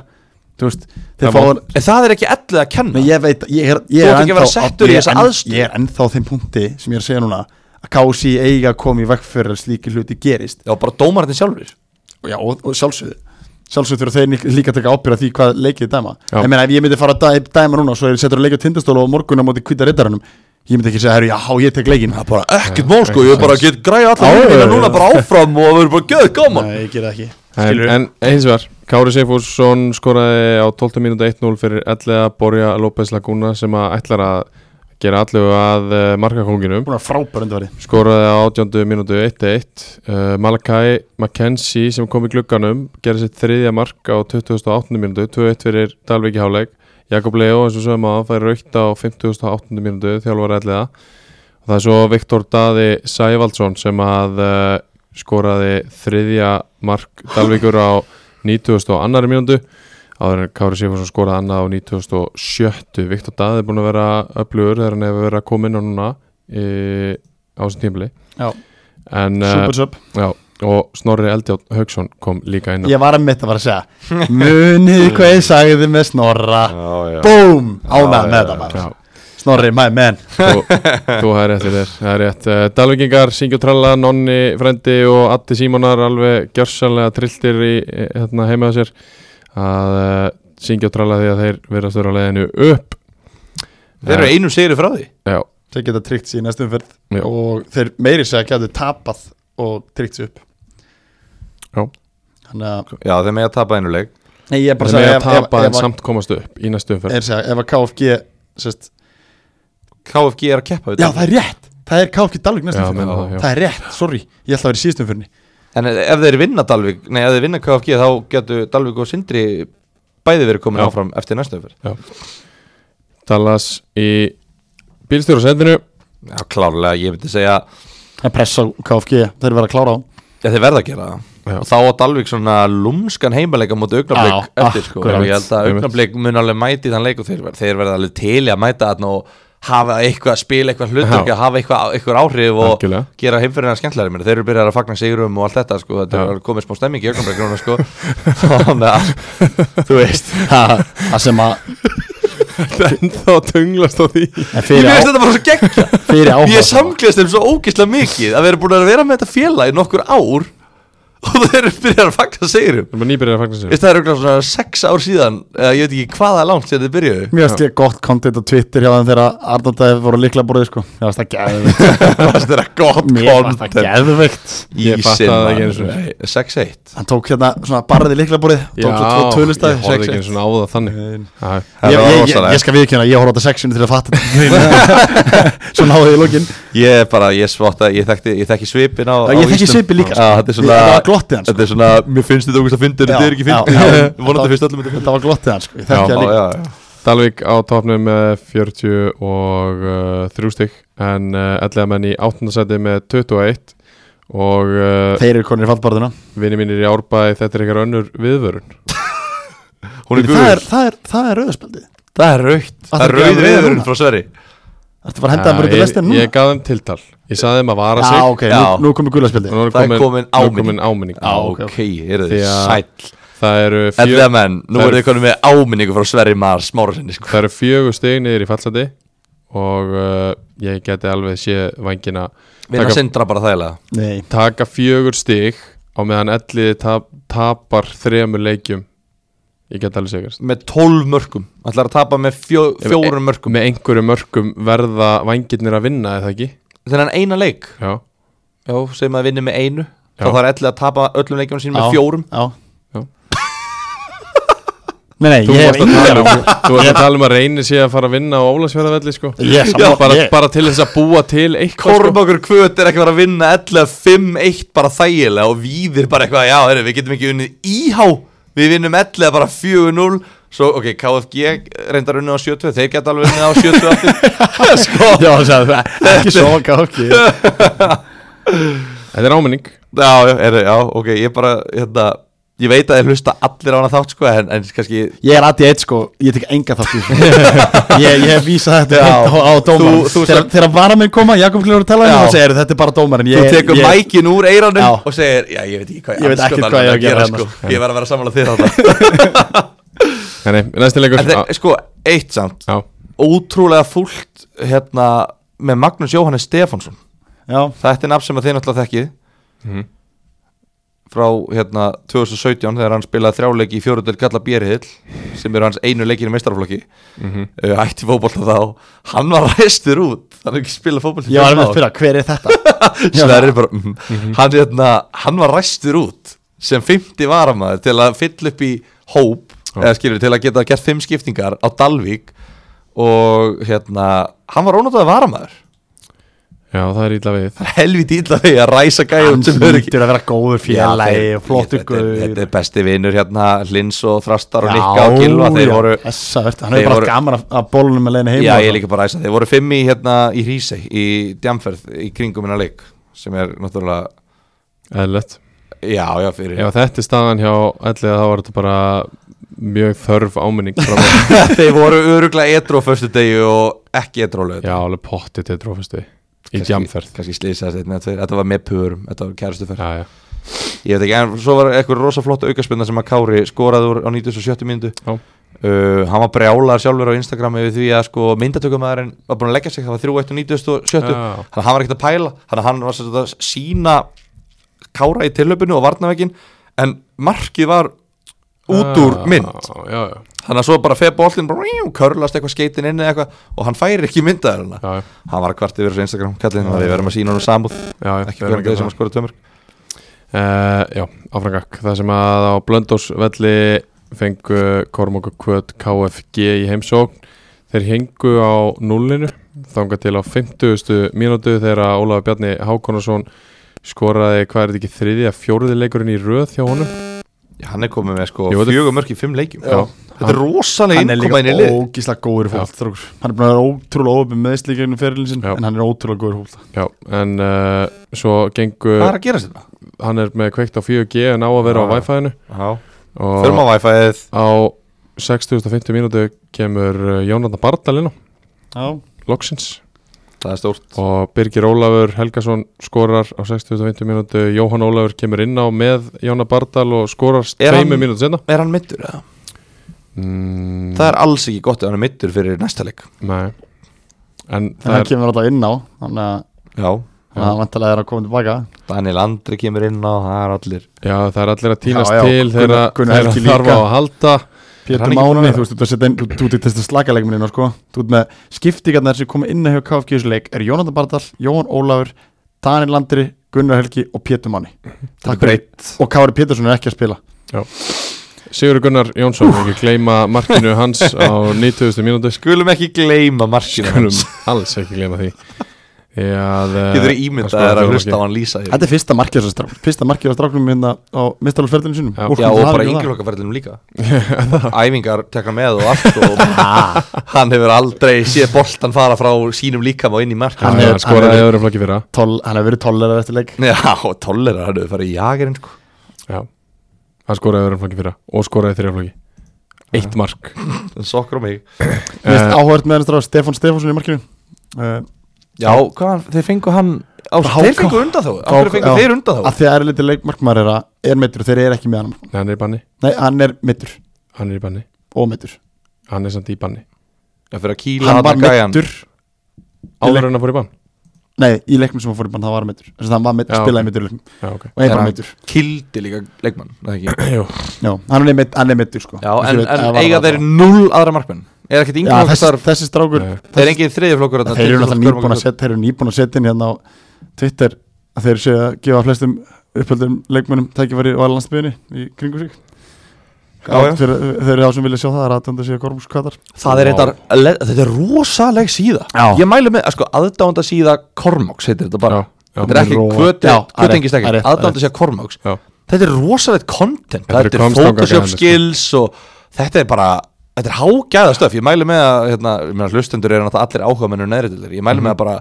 [SPEAKER 3] Þú veist, þeir
[SPEAKER 2] Það má-
[SPEAKER 3] fáir
[SPEAKER 4] en það er ekki ellið að kenna
[SPEAKER 3] Nei, ég veit, ég er, ég
[SPEAKER 4] Þú
[SPEAKER 3] er
[SPEAKER 4] átt ekki að vera
[SPEAKER 3] ennþá-
[SPEAKER 4] settur í
[SPEAKER 3] ég er
[SPEAKER 4] þessa
[SPEAKER 3] enn-
[SPEAKER 4] aðstöðu.
[SPEAKER 3] Ég er ennþá á þeim punkti sem ég er að segja núna að KC eiga að koma í vekk fyrir að slíki hluti gerist
[SPEAKER 4] já, bara dómarinn sjálfur
[SPEAKER 3] Já, og, og sjálfsögðu Sjálfsögðu þurfa þeir líka- líka að taka ábyrða því hvað leikið dæma
[SPEAKER 2] Já.
[SPEAKER 3] Ég meina, ef ég myndi fara að dæ, dæma núna svo er ég settur að leikja tindastóla og morgun á móti kvita rittaranum Ég myndi ekki segja, herru, já, ég tek leikin
[SPEAKER 4] það er bara ekkert mál sko, ég er bara að geta græja
[SPEAKER 3] Já,
[SPEAKER 4] allar
[SPEAKER 3] já,
[SPEAKER 4] hlutina
[SPEAKER 3] já.
[SPEAKER 4] núna bara áfram og það verður bara göð gaman
[SPEAKER 3] Nei, ég ger það ekki
[SPEAKER 2] En,
[SPEAKER 3] Skilurðu?
[SPEAKER 2] en eins vegar, Kári Seifússon skoraði á 12. mínútu 1-0 fyrir 11. Borja López Laguna sem að ætlar að gera allu að eh, markakónginum
[SPEAKER 3] Búin að frábæra undarfæri
[SPEAKER 2] skoraði á 18. mínútu 1-1 uh, Malakai McKenzie sem kom í glugganum gerði sitt þriðja mark á 28. mínútu 2-1 fyrir Dalviki Háleik Jakob Leo eins og sögum að fær raukt á 58. mínútu þjálfur ætliða og það er svo Viktor Daði Sævaldsson sem að uh, skoraði þriðja mark Dalvíkur á 92. mínútu áður en Kári Sifarsson skoraði annað á 97. Viktor Daði er búin að vera öflugur þegar hann hefur verið að koma inn á núna e, á þessum tímli
[SPEAKER 3] Já,
[SPEAKER 2] en,
[SPEAKER 3] super
[SPEAKER 2] uh,
[SPEAKER 3] sub
[SPEAKER 2] já, og Snorri Eldjátt Haugsson kom líka inn á
[SPEAKER 3] Ég var að mitt að fara að segja Munið hvað ég sagði með Snorra Búm, ánað
[SPEAKER 4] Já,
[SPEAKER 3] með
[SPEAKER 4] já,
[SPEAKER 3] þetta
[SPEAKER 2] Já,
[SPEAKER 3] maður Snorri, my man
[SPEAKER 2] þú, þú hefði rétt í þér það er rétt, uh, Dalvíkingar, Singjo Tralla Nonni, Frendi og Addi Símonar alveg gjörsanlega trilltir í eh, hérna, heima á sér að uh, Singjo Tralla því að þeir verðast vera á leiðinu upp Eh,
[SPEAKER 4] þeir eru einu sigri frá því
[SPEAKER 2] Já,
[SPEAKER 3] Þeir geta tryggt sér í næstum fyrð
[SPEAKER 2] Já.
[SPEAKER 3] Og þeir meiri segja getur tapað og tryggt sér upp
[SPEAKER 2] Já.
[SPEAKER 3] Þannig að
[SPEAKER 4] já, þeir með að tapa einu leik
[SPEAKER 3] Nei, ég er bara
[SPEAKER 2] þeir með
[SPEAKER 3] segja
[SPEAKER 2] að tapa en samt komast upp í næstu umferð
[SPEAKER 3] Er segja, ef að KFG sest,
[SPEAKER 4] KFG er að keppa
[SPEAKER 3] Já,
[SPEAKER 4] við Dalvík.
[SPEAKER 3] það er rétt Það er KFG Dalvik
[SPEAKER 2] Já,
[SPEAKER 3] næstum
[SPEAKER 2] meina það,
[SPEAKER 3] fyrr
[SPEAKER 2] já.
[SPEAKER 3] Það er rétt, sorry Ég ætla að vera í síðustum fyrrni
[SPEAKER 4] en ef þeir vinna Dalvik, nei, ef þeir vinna KFG þá getur Dalvik og Sindri bæði verið komin
[SPEAKER 2] Já.
[SPEAKER 4] áfram eftir næstu umferð
[SPEAKER 2] Dallas í bílstjóra sendinu
[SPEAKER 4] já, klárlega, ég myndi segja
[SPEAKER 3] Það er pressa á KFG Þeir eru verið að klára á
[SPEAKER 4] Já, þeir verða að gera það
[SPEAKER 2] Já.
[SPEAKER 4] og þá á Dalvik svona lúmskan heimaleika mot augnablik
[SPEAKER 3] Já,
[SPEAKER 4] eftir sko
[SPEAKER 3] akkurat.
[SPEAKER 4] og ég held að
[SPEAKER 2] Einmitt.
[SPEAKER 4] augnablik mun alveg mæti þann leik og þeir, ver- þeir verða alveg til í að mæta þarna og hafa eitthvað að spila eitthvað hlutur
[SPEAKER 2] Já.
[SPEAKER 4] og hafa eitthvað, eitthvað áhrif og
[SPEAKER 2] Algjörlega.
[SPEAKER 4] gera heimfyrirna skemmtlæri mér þeir eru byrjar að fagna sigrum og allt þetta sko þetta
[SPEAKER 2] Já.
[SPEAKER 4] er komið smá stemming í augnablik núna sko þannig að þú veist
[SPEAKER 3] Ha, Það sem að
[SPEAKER 2] En þá tunglast á því
[SPEAKER 3] en
[SPEAKER 4] Ég
[SPEAKER 3] fyrir,
[SPEAKER 4] veist
[SPEAKER 3] á,
[SPEAKER 4] þetta bara svo geggja
[SPEAKER 3] fyrir áhuga
[SPEAKER 4] Ég samklaðist þeim svo ógislega mikið að vera búin að vera með þetta félag í nokkur ár og þeir eru byrjar að fagna sigrum
[SPEAKER 2] Það er bara nýbyrjar að fagna sér
[SPEAKER 4] Veist, það er auðvitað svona sex ár síðan eða ég veit ekki hvaða er langt síðan þið byrjuðu
[SPEAKER 3] Mér finnst ég gott content á Twitter hjá þeim þegar Arnaldæði voru líkla borðið sko Mér finnst það geðvikt
[SPEAKER 4] Mér fannst þetta gott
[SPEAKER 3] Mér finnst það
[SPEAKER 4] content
[SPEAKER 3] geðvikt
[SPEAKER 2] Ég fattaði það ekki
[SPEAKER 4] Ísinn,
[SPEAKER 2] einu
[SPEAKER 4] maður.
[SPEAKER 2] sinni.
[SPEAKER 4] Nei, 6-1
[SPEAKER 3] Hann tók hérna svona barðið líkla borðið Tók svo tvo
[SPEAKER 2] ég horfði
[SPEAKER 3] tölustæði
[SPEAKER 2] ekki svona á það þannig Æ,
[SPEAKER 3] Ég,
[SPEAKER 4] Það var
[SPEAKER 3] ég, ég,
[SPEAKER 4] rosalegt.
[SPEAKER 3] ég skal viðkjöna, ég horfði á þetta sexinu til að fatta þetta Svo náðu ég í lokin
[SPEAKER 4] Ég er bara, ég svotta, ég þekkti, ég þekki svipin á, á
[SPEAKER 3] Ég þekki
[SPEAKER 4] Ísland.
[SPEAKER 3] svipið líka, sko.
[SPEAKER 4] Já, Þetta er svona
[SPEAKER 3] Þetta var glottið hans, sko.
[SPEAKER 4] Þetta er svona, mér finnst þetta ógust að fyndi Þetta er ekki fyndi Vonandi finnst öllum þetta fyndi
[SPEAKER 3] Þetta var glottið hans, sko, ég þekki það líka
[SPEAKER 2] Dalvik á topnum með 40 og uh, þrjú stygg en uh, ellega menn í áttundasæti með 21 og uh,
[SPEAKER 3] Þeir eru konir í fallbarðuna
[SPEAKER 2] vini mínir í árbæði þetta er eitthvað önnur viðvörun
[SPEAKER 4] Hún
[SPEAKER 3] Það
[SPEAKER 4] er
[SPEAKER 3] er,
[SPEAKER 4] guður
[SPEAKER 3] það er, það er rauðspaldið
[SPEAKER 4] Það er raukt Það
[SPEAKER 3] það
[SPEAKER 4] er
[SPEAKER 3] er
[SPEAKER 4] rauð
[SPEAKER 3] rauð
[SPEAKER 4] viðurinn
[SPEAKER 3] núna.
[SPEAKER 4] frá Sverri
[SPEAKER 3] Þetta var hendað bara út í
[SPEAKER 2] ég,
[SPEAKER 3] lestin núna
[SPEAKER 2] ég gaf þeim tiltal Ég saði þeim að vara
[SPEAKER 3] Já,
[SPEAKER 2] sig
[SPEAKER 3] ok, nú,
[SPEAKER 4] Já.
[SPEAKER 3] nú komið
[SPEAKER 2] og
[SPEAKER 3] gulaspildið
[SPEAKER 2] nú er
[SPEAKER 4] Það
[SPEAKER 2] komin,
[SPEAKER 4] er komin
[SPEAKER 2] nú er
[SPEAKER 4] áminning.
[SPEAKER 2] komin áminning
[SPEAKER 4] Já,
[SPEAKER 3] ok,
[SPEAKER 4] ok, eru
[SPEAKER 2] Því
[SPEAKER 4] þið
[SPEAKER 2] að-
[SPEAKER 4] sæll
[SPEAKER 2] Það eru fjö,
[SPEAKER 4] Ellega menn, nú
[SPEAKER 2] það
[SPEAKER 4] eru
[SPEAKER 2] eru-
[SPEAKER 4] þið konum með áminningu frá Sverri Mar Smárarsinni sko
[SPEAKER 2] Það eru fjögur stig niður í fallsæti og uh, ég geti alveg séð vangina
[SPEAKER 4] Við erum
[SPEAKER 2] taka-
[SPEAKER 4] að sindra bara þægilega
[SPEAKER 3] Nei,
[SPEAKER 2] taka fjögur stig á meðan elliði tap, tapar þremur leikjum Ég get alveg segast
[SPEAKER 4] með 12 mörkum ætlar að tapa með fjó, fjórum mörkum
[SPEAKER 2] Sko, Með einhverju mörkum verða vangirnir að vinna eða ekki
[SPEAKER 4] þennan eina leik
[SPEAKER 2] Já,
[SPEAKER 4] já, sem að vinni með einu þá
[SPEAKER 2] Já.
[SPEAKER 4] þarf ætla að tapa öllum leikjum sínum með fjórum
[SPEAKER 3] Já
[SPEAKER 2] Já.
[SPEAKER 3] Nei, nei,
[SPEAKER 2] þú
[SPEAKER 3] ég hef
[SPEAKER 2] varst að
[SPEAKER 3] engan
[SPEAKER 2] tala um Þú varst að tala um að reyni sé að fara að vinna á Ólasfjörðavelli sko
[SPEAKER 3] Ég er sammála,
[SPEAKER 2] bara,
[SPEAKER 3] ég-
[SPEAKER 2] bara til þess að búa til eitthvað sko.
[SPEAKER 4] Korbakur kvöt er ekki bara að vinna 11-5-1 bara þægilega og víðir bara eitthvað já, heyrðu, við getum ekki unnið íhá við vinnum 11 bara 4-0 svo, ok, KFG reyndar unnið á 7-2 þeir geta alveg unnið á 7-2 aftur. sko,
[SPEAKER 3] Já, það er ekki svo gáki
[SPEAKER 2] Þetta er áminning
[SPEAKER 4] já, já, heyrðu, já, ok, ég bara hérna, ég veit að þeir hlusta allir á hana þátt sko, en, en kannski
[SPEAKER 3] Ég er aðið eitt sko, ég tek enga þátt í þessu Ég, ég hef vísað þetta
[SPEAKER 4] Já.
[SPEAKER 3] á, á dómarin
[SPEAKER 4] Þú- þú
[SPEAKER 3] Þegar,
[SPEAKER 4] sem-
[SPEAKER 3] þegar varamenn koma, Jakob Kljóður tala um
[SPEAKER 4] Já.
[SPEAKER 3] það segir þetta er bara dómarin
[SPEAKER 4] Þú
[SPEAKER 3] ég,
[SPEAKER 4] tekur
[SPEAKER 3] ég,
[SPEAKER 4] mækin úr eiranum
[SPEAKER 3] Já.
[SPEAKER 4] og segir, já ég veit ekki hvað
[SPEAKER 3] Ég veit ekkert hvað ég á að gera
[SPEAKER 4] sko.
[SPEAKER 3] hérna,
[SPEAKER 4] Ég verð að vera sammála þér þarna
[SPEAKER 2] Nei, nei, næsti leikur Á-
[SPEAKER 4] En þeir, sko, eitt samt
[SPEAKER 2] Já,
[SPEAKER 4] Ótrúlega fúlt hérna með Magnús Jóhannes Stefánsson
[SPEAKER 3] Já,
[SPEAKER 4] Þetta er nafn sem að þið náttúrulega þekkið Frá hérna 2017 þegar hann spilaði þrjáleiki í fjórundel Galla Bjerhill Sem eru hans einu leikin í meistaraflokki mm Ætti fótbolta þá Hann var ræstur út Hann hefur ekki spilað fótbolta í
[SPEAKER 3] ég var
[SPEAKER 4] fimm
[SPEAKER 3] alveg
[SPEAKER 4] ár.
[SPEAKER 3] að spyrja, hver er þetta?
[SPEAKER 4] Sverri bara mm hann, hérna, hann var ræstur út sem 50 varamaður til að fylla upp í hóp eða skilur til að geta gert 5 skiptingar á Dalvík og hérna hann var ónáttaði varamaður
[SPEAKER 2] já, það er ítla við
[SPEAKER 4] helviti illa því að ræsa gæjum
[SPEAKER 3] Hann
[SPEAKER 4] sem eru ekki
[SPEAKER 3] lítur að vera góður félagi og flottur
[SPEAKER 4] þetta, er- þetta
[SPEAKER 3] guður
[SPEAKER 4] er besti vinur hérna Lins og Þrastar og Nikka
[SPEAKER 3] Já,
[SPEAKER 4] og Gilva þeir
[SPEAKER 3] já,
[SPEAKER 4] voru
[SPEAKER 3] þessa, veist, Hann
[SPEAKER 4] þeir
[SPEAKER 3] hefur bara
[SPEAKER 4] voru-
[SPEAKER 3] voru, gaman af- af bólunum að leina heim
[SPEAKER 4] Já, ég er líka bara að ræsa. Þeir voru fimm í, hérna, í Hrísei, í Djamferð, í kringum minna leik, sem er náttúrulega,
[SPEAKER 2] Eðlilegt
[SPEAKER 4] já, já, fyrir
[SPEAKER 2] Ef þetta er staðan hjá ætlið þá var þetta bara mjög þörf áminning fram á
[SPEAKER 4] Þeir voru öruglega etru á förstu degi og ekki etru á lögðu
[SPEAKER 2] Já, alveg pottið til trófistu Í gjamferð
[SPEAKER 4] Kanski slýsaðist einn eða tveir, þetta var með purum, þetta var kærastu ferð
[SPEAKER 2] Já, já,
[SPEAKER 4] Ég veit ekki, en svo var eitthvað rosa flott aukaspilna sem að Kári skoraði úr á 97. mínútu
[SPEAKER 2] já
[SPEAKER 4] uh, Hann var brjálaðar sjálfur á Instagram yfir því að sko myndatökumæðurinn var búin að leggja sig, það var 3-1 og 97. Þannig
[SPEAKER 2] Já.
[SPEAKER 4] að hann var ekkert að pæla, þannig að hann var sem sagt að sína Kára í tilöpinu og varnavegin En markið var út úr mynd
[SPEAKER 2] Já, já, já,
[SPEAKER 4] þannig að svo bara feð bóltinn körlast eitthvað skeitin inn eða eitthvað og hann færi ekki myndaður
[SPEAKER 2] já,
[SPEAKER 4] hana
[SPEAKER 2] já.
[SPEAKER 4] hann var að kvart yfir þessu Instagram kallin og við verðum að sína hann samúð
[SPEAKER 2] já, já
[SPEAKER 4] ekki verðum þeir sem að skora tömur
[SPEAKER 2] Uh, já, áfrangak, það sem að á Blöndósvelli fengu Kormóka Kvöt KFG í heimsókn þeir hengu á nullinu þangað til á 50. mínútu þegar að Ólafur Bjarni Hákonarsson skoraði, hvað er þetta ekki, þriðja fjóruði leikurinn í röð hjá honum
[SPEAKER 4] hann er komið með sko
[SPEAKER 2] Jú, þetta-
[SPEAKER 4] fjögur mörk í fimm leikjum
[SPEAKER 2] Já.
[SPEAKER 4] þetta er rosalega
[SPEAKER 3] Hann er
[SPEAKER 4] innkoma inn í
[SPEAKER 3] líka
[SPEAKER 4] lið
[SPEAKER 3] ógíslega góður fólk Hann er búin að vera ótrúlega óöfum meðslíkjum fyrirlin sinn
[SPEAKER 2] Já.
[SPEAKER 3] En hann er ótrúlega góður fólk
[SPEAKER 2] Já, en uh, svo gengu,
[SPEAKER 4] hvað er að gera þetta?
[SPEAKER 2] hann er með kveikt á 4G en á að vera á
[SPEAKER 4] Já.
[SPEAKER 2] Wi-Fi-inu
[SPEAKER 4] förum á
[SPEAKER 2] og
[SPEAKER 4] Wi-Fi-ið
[SPEAKER 2] á 60.50 mínútu kemur eh, Jónatan Bardalinn á
[SPEAKER 3] Já,
[SPEAKER 2] loksins
[SPEAKER 4] það er stórt
[SPEAKER 2] og Birgir Ólafur Helgason skorar á 60-50 mínútu Jóhann Ólafur kemur inn á með Jóna Bardal og skorar
[SPEAKER 4] Er hann-
[SPEAKER 2] tveimu mínútu senna
[SPEAKER 4] er hann mittur? eða?
[SPEAKER 2] mm,
[SPEAKER 4] það er alls ekki gott ef hann er mittur fyrir næsta leik
[SPEAKER 2] nei. en
[SPEAKER 3] en
[SPEAKER 2] það
[SPEAKER 3] hann
[SPEAKER 2] er
[SPEAKER 3] kemur alltaf inn á Þannig að
[SPEAKER 4] já
[SPEAKER 3] þannig að hann vantilega er að koma tilbaka
[SPEAKER 4] Daniel Andri kemur inn á það er allir
[SPEAKER 2] já, það er allir að týnast
[SPEAKER 3] Já, já,
[SPEAKER 2] til
[SPEAKER 3] Gunnar-
[SPEAKER 2] þegar
[SPEAKER 3] Gunnar
[SPEAKER 2] þegar
[SPEAKER 3] Helgi
[SPEAKER 2] þarf á
[SPEAKER 3] líka.
[SPEAKER 2] að halda
[SPEAKER 4] hann
[SPEAKER 3] Pétur
[SPEAKER 4] ekki búinn að
[SPEAKER 3] Máni,
[SPEAKER 4] vera?
[SPEAKER 3] þú veist, þú setja inn, þú- þú ert þess að slaka leikminni sko. þú ert með skiptingarnar sem koma inn hjá KFG þessu leik er Jónatan Bardal, Jóhann Ólafur Danil Landri, Gunnar Helgi og Pétur Máni Takk fyrir. og Kári Pétursson er ekki að spila
[SPEAKER 2] Sigur Gunnar Jónsson ekki gleyma markinu hans á 90 mínútu
[SPEAKER 4] skulum ekki gleyma markinu
[SPEAKER 2] skulum alls ekki gleyma því eh,
[SPEAKER 4] getur ímyndað að hlusta á hann lýsa því.
[SPEAKER 3] Þetta er fyrsta markjæðarstrák, fyrsta markjæðarstráknum hérna á mistalofferðinu sínum
[SPEAKER 2] Já.
[SPEAKER 3] Óskum
[SPEAKER 4] Já
[SPEAKER 3] til
[SPEAKER 4] og bara
[SPEAKER 3] hamingju með það.
[SPEAKER 4] yngirlokkaferðinum líka Æfingar tekna með og allt og hann hefur aldrei séð boltan fara frá sínum líkam og inn í marka
[SPEAKER 3] Hann er-
[SPEAKER 2] hann skoraði
[SPEAKER 3] hann
[SPEAKER 2] í
[SPEAKER 3] er-
[SPEAKER 2] öðrum flokki fyrra
[SPEAKER 3] Toll- Hann hefur verið tollerað eftir leik
[SPEAKER 4] Já og tollera hann hefur farið í jagerinn sko
[SPEAKER 2] Já, hann skoraði öðrum flokki fyrra og skoraði þriðja flokki Eitt mark
[SPEAKER 4] Sokkur á um mig Eh.
[SPEAKER 3] Mér finnst áhört með hann strák Stefán Stefánsson í markinu uh,
[SPEAKER 4] Já hvað, þeir fengu hann á,
[SPEAKER 3] Frá
[SPEAKER 4] Þeir
[SPEAKER 3] HK.
[SPEAKER 4] fengu undan þá Af hverju fengu
[SPEAKER 3] Já.
[SPEAKER 4] þeir undan
[SPEAKER 3] að
[SPEAKER 4] þá
[SPEAKER 3] því að erliti leikmarkmaður er, að- er meittur og þeir eru ekki með hann
[SPEAKER 2] Nei, hann er í banni,
[SPEAKER 3] Nei, hann er meittur
[SPEAKER 2] hann er í banni
[SPEAKER 3] og meittur
[SPEAKER 2] Hann er samt í banni
[SPEAKER 4] Já fyrir að kýla
[SPEAKER 3] Hann
[SPEAKER 4] hann
[SPEAKER 3] var
[SPEAKER 4] að gæjan
[SPEAKER 3] meittur
[SPEAKER 2] Áður en að fór í bann
[SPEAKER 3] Nei, í leiknum sem hann fór í bann, það var hann meittur Þannig að hann var meitt,
[SPEAKER 2] Já,
[SPEAKER 3] spilaði
[SPEAKER 2] ok.
[SPEAKER 3] meittur í leiknum
[SPEAKER 2] Já, ok
[SPEAKER 3] Og einn bara
[SPEAKER 4] hann
[SPEAKER 3] meittur
[SPEAKER 4] kildi líka leikmann er það ekki?
[SPEAKER 2] Jú,
[SPEAKER 3] Já, hann er meitt, hann er meittur sko
[SPEAKER 4] Já,
[SPEAKER 3] Þú
[SPEAKER 4] en,
[SPEAKER 3] veist, það
[SPEAKER 4] en
[SPEAKER 3] var
[SPEAKER 4] eiga
[SPEAKER 3] það
[SPEAKER 4] þeir
[SPEAKER 3] bara.
[SPEAKER 4] null aðra markmenn er ekkert
[SPEAKER 3] Já,
[SPEAKER 4] yngri
[SPEAKER 3] þessi,
[SPEAKER 4] flokkar
[SPEAKER 3] þessi strákur
[SPEAKER 2] Nei.
[SPEAKER 4] þeir eru engin þriði flokkur þarna,
[SPEAKER 3] Þeir eru náttúrulega
[SPEAKER 4] Tindflokkur,
[SPEAKER 3] nýbúin að setja Þeir eru nýbúin að setja inn hérna á Twitter að þeir séu að gefa flestum upphöldum leikmönnum tækifæri á landsbyðinni í kringu sig
[SPEAKER 4] Já, já.
[SPEAKER 3] Þeir, þeir eru þá sem vilja sjá það, það er aðtönda séu kormskvatar
[SPEAKER 4] Það er
[SPEAKER 2] Vá.
[SPEAKER 4] eitthvað, þetta er rosaleg síða
[SPEAKER 3] Já.
[SPEAKER 4] Ég mælu með, sko, aðdánda síða Kormox heitir þetta bara
[SPEAKER 2] Já, já.
[SPEAKER 4] Þetta er ekki
[SPEAKER 3] Ro- Já,
[SPEAKER 4] kvöti,
[SPEAKER 3] það er rétt,
[SPEAKER 4] kvötingist ekki
[SPEAKER 3] það er rétt, það
[SPEAKER 4] Aðdánda
[SPEAKER 3] er
[SPEAKER 4] síða Kormox
[SPEAKER 2] já
[SPEAKER 4] Þetta er rosalegt content
[SPEAKER 2] Þetta eru
[SPEAKER 4] Þetta er
[SPEAKER 2] Comstock
[SPEAKER 4] Photoshop
[SPEAKER 2] Academy, sko.
[SPEAKER 4] skills og Þetta er bara, þetta er hágæða stöf Ég mælu með að, hérna, ég meina, hlustendur eru náttúrulega allir áhugamennur neðri til þeir Ég mælu með að bara,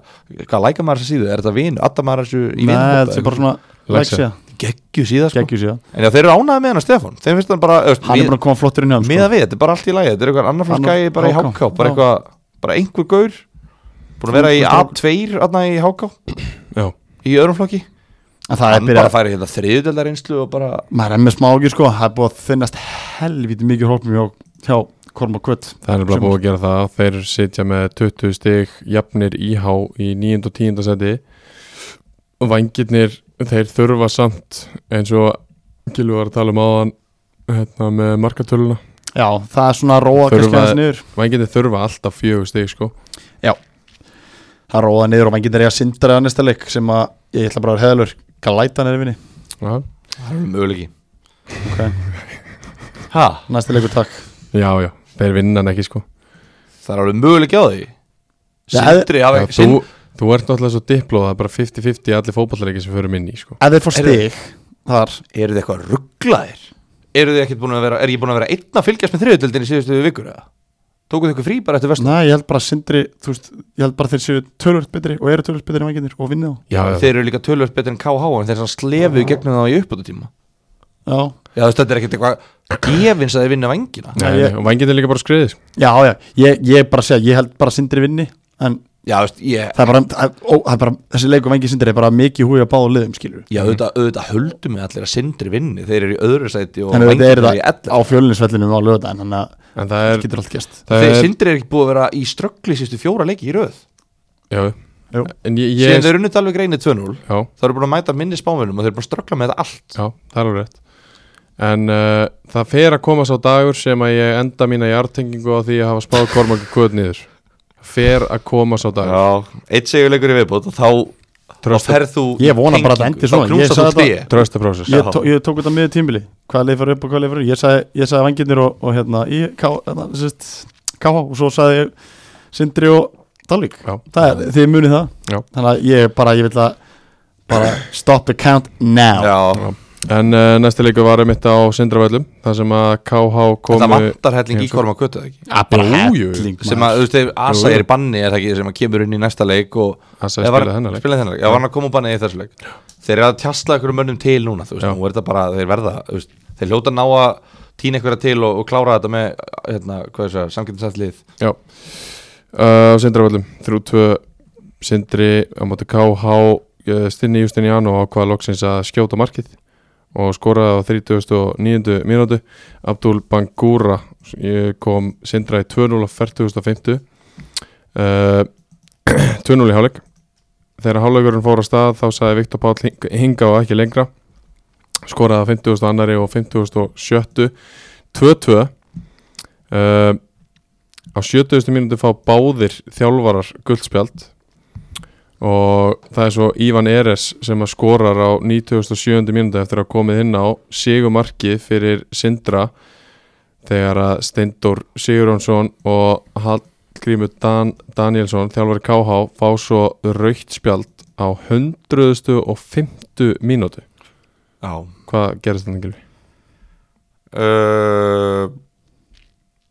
[SPEAKER 4] hvað læka maður þessa síðu? Er þetta vin, atta maður þessu í
[SPEAKER 3] Mhm. Nei, þetta er bara
[SPEAKER 4] vinum?
[SPEAKER 3] svona
[SPEAKER 2] Leggja.
[SPEAKER 3] leggja,
[SPEAKER 4] Geggju síða, sko
[SPEAKER 3] geggjur síðan
[SPEAKER 4] En já, þeir eru ánæði með hana Stefán Þeim finnst hann bara, þú veist,
[SPEAKER 3] Hann
[SPEAKER 4] við-
[SPEAKER 3] er búin að koma flottur inn hjá þeim, sko.
[SPEAKER 4] miða við, þetta er bara allt í lagi þetta er eitthvað annar flokk
[SPEAKER 3] Annar-
[SPEAKER 4] gæi bara í
[SPEAKER 3] HK,
[SPEAKER 4] háká bara,
[SPEAKER 3] já.
[SPEAKER 4] eitthvað, bara einhver gaur búin að vera í
[SPEAKER 3] Einhver
[SPEAKER 4] A2 aðna í háká
[SPEAKER 2] Já,
[SPEAKER 4] í öðrum flokki
[SPEAKER 3] En það er
[SPEAKER 4] hann bara
[SPEAKER 3] byrjað,
[SPEAKER 4] færi hérna þriðudeldar einslu og bara
[SPEAKER 3] maður er með smá ágjur sko Það er búið að þinnast helviti mikið hólpum hjá, hjá Korma Kvöt
[SPEAKER 2] það er bara búið að gera það Þeir sitja með 20 stig jafnir IH í 9. og 10. seti Vængirnir Þeir þurfa samt eins og Gilvi var að tala um áðan hérna, með markatöluna
[SPEAKER 3] Já, það er svona að róa
[SPEAKER 2] Þurfa-
[SPEAKER 3] kannski aðeins niður
[SPEAKER 2] Vængirnir þurfa alltaf fjögur stig sko
[SPEAKER 3] Það er róa niður og maður getur eiga sindra að næsta leik sem að ég ætla bara að vera heðalur Galæta hann er vinni
[SPEAKER 2] Já,
[SPEAKER 4] það er möguleiki
[SPEAKER 3] Ok.
[SPEAKER 4] ha,
[SPEAKER 3] Næsta leikur takk
[SPEAKER 2] já, já. þeir vinna hann ekki sko
[SPEAKER 4] það er alveg möguleiki á því
[SPEAKER 3] Já, ef-
[SPEAKER 4] Sindri hafi
[SPEAKER 2] Já,
[SPEAKER 4] sind,
[SPEAKER 2] þú, þú ert náttúrulega svo diplóð það er bara 50-50 allir fótballleiki sem förum inn í sko.
[SPEAKER 3] Ef þeir fá
[SPEAKER 4] Eru-
[SPEAKER 3] stig þar
[SPEAKER 4] eru þið eitthvað rugglaðir eru þið ekkert búin að vera er ég búin að vera einn að fylgjast með þriðudeldin í síðustu vikur eða tókuð þið eitthvað frí bara eftir vestan
[SPEAKER 3] Nei, ég held bara að sindri, þú veist, ég held bara að þeir séu tölvöld betri og eru tölvöld betri en vanginir og vinna
[SPEAKER 2] já,
[SPEAKER 4] þeir eru líka tölvöld betur en KH en þeir slefu gegnum það í uppbútutíma
[SPEAKER 3] þá Já,
[SPEAKER 4] Já, þú veist, þetta er ekkert eitthvað gefins að þið vinna vengina
[SPEAKER 2] Nei,
[SPEAKER 3] Nei, ég-
[SPEAKER 2] nei, og vangin er líka bara skriðið sko.
[SPEAKER 3] já, já, ég, ég er bara að segja, ég held bara að sindri vinni En
[SPEAKER 4] Já, þú veist, ég
[SPEAKER 3] það er bara, það- ó, það er bara þessi leikur vangi sindri er bara mikið húi að báða liðum skilur
[SPEAKER 4] Já, auðvitað, auðvitað höldum við allir að sindri vinni Þeir eru í öðru sæti og
[SPEAKER 3] Þannig að þetta
[SPEAKER 4] Vængir
[SPEAKER 3] er
[SPEAKER 4] í
[SPEAKER 3] það á
[SPEAKER 4] ellefu.
[SPEAKER 3] fjölinsvellinum á lögudaginn Þannig að
[SPEAKER 2] en það er,
[SPEAKER 3] það getur allt gæst
[SPEAKER 2] það
[SPEAKER 4] Þeir
[SPEAKER 2] er
[SPEAKER 4] sindri er ekki búið að vera í ströggli Sýstu fjóra leiki í röð
[SPEAKER 2] já,
[SPEAKER 3] Jú.
[SPEAKER 2] en ég,
[SPEAKER 4] Síðan
[SPEAKER 2] ég
[SPEAKER 4] þeir runnit alveg greinir 2-0
[SPEAKER 2] já,
[SPEAKER 4] Það eru búin að mæta minni spáminum og þeir eru búin að ströggla með þetta allt
[SPEAKER 2] já, það er alveg rétt en uh, það fer að koma sá dagur sem að ég enda mína í artengingu á því að hafa spáð kormangi kvöð niður fer að koma sá dagur
[SPEAKER 4] Já, eitt segjuleikur í viðbót og þá
[SPEAKER 2] Trösta-
[SPEAKER 4] ferð þú
[SPEAKER 3] Ég vona bara að þetta endi
[SPEAKER 4] tengingu.
[SPEAKER 3] svona.
[SPEAKER 4] Þá knúsar
[SPEAKER 3] Ég sagði
[SPEAKER 4] þú tré
[SPEAKER 2] trösta prósess
[SPEAKER 3] Ég, tó, ég tók þetta miður tímbili Hvað leið fyrir upp og hvað leið fyrir niður? Ég sagði, ég sagði vangirnir og, og hérna í K- hérna, sem sagt, KH og svo sagði ég Sindri og Dalík
[SPEAKER 2] Já.
[SPEAKER 3] Það er, Þið munið það
[SPEAKER 2] Já.
[SPEAKER 3] Þannig að ég bara, ég vil að bara stop the count now
[SPEAKER 4] Já,
[SPEAKER 2] en uh, næsti leiku var um mitt á Sindravællum þar sem að KH
[SPEAKER 4] þetta
[SPEAKER 2] komu
[SPEAKER 4] vantar helling í
[SPEAKER 2] Ég-
[SPEAKER 4] korma kvötu ekki
[SPEAKER 3] Að Ah, bara
[SPEAKER 2] Jú, jú, jú.
[SPEAKER 3] helling,
[SPEAKER 4] sem
[SPEAKER 3] maður.
[SPEAKER 4] að, þú veist, ef
[SPEAKER 2] Jú,
[SPEAKER 4] Asa
[SPEAKER 2] jú.
[SPEAKER 4] er í banni er það ekki sem að kemur inn í næsta leik og
[SPEAKER 2] Asa er
[SPEAKER 4] Eða var-
[SPEAKER 2] spilað þennan leik.
[SPEAKER 4] spilaði þennan leik, já, var hann að koma úr banni í þessu leik þeir eru að tjastla ykkur mönnum til núna þú veist,
[SPEAKER 2] Já.
[SPEAKER 4] nú er þetta bara, þeir verða þú veist, þeir hljóta að ná að týna ykkur til og, og klára þetta með, hérna, hvað er það samkynnsætlið,
[SPEAKER 2] Já uh, á Sindraföllum 3-2 Sindri á móti KH eh, Stinni Justiniano ákvaða loksins að skjóta markið og skoraði á 39. mínútu Abdul Bangura eh, kom Sindra í 2-0 á 40.50 uh, 2-0 í hálfleik þegar hálfleikurinn fór af stað þá sagði Viktor Páll hing- hinga og ekki lengra skoraði á 50.000 annari og 50.000 2-2 uh, á 70. mínútu fá báðir þjálfarar guldspjald og það er svo Ívan Eres sem að skorar á 97. mínútu eftir að hafa komið inn á sigumarki fyrir Sindra þegar að Steindor Sigurjónsson og Hallgrímur Dan Danielsson þjálfari KH fá svo raukt spjald á 150. mínútu
[SPEAKER 4] já
[SPEAKER 2] hvað gerist þannig gilvi?
[SPEAKER 4] uh,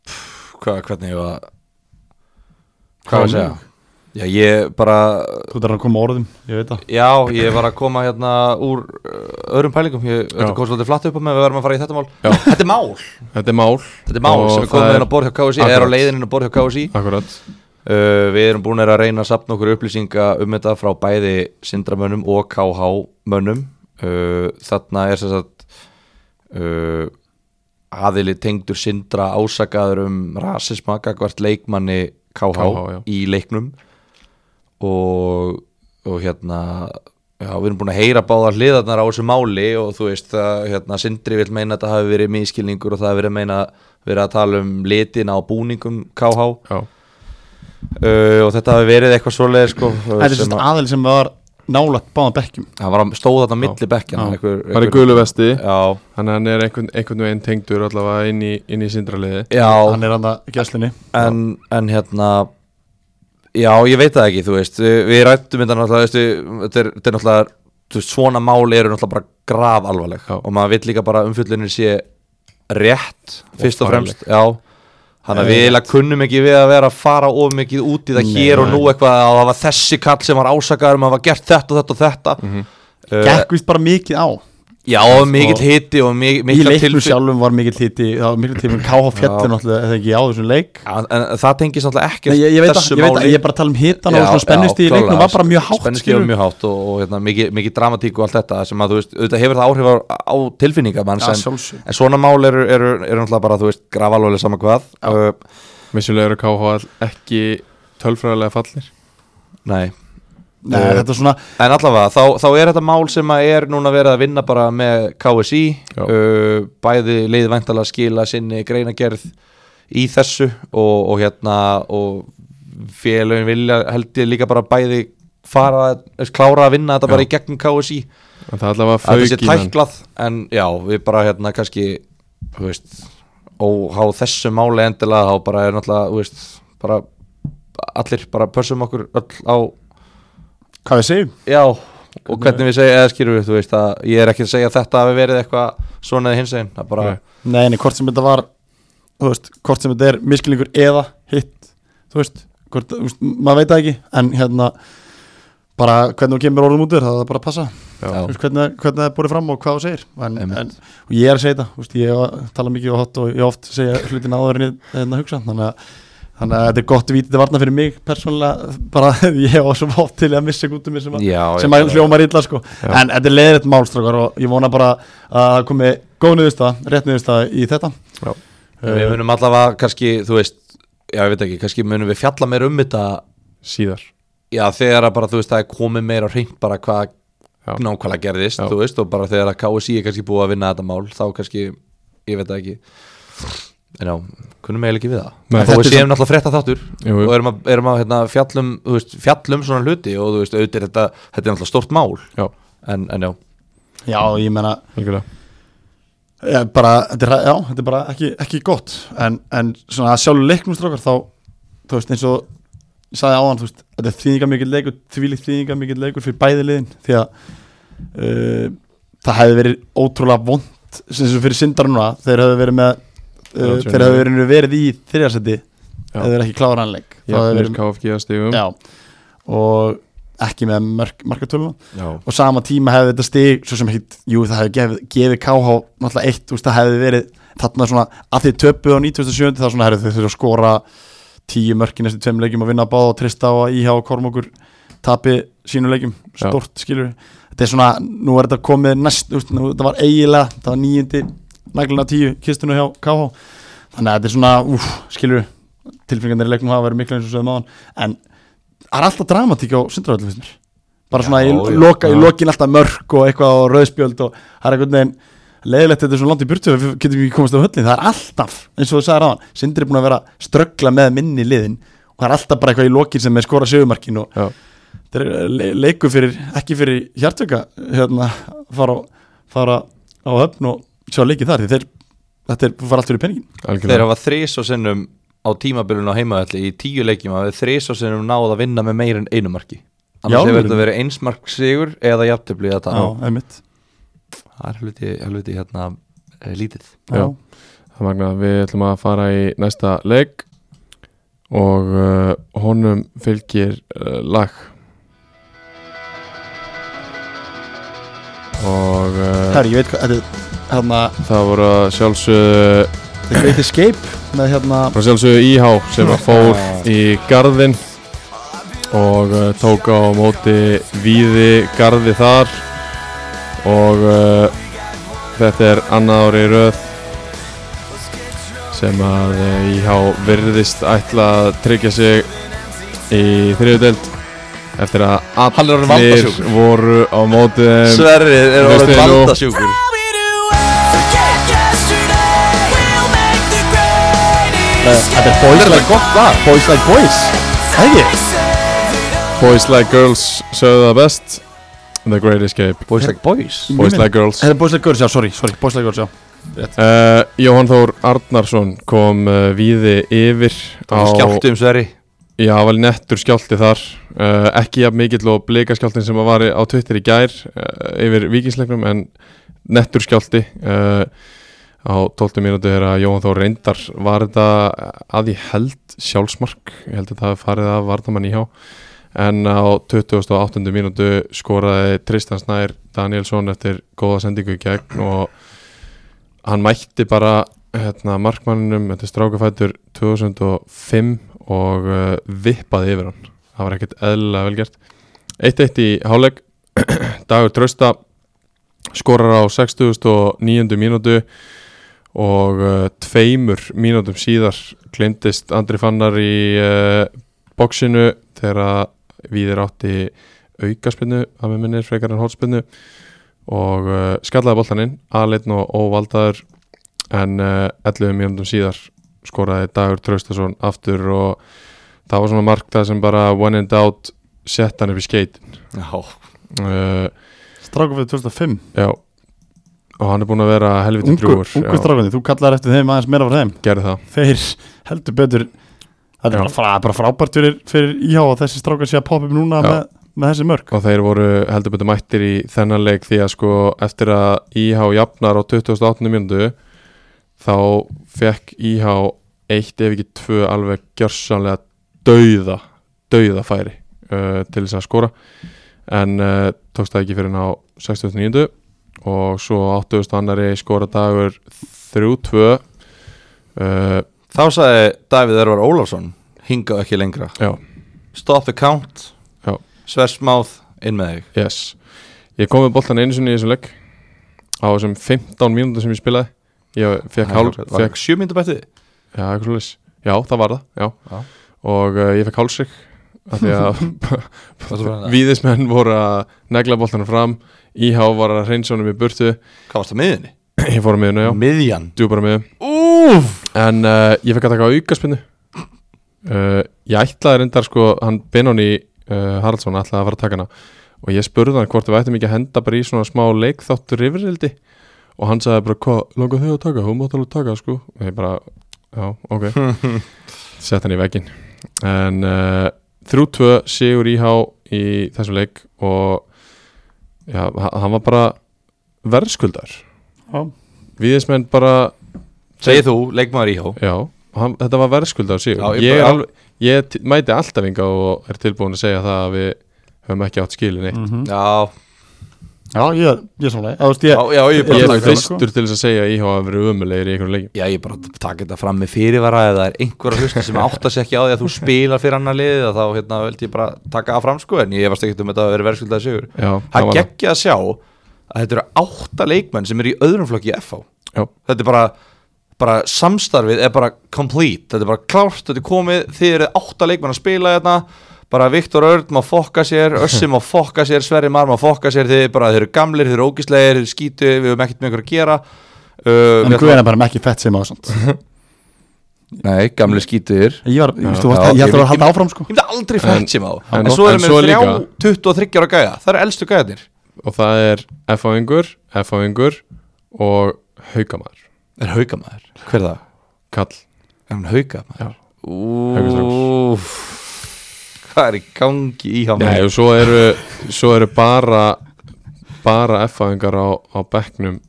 [SPEAKER 4] pff, hvað, hvernig ég var hvað var að segja já, ég bara
[SPEAKER 3] Þú þarf að koma orðum, ég veit það
[SPEAKER 4] já, ég var að koma hérna úr uh, öðrum pælingum, ég,
[SPEAKER 2] Já.
[SPEAKER 4] þetta kom svolítið flatt upp á mig, við verðum að fara í þetta mál,
[SPEAKER 2] Já.
[SPEAKER 4] þetta er mál
[SPEAKER 2] Þetta er mál
[SPEAKER 4] Þetta er mál
[SPEAKER 2] og
[SPEAKER 4] sem við
[SPEAKER 2] það
[SPEAKER 4] komum
[SPEAKER 2] er-
[SPEAKER 4] inn á borð hjá KSI eða er á
[SPEAKER 2] Akkurat.
[SPEAKER 4] leiðin inn á borð hjá KSI
[SPEAKER 2] Akkurat,
[SPEAKER 4] uh, Við erum búin að reyna að sapna okkur upplýsinga um þetta frá bæði sindramönnum og KH mönnum uh, Þarna er sem sagt uh, aðili tengdur sindra ásakaður um rasisma gagvart leikmanni KH,
[SPEAKER 2] KH, já.
[SPEAKER 4] í leiknum og og hérna já, við erum búin að heyra báðar hliðarnar á þessu máli og þú veist að hérna, Sindri vil meina að það hafi verið miskilningur og það hafi verið að meina verið að tala um litin á búningum KH
[SPEAKER 2] já,
[SPEAKER 4] uh, og þetta hafi verið eitthvað svoleið sko,
[SPEAKER 3] Þetta er
[SPEAKER 4] sem
[SPEAKER 3] sérst
[SPEAKER 4] að,
[SPEAKER 3] aðeil sem var nálægt báðan bekkjum
[SPEAKER 4] hann var að stóða þarna á milli
[SPEAKER 3] Já.
[SPEAKER 4] bekkjana einhver-
[SPEAKER 2] hann er
[SPEAKER 4] einhver-
[SPEAKER 2] gulu vesti
[SPEAKER 4] já,
[SPEAKER 2] þannig að hann er einhvern, einhvern veginn tengdur allavega inn í, inn í sindraliði
[SPEAKER 4] já,
[SPEAKER 3] Hann er hann að gæslinni
[SPEAKER 4] en, en hérna já, ég veit það ekki, þú veist við við rættum þetta náttúrulega veistu, þetta er, þetta er náttúrulega, þú veist, svona máli eru náttúrulega bara graf alvarleg
[SPEAKER 2] Já.
[SPEAKER 4] og maður vill líka bara að umfjöllunin sé rétt, fyrst og Eh.
[SPEAKER 2] fagleg.
[SPEAKER 4] fremst já, þannig að við eiginlega kunnum ekki við að vera að fara of mikið út í það
[SPEAKER 3] Nei.
[SPEAKER 4] hér og nú eitthvað að það var þessi kall sem var ásakaður um að hafa gert þetta og þetta og þetta mm
[SPEAKER 3] Gekk vist bara mikið á
[SPEAKER 4] Já, og mikill hiti og mi-
[SPEAKER 3] Sko, Í
[SPEAKER 4] miklar
[SPEAKER 3] leiknum
[SPEAKER 4] tilfin-
[SPEAKER 3] sjálfum var mikill hiti Það var mikill hiti K.H.
[SPEAKER 4] Já.
[SPEAKER 3] fjallin náttúrulega eða ekki á þessum leik
[SPEAKER 4] Já, En en það tengist náttúrulega
[SPEAKER 3] Nei,
[SPEAKER 4] ekkert
[SPEAKER 3] ég, ég veit að,
[SPEAKER 4] þessu
[SPEAKER 3] ég veit að,
[SPEAKER 4] máli.
[SPEAKER 3] ég er bara að tala um hitan
[SPEAKER 4] Já,
[SPEAKER 3] og svona spennist í
[SPEAKER 4] já,
[SPEAKER 3] leiknum
[SPEAKER 4] klárlega.
[SPEAKER 3] var bara mjög hátt
[SPEAKER 4] Spennusti var
[SPEAKER 3] skilur.
[SPEAKER 4] mjög hátt og, og hérna, mikið, mikið dramatík og allt þetta sem að þú veist, auðvitað hefur það áhrif á, á tilfinningar manns
[SPEAKER 3] Já,
[SPEAKER 4] en,
[SPEAKER 3] sjálfsög.
[SPEAKER 4] en svona mál eru, eru, eru náttúrulega bara, þú veist, grafalóli sama hvað uh,
[SPEAKER 2] vissulega eru KH all- ekki tölfræðilega fallir
[SPEAKER 4] Nei,
[SPEAKER 3] Nei,
[SPEAKER 4] Eh,
[SPEAKER 3] þetta er svona
[SPEAKER 4] en allavega þá, þá er þetta mál sem að er núna verið að vinna bara með KSI
[SPEAKER 2] Já.
[SPEAKER 4] uh, bæði leiðvæntalega skila sinni greinagerð í þessu og, og hérna og félögin vilja held ég líka bara bæði fara, þú veist, klára að vinna þetta bara
[SPEAKER 2] Já.
[SPEAKER 4] í gegnum KSI
[SPEAKER 2] en það allavega
[SPEAKER 4] að það sé
[SPEAKER 2] fauk í hann
[SPEAKER 4] tæklað en já, við bara hérna kannski þú veist, og á þessu máli endilega þá bara er náttúrulega þú veist, bara allir bara pössum okkur öll á
[SPEAKER 3] Hvað við segjum?
[SPEAKER 4] já, og hvernig við segja eða skýrum við, þú veist að ég er ekki að segja að þetta hafi verið eitthvað svona eða hins einn, það bara
[SPEAKER 2] Nei.
[SPEAKER 3] Nei, nei, hvort sem þetta var Þú veist, hvort sem þetta er miskilningur eða hitt Þú veist, hvort, þú veist maður veit það ekki En hérna Bara hvernig þú kemur orðum út úr það er bara að passa
[SPEAKER 2] Já.
[SPEAKER 3] Þú veist, hvernig, hvernig það er búið fram og hvað þú segir en,
[SPEAKER 4] Einmitt.
[SPEAKER 3] en, og ég er að segja þetta, þú veist, ég hef- tala mikið og hot og ég oft segja hlutin áður en ég en að hugsa þannig að, þannig að þetta er gott vítið varna fyrir mig persónulega, bara ég var svo oft til að missa gútið mér sem, að,
[SPEAKER 4] já,
[SPEAKER 3] sem að hljóma illa sko. en þetta er leiðrætt málstrakar og ég vona bara að það komi góð niðurstaða, rétt niðurstaða í þetta
[SPEAKER 2] Já.
[SPEAKER 4] við munum allavega kannski, þú veist já, ég veit ekki, kannski munum við fjalla meir um þetta
[SPEAKER 2] síðar
[SPEAKER 4] já, þegar að bara, þú veist, það er komið meira hreint bara hvað
[SPEAKER 2] Já.
[SPEAKER 4] nákvæmlega gerðist,
[SPEAKER 2] Já.
[SPEAKER 4] þú veist, og bara þegar að KSI er kannski búið að vinna þetta mál, þá kannski ég veit það ekki en já, kunnum eiginlega ekki við það
[SPEAKER 2] Nei.
[SPEAKER 4] Nei, þá
[SPEAKER 2] Þetta
[SPEAKER 4] við
[SPEAKER 2] er
[SPEAKER 4] séum náttúrulega frétta þáttur
[SPEAKER 2] Jú, jú.
[SPEAKER 4] og erum að, erum að hérna, fjallum, þú veist, fjallum svona hluti og þú veist, auðvitað er þetta, þetta er náttúrulega stórt mál
[SPEAKER 2] já,
[SPEAKER 4] en, en já,
[SPEAKER 3] já, ég menna
[SPEAKER 2] algjörlega
[SPEAKER 3] Já, Eh, bara, þetta er, já, þetta er bara ekki, ekki gott en, en svona að sjálfur leiknum strókar þá, þú veist, eins og ég sagði áðan, þú veist, þetta er þýðinga mikill leikur þvílík þýðinga mikill leikur fyrir bæði liðin því að uh, það hefði verið ótrúlega vond sem sem fyrir sindar núna, þeir hefði verið með uh,
[SPEAKER 2] Já,
[SPEAKER 3] þeir hefði verið, verið í þriðarsæti
[SPEAKER 2] Já.
[SPEAKER 3] hefði verið ekki klárannleik
[SPEAKER 2] Já, þeir KFG stigum
[SPEAKER 3] já, og ekki með mark, markatöluna
[SPEAKER 4] já.
[SPEAKER 3] og sama tíma hefði þetta stig svo sem hitt, jú það hefði gefið, gefið KH náttúrulega eitt, þú veist það hefði verið þarna svona, að þið töpuð á 97 þá svona herrið þau þurfa að skora tíu mörk í næstu tveim leikjum og vinna báða og trista á að íhá og kormokur tapi sínu leikjum,
[SPEAKER 2] Já.
[SPEAKER 3] stort skilur þetta er svona, nú er þetta komið næst, þú veist, nú, þetta var eiginlega það var nýjindi, naglina tíu, kistinu hjá KH þannig að þetta er svona, úf, skilur tilfingarnir í leiknum hafa verið mikla eins og sögum áðan en það er alltaf dramatík á sundraröldum finnst mér bara svona
[SPEAKER 4] Já,
[SPEAKER 3] í,
[SPEAKER 4] já.
[SPEAKER 3] loka, í
[SPEAKER 2] Já.
[SPEAKER 3] lokin alltaf mörk og eitthvað og rauðspjöld og það er einhvern veginn leiðilegt þetta er svona langt í burtu við getum ekki komast á höllin, það er alltaf eins og þú sagðir áðan, Sindri er búin að vera að ströggla með minni liðin og það er alltaf bara eitthvað í lokin sem er skora segumarkin og
[SPEAKER 2] Já.
[SPEAKER 3] þetta er le leiku fyrir, ekki fyrir hjartöka hérna, fara, á- fara á höfn og sjá leikið þar því þeir, þetta er, fara allt fyrir peningin
[SPEAKER 4] þeir
[SPEAKER 2] algjörlega
[SPEAKER 4] hafa þrís og sinnum á tímabilinu á heimaðalli í tíu leikjum að við þrís og sinnum náð að vinna með meir en einu marki
[SPEAKER 3] Já,
[SPEAKER 4] annars hefur
[SPEAKER 3] alvöru?
[SPEAKER 4] þetta verið einsmark sigur eða jafntöfli eða það
[SPEAKER 3] Já, einmitt
[SPEAKER 4] það er hluti, hluti hérna eh, lítið
[SPEAKER 2] Já. það magna við ætlum að fara í næsta leik og uh, honum fylgir uh, lag og uh,
[SPEAKER 3] Herri, ég veit hvað, þetta er hérna
[SPEAKER 2] það voru að sjálfsögðu
[SPEAKER 3] The Great Escape með hérna
[SPEAKER 2] frá sjálfsögðu íhá sem að fór í garðin og uh, tók á móti víði garði þar og uh, þetta er annað ári í röð sem að uh, íhá virðist ætla að tryggja sig í þriðudeld Eftir að
[SPEAKER 4] Hann er orðinn
[SPEAKER 2] allir
[SPEAKER 4] valdasjúkur.
[SPEAKER 2] voru á móti þeim
[SPEAKER 4] Sverrið er
[SPEAKER 2] Þú veist
[SPEAKER 4] orðið
[SPEAKER 2] þegar þú-
[SPEAKER 4] valdasjúkur
[SPEAKER 3] Þetta er Boys Like
[SPEAKER 4] gott lag
[SPEAKER 3] Boys Like Boys Það ekki?
[SPEAKER 2] Boys Like Girls sögðu það best The Great Escape
[SPEAKER 4] Boys like boys
[SPEAKER 2] Boys Like Girls
[SPEAKER 3] Þetta er Boys Like Girls, já, sorry, sorry Boys Like Girls, já
[SPEAKER 2] uh, Jóhann Þór Arnarsson kom uh, víði yfir
[SPEAKER 4] Það var skjálfti um Sverri
[SPEAKER 2] Já, það var nettur skjálti þar uh, Ekki jafn mikill og blikaskjáltin sem að var í- á Twitter í gær uh, yfir vikingsleiknum en nettur skjálti uh, á 12 mínútu er að Jóhann Þór reyndar var þetta að ég held sjálfsmark ég held að það hafi farið að vartamann í hjá en á 28. mínútu skoraði Tristan Snær Danielsson eftir góða sendingu í gegn og hann mætti bara hérna, markmanninum, þetta er strákafætur 2005 og uh, vippaði yfir hann það var ekkert eðlilega velgert 1-1 í háleg Dagur Trausta skorar á 69. mínútu og uh, tveimur mínútum síðar klindist Andri Fannar í uh, boksinu þegar að viðir átti aukaspinnu að með minnir frekar en hotspinnu og uh, skallaði boltan inn aðleitn og óvaldaður en uh, 11 mínúndum síðar skoraði Dagur Traustason aftur og það var svona mark það sem bara one and out sett hann upp í skeit
[SPEAKER 4] Já
[SPEAKER 2] uh,
[SPEAKER 3] Strákur fyrir 2005
[SPEAKER 2] já og hann er búin að vera helviti
[SPEAKER 3] Ungur,
[SPEAKER 2] drúgur
[SPEAKER 3] ungur
[SPEAKER 2] já,
[SPEAKER 3] strákunni, þú kallar eftir þeim aðeins meira frá þeim
[SPEAKER 2] gerði það
[SPEAKER 3] Þeir heldur betur Þetta er
[SPEAKER 2] Já.
[SPEAKER 3] bara, frá, bara frábært fyrir, fyrir íhá að þessi strákar sé að poppa upp núna
[SPEAKER 2] Já.
[SPEAKER 3] með, með þessi mörg
[SPEAKER 2] og þeir voru heldur betur mættir í þennan leik því að sko eftir að IH jafnar á 28. mjöndu þá fekk IH eitt ef ekki tvö alveg gjörsamlega dauða dauða færi uh, til þess að skora en uh, tókst það ekki fyrir hann á 69. og svo á 80. annari skora dagur 3-2 uh,
[SPEAKER 4] Þá sagði Davíð Örvar Ólafsson Hingað ekki lengra
[SPEAKER 2] já
[SPEAKER 4] Stop the count
[SPEAKER 2] Já.
[SPEAKER 4] Sversmáð Inn með þig
[SPEAKER 2] Yes Ég kom með boltan einu sinni í þessum legg á þessum 15 mínútur sem ég spilaði ég fekk hálf
[SPEAKER 4] Var
[SPEAKER 2] fekk,
[SPEAKER 4] ekki sjö myndu bættið
[SPEAKER 2] já, eitthvað svoleiðis. já, það var það já.
[SPEAKER 4] Já.
[SPEAKER 2] og uh, ég fekk hálsrygg af því að
[SPEAKER 4] Hvað varst
[SPEAKER 2] víðismenn voru að negla boltanum fram IH var að reynsa honum í burtu
[SPEAKER 4] það miðinni?
[SPEAKER 2] ég fór að miðuna, já,
[SPEAKER 4] Miðjan
[SPEAKER 2] djúpar að miðu
[SPEAKER 4] Úf
[SPEAKER 2] En uh, ég fekk að taka aukaspinnu uh, Ég ætlaði reyndar sko Hann Benóni uh, Haraldsson ætlaði að fara að taka hana Og ég spurði hann hvort við ættum ekki að henda bara í svona smá leikþáttur yfirildi Og hann sagði bara hvað, langar þau að taka? Hún mátt alveg taka sko Og ég bara, já, ok Sett hann í veggin En uh, 3-2 sigur íhá í þessum leik Og já, h- hann var bara verðskuldar
[SPEAKER 3] Já.
[SPEAKER 2] Viðismenn bara
[SPEAKER 4] Segir þú, leikmaður íhá
[SPEAKER 2] Já, hann, þetta var verðskulda á sig
[SPEAKER 4] Já, ég
[SPEAKER 2] Ég, er
[SPEAKER 4] bara-
[SPEAKER 2] alveg, ég t- mæti alltaf inga og er tilbúin að segja það að við höfum ekki átt skilin
[SPEAKER 3] Mm.
[SPEAKER 2] eitt
[SPEAKER 4] Já,
[SPEAKER 3] Já, ég er, ég er samlega Þú veist,
[SPEAKER 4] já,
[SPEAKER 3] ég,
[SPEAKER 4] já, ég er
[SPEAKER 3] Ég
[SPEAKER 2] Ég
[SPEAKER 4] bara
[SPEAKER 2] er
[SPEAKER 3] lagði það, sko.
[SPEAKER 2] fyrstur til þess að segja að IH hafa verið umulegir í einhverjum leikum
[SPEAKER 4] Já, ég er bara að taka þetta fram með fyrirvara ef það er einhver að hlusta sem áttar sér ekki á því að þú spilar fyrir annar liðið að þá hérna, veldi ég bara taka það fram sko en ég varst ekkert um þetta að vera verðskuldað sigur
[SPEAKER 2] Já, það
[SPEAKER 4] Það
[SPEAKER 2] var
[SPEAKER 4] geggja að sjá að þetta eru átta leikmenn sem eru í öðrum flokki í FH
[SPEAKER 2] Já.
[SPEAKER 4] Þetta er bara, bara samstarfið er bara complete, þetta er bara klárt þetta er komið, þið eru átta leikmenn að spila hérna bara Viktor Örd má fokka sér Össi má fokka sér, Sverri Mar má fokka sér þið, er bara, þið eru gamlir, þið eru ógislegir þið eru skítu, við höfum ekkert með ykkur að gera Uh,
[SPEAKER 3] en
[SPEAKER 4] við
[SPEAKER 3] guðina bara með ekki fett sem á þessant
[SPEAKER 4] Nei, gamli skítur
[SPEAKER 3] Ég var, þú veist, þú
[SPEAKER 4] Já,
[SPEAKER 3] varst-
[SPEAKER 4] já,
[SPEAKER 3] ég
[SPEAKER 4] ég-
[SPEAKER 3] ætla að halda áfram, sko
[SPEAKER 4] Ég myndi aldrei
[SPEAKER 2] En-
[SPEAKER 4] fætt sem á
[SPEAKER 2] en-
[SPEAKER 4] En svo
[SPEAKER 2] en
[SPEAKER 4] erum
[SPEAKER 2] svo
[SPEAKER 4] við þrjá
[SPEAKER 2] líka-
[SPEAKER 4] 23 ára gæja Það eru elstu gæjarnir
[SPEAKER 2] Og það er F-áingur, F-áingur og haukamæður
[SPEAKER 4] Er haugamæður Hver er það?
[SPEAKER 2] Kall,
[SPEAKER 4] Er hann haugamæður?
[SPEAKER 2] Haukastrákur.
[SPEAKER 4] Úf Hvað er í gangi í hann?
[SPEAKER 2] Nei, og svo eru, svo eru bara bara F-áingar á, á bekknum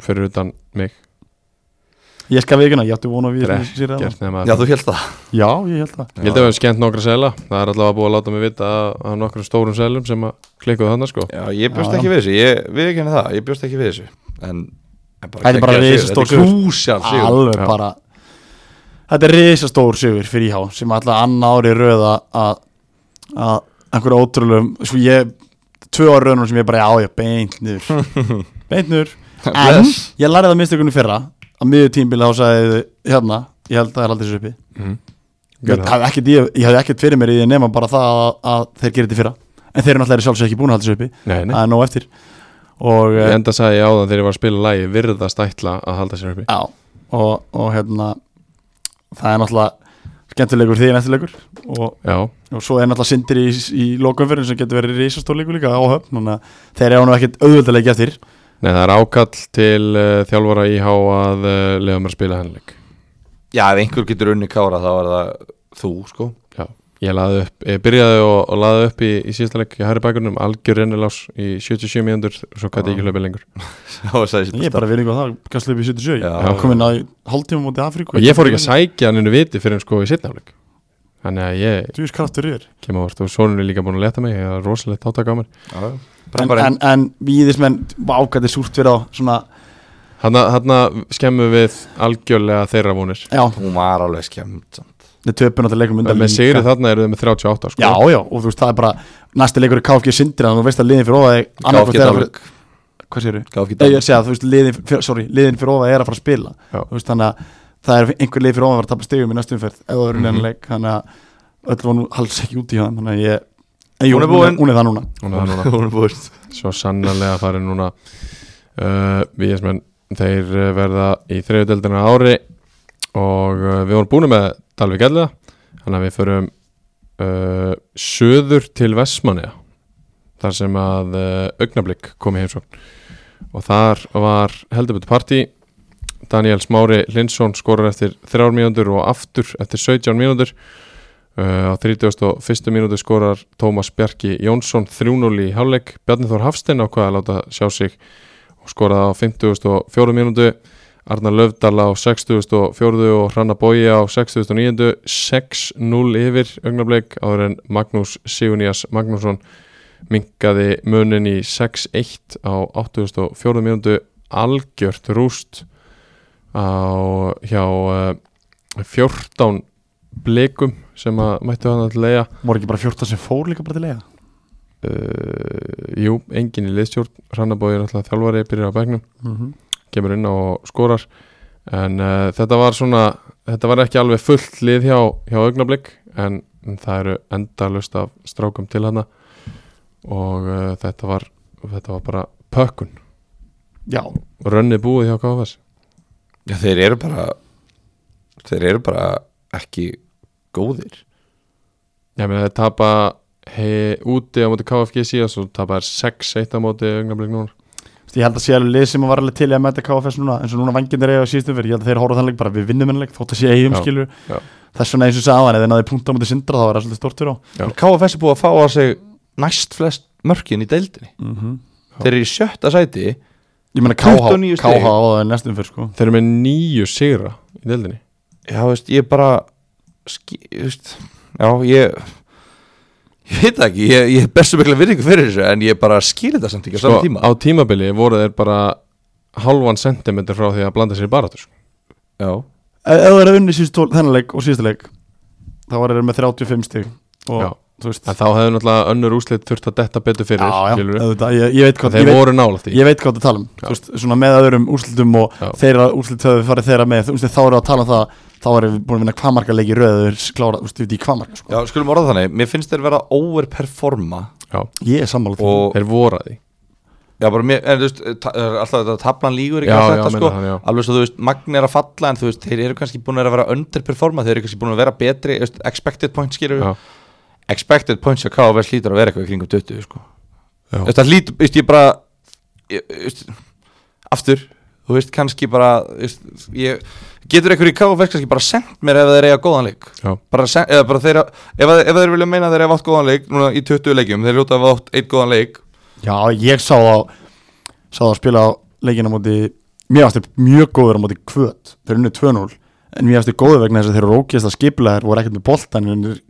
[SPEAKER 2] fyrir utan mig
[SPEAKER 3] Ég skal veikina, ég átti vona við
[SPEAKER 2] Drekkert nema
[SPEAKER 4] Já, þú hélst það
[SPEAKER 3] Já, ég held það
[SPEAKER 2] Ég held að við hefum skemmt nokkra sela Það er allavega búið að láta mig vita að- að nokkrum stórum selum sem að klikkuðu þannig sko
[SPEAKER 4] Já, ég bjóst
[SPEAKER 3] Já.
[SPEAKER 4] ekki við þessu Ég við ekki henni það Ég bjóst ekki við þessu En en
[SPEAKER 3] Þetta er bara
[SPEAKER 4] geggjaður
[SPEAKER 3] risastór
[SPEAKER 4] sigur. Þetta er
[SPEAKER 3] sigur.
[SPEAKER 4] krúsjál sigur
[SPEAKER 3] Alveg
[SPEAKER 2] Já.
[SPEAKER 3] bara Þetta er risastór sigur fyrir íhá sem alltaf annar ári röða að að einhverja ótrúlegum sko ég, tvö ári röðunum sem ég bara já, ég beint niður beint niður, en
[SPEAKER 4] Bless.
[SPEAKER 3] ég
[SPEAKER 2] Mhm.
[SPEAKER 3] lærði það mistökunum í fyrra að miður tímbili þá sagði þau, hérna, ég held að það er aldrei þessu uppi
[SPEAKER 2] Gerðu
[SPEAKER 3] ég hafði ekkert, ég, ég hafði ekkert fyrir mér í því nema bara það að, að þeir gerir þetta í fyrra en þeir eru náttúrulega sjálfsög ekki búin að halda þessu uppi
[SPEAKER 2] Nei, nei.
[SPEAKER 3] það er nóg eftir og,
[SPEAKER 2] Ég
[SPEAKER 3] eh,
[SPEAKER 2] enda sagði ég á það þegar ég var að spila lagi virðast ætla að halda sér uppi
[SPEAKER 3] já, og, og hérna það er náttúrulega skemmtilegur því næstilegur og,
[SPEAKER 2] Já,
[SPEAKER 3] og svo er náttúrulega sindir í, í lokumferðin sem getur verið risastórleikur líka á höfn þannig að þeir eru nú ekkert auðvöldalegi eftir
[SPEAKER 2] nei það er ákall til uh, þjálfara IH að uh, leiða mér að spila hennileg
[SPEAKER 4] Já, ef einhver getur unni kára þá er það þú, sko
[SPEAKER 2] Já, ég laði upp, ég byrjaði og, og laði upp í, í síðasta leik í Harry Bækurnum algjör rennilás í 77 mínútur svo gæti ég ekki hlaupið lengur
[SPEAKER 4] Það var sæðið
[SPEAKER 3] ég er bara verið ykkur það, kannski upp í 77
[SPEAKER 4] Já.
[SPEAKER 3] ég er komin að hálftíma mútið Afríku
[SPEAKER 2] og ég fór ekki að sækja hann inu viti fyrir hann sko í sitnafleik Þannig að ég
[SPEAKER 3] Þú veist kraftur yfir
[SPEAKER 2] kemur vart og sonur er líka búin að leta mig það er rosalegt átaka á mér
[SPEAKER 3] En, en, en víðismenn, ágætið súrt verið á svona,
[SPEAKER 2] Hanna, hanna skemmum við algjörlega þeirra vonir
[SPEAKER 3] já,
[SPEAKER 4] Hún var alveg skemmt samt.
[SPEAKER 3] Þeir töpu náttúrulega leikum undan
[SPEAKER 2] Með
[SPEAKER 3] líka.
[SPEAKER 2] sigri þarna eru þau með 38 sko
[SPEAKER 3] Já, já, og þú veist, það er bara Næsti leikur er KFG sindir Þannig að þú veist að liðin fyrir ofa er
[SPEAKER 4] Gáf
[SPEAKER 3] annarkvort
[SPEAKER 4] ekki
[SPEAKER 3] er að fara-
[SPEAKER 4] dálug
[SPEAKER 3] Hvað séru?
[SPEAKER 4] Gáf ekki
[SPEAKER 3] Ég
[SPEAKER 4] dálug
[SPEAKER 3] er að segja, þú veist, liðin fyrir, sorry, liðin fyrir ofa er að fara að spila
[SPEAKER 2] Já.
[SPEAKER 3] Þú veist, þannig að það er einhver lið fyrir ofa að fara að tapa stegum í næstu umferð Ef það verður neina leik Þannig að öll var nú hals ekki út í hann Þannig að ég en jú,
[SPEAKER 4] Hún er búin.
[SPEAKER 3] Hún er það núna
[SPEAKER 2] Hún er það núna
[SPEAKER 4] Hún er búist
[SPEAKER 2] svo sannarlega farið núna uh, Víðismenn þeir uh, verða í þriðudeldina ári og uh, við vorum búin með Dalvik Elliða þannig að við förum uh, söður til Vestmanniða þar sem að uh, augnablík kom í heimsókn og þar var heldurbyrtu partí Daniel Smári Lindsson skorar eftir þrjár mínútur og aftur eftir 17 mínútur Uh, á 31. mínútu skorar Tómas Bjarki Jónsson 3-0 í hálfleik Bjarni Þór Hafstein ákvaði að láta sjá sig og skoraði á 54. mínútu Arnar Löfdal á 64. og Hranna Bói á 69. 6-0 yfir augnablik áður en Magnús Sigurnías Magnússon minkaði munin í 6-1 á 84. mínútu algjört rúst á hjá uh, 14 blikum sem að mættu hann að leia
[SPEAKER 3] Mór ekki bara 14 sem fór líka bara til lega
[SPEAKER 2] uh, jú, engin í liðstjórn Hrannabói er náttúrulega þjálfari, byrjar á bæknum kemur inn á og skorar en uh, þetta var svona þetta var ekki alveg fullt lið hjá, hjá augnablik en, en það eru endalust af strákum til hana og uh, þetta var þetta var bara pökkun
[SPEAKER 3] Já,
[SPEAKER 2] rönni búið hjá KFS
[SPEAKER 4] Já, þeir eru bara Þeir eru bara ekki góðir
[SPEAKER 2] ég meina þeir tapa hei, úti á móti KFG síðan svo tapa er 6-1 á móti augnablik núna
[SPEAKER 3] Þú veist, ég held að sé alveg lið sem var alveg til í að mæta KFS núna eins og núna vangindir eiga á síðustu fyrir ég held að þeir horfa þannig bara við vinnum ennleg þótt að sé eigum
[SPEAKER 2] Já,
[SPEAKER 3] skilur
[SPEAKER 2] já.
[SPEAKER 3] þess vegna eins og sagðan ef þeir náði punkt á mútið sindra þá var það svolítið stort fyrir á
[SPEAKER 2] Já.
[SPEAKER 4] KFS er búið að fá á sig næst flest mörkin í deildinni Þeir eru í sjötta sæti
[SPEAKER 3] ég meina
[SPEAKER 4] 29
[SPEAKER 3] KH
[SPEAKER 4] stig.
[SPEAKER 3] KH á það næstum fyrir sko
[SPEAKER 2] þeir eru með nýju sigra í deildinni
[SPEAKER 4] Já, veist, ég bara ski, veist, Já, ég Ég veit það ekki, ég, ég er bestu mikla virðingu fyrir þessu En ég bara skil þetta samt ekki Sko, á saman tíma
[SPEAKER 2] Sko, á tímabili voru þeir bara halvan sentimentur frá því að blanda sér í baratu sko.
[SPEAKER 4] Já,
[SPEAKER 3] ef ef þeir eru unni síðustu þennan leik og síðustu leik þá var þeir með 35 stig og
[SPEAKER 2] Já.
[SPEAKER 3] þú veist
[SPEAKER 2] en þá hefðu náttúrulega önnur úslit þurft að detta betur fyrir
[SPEAKER 3] já, já,
[SPEAKER 2] skilurðu.
[SPEAKER 3] auðvitað, ég, ég veit hvað ég
[SPEAKER 2] þeir
[SPEAKER 3] veit-
[SPEAKER 2] voru nála því
[SPEAKER 3] Ég veit hvað það tala um, þú veist, svona með öðrum úrslutum og
[SPEAKER 2] Já.
[SPEAKER 3] þeirra úrslut höfðu farið þeirra með, þú veist, þá eru að tala um það, þá erum við búin að vinna hvað marga leiki í röð, þú veist, klára, þú veist, út í hvað marga, sko.
[SPEAKER 4] já skulum orða þannig Mér finnst þeir vera overperforma
[SPEAKER 2] já,
[SPEAKER 3] Ég er sammála því.
[SPEAKER 4] Og,
[SPEAKER 2] þeir voru að því
[SPEAKER 4] já, bara mér, en þú veist ta- það er Alltaf þetta tablan lígur ekki
[SPEAKER 2] Já,
[SPEAKER 4] allt
[SPEAKER 2] já,
[SPEAKER 4] þetta,
[SPEAKER 2] meina
[SPEAKER 4] sko
[SPEAKER 2] það, já.
[SPEAKER 4] Alveg svo, þú veist, magn er að falla En þú veist, þeir eru kannski búin að vera underperforma Þeir eru kannski búin að vera betri, þú veist, expected points skilur
[SPEAKER 2] já,
[SPEAKER 4] Expected points að KFS lítur að vera eitthvað í kringum 20, sko
[SPEAKER 2] já.
[SPEAKER 4] Þú veist, það lítur, þú veist, ég bara ég, þú veist, aftur þú veist, kannski bara þú veist, ég, getur einhver í KFS kannski bara sendt mér ef þeir eiga góðan leik
[SPEAKER 2] Já.
[SPEAKER 4] bara send, eða bara þeirra, ef, ef þeir vilja meina að þeir eiga átt góðan leik, núna í 20 leikjum þeir ljóta að hafa átt eitt góðan leik
[SPEAKER 3] Já, ég sá þá sá þá spila á leikina á móti mér varst þeir mjög góður á móti kvöt þeir unnu 2-0, en mér varst þeir góður vegna þess að þeir eru rókjast að skipla þeir voru ekkert með boltan en þeir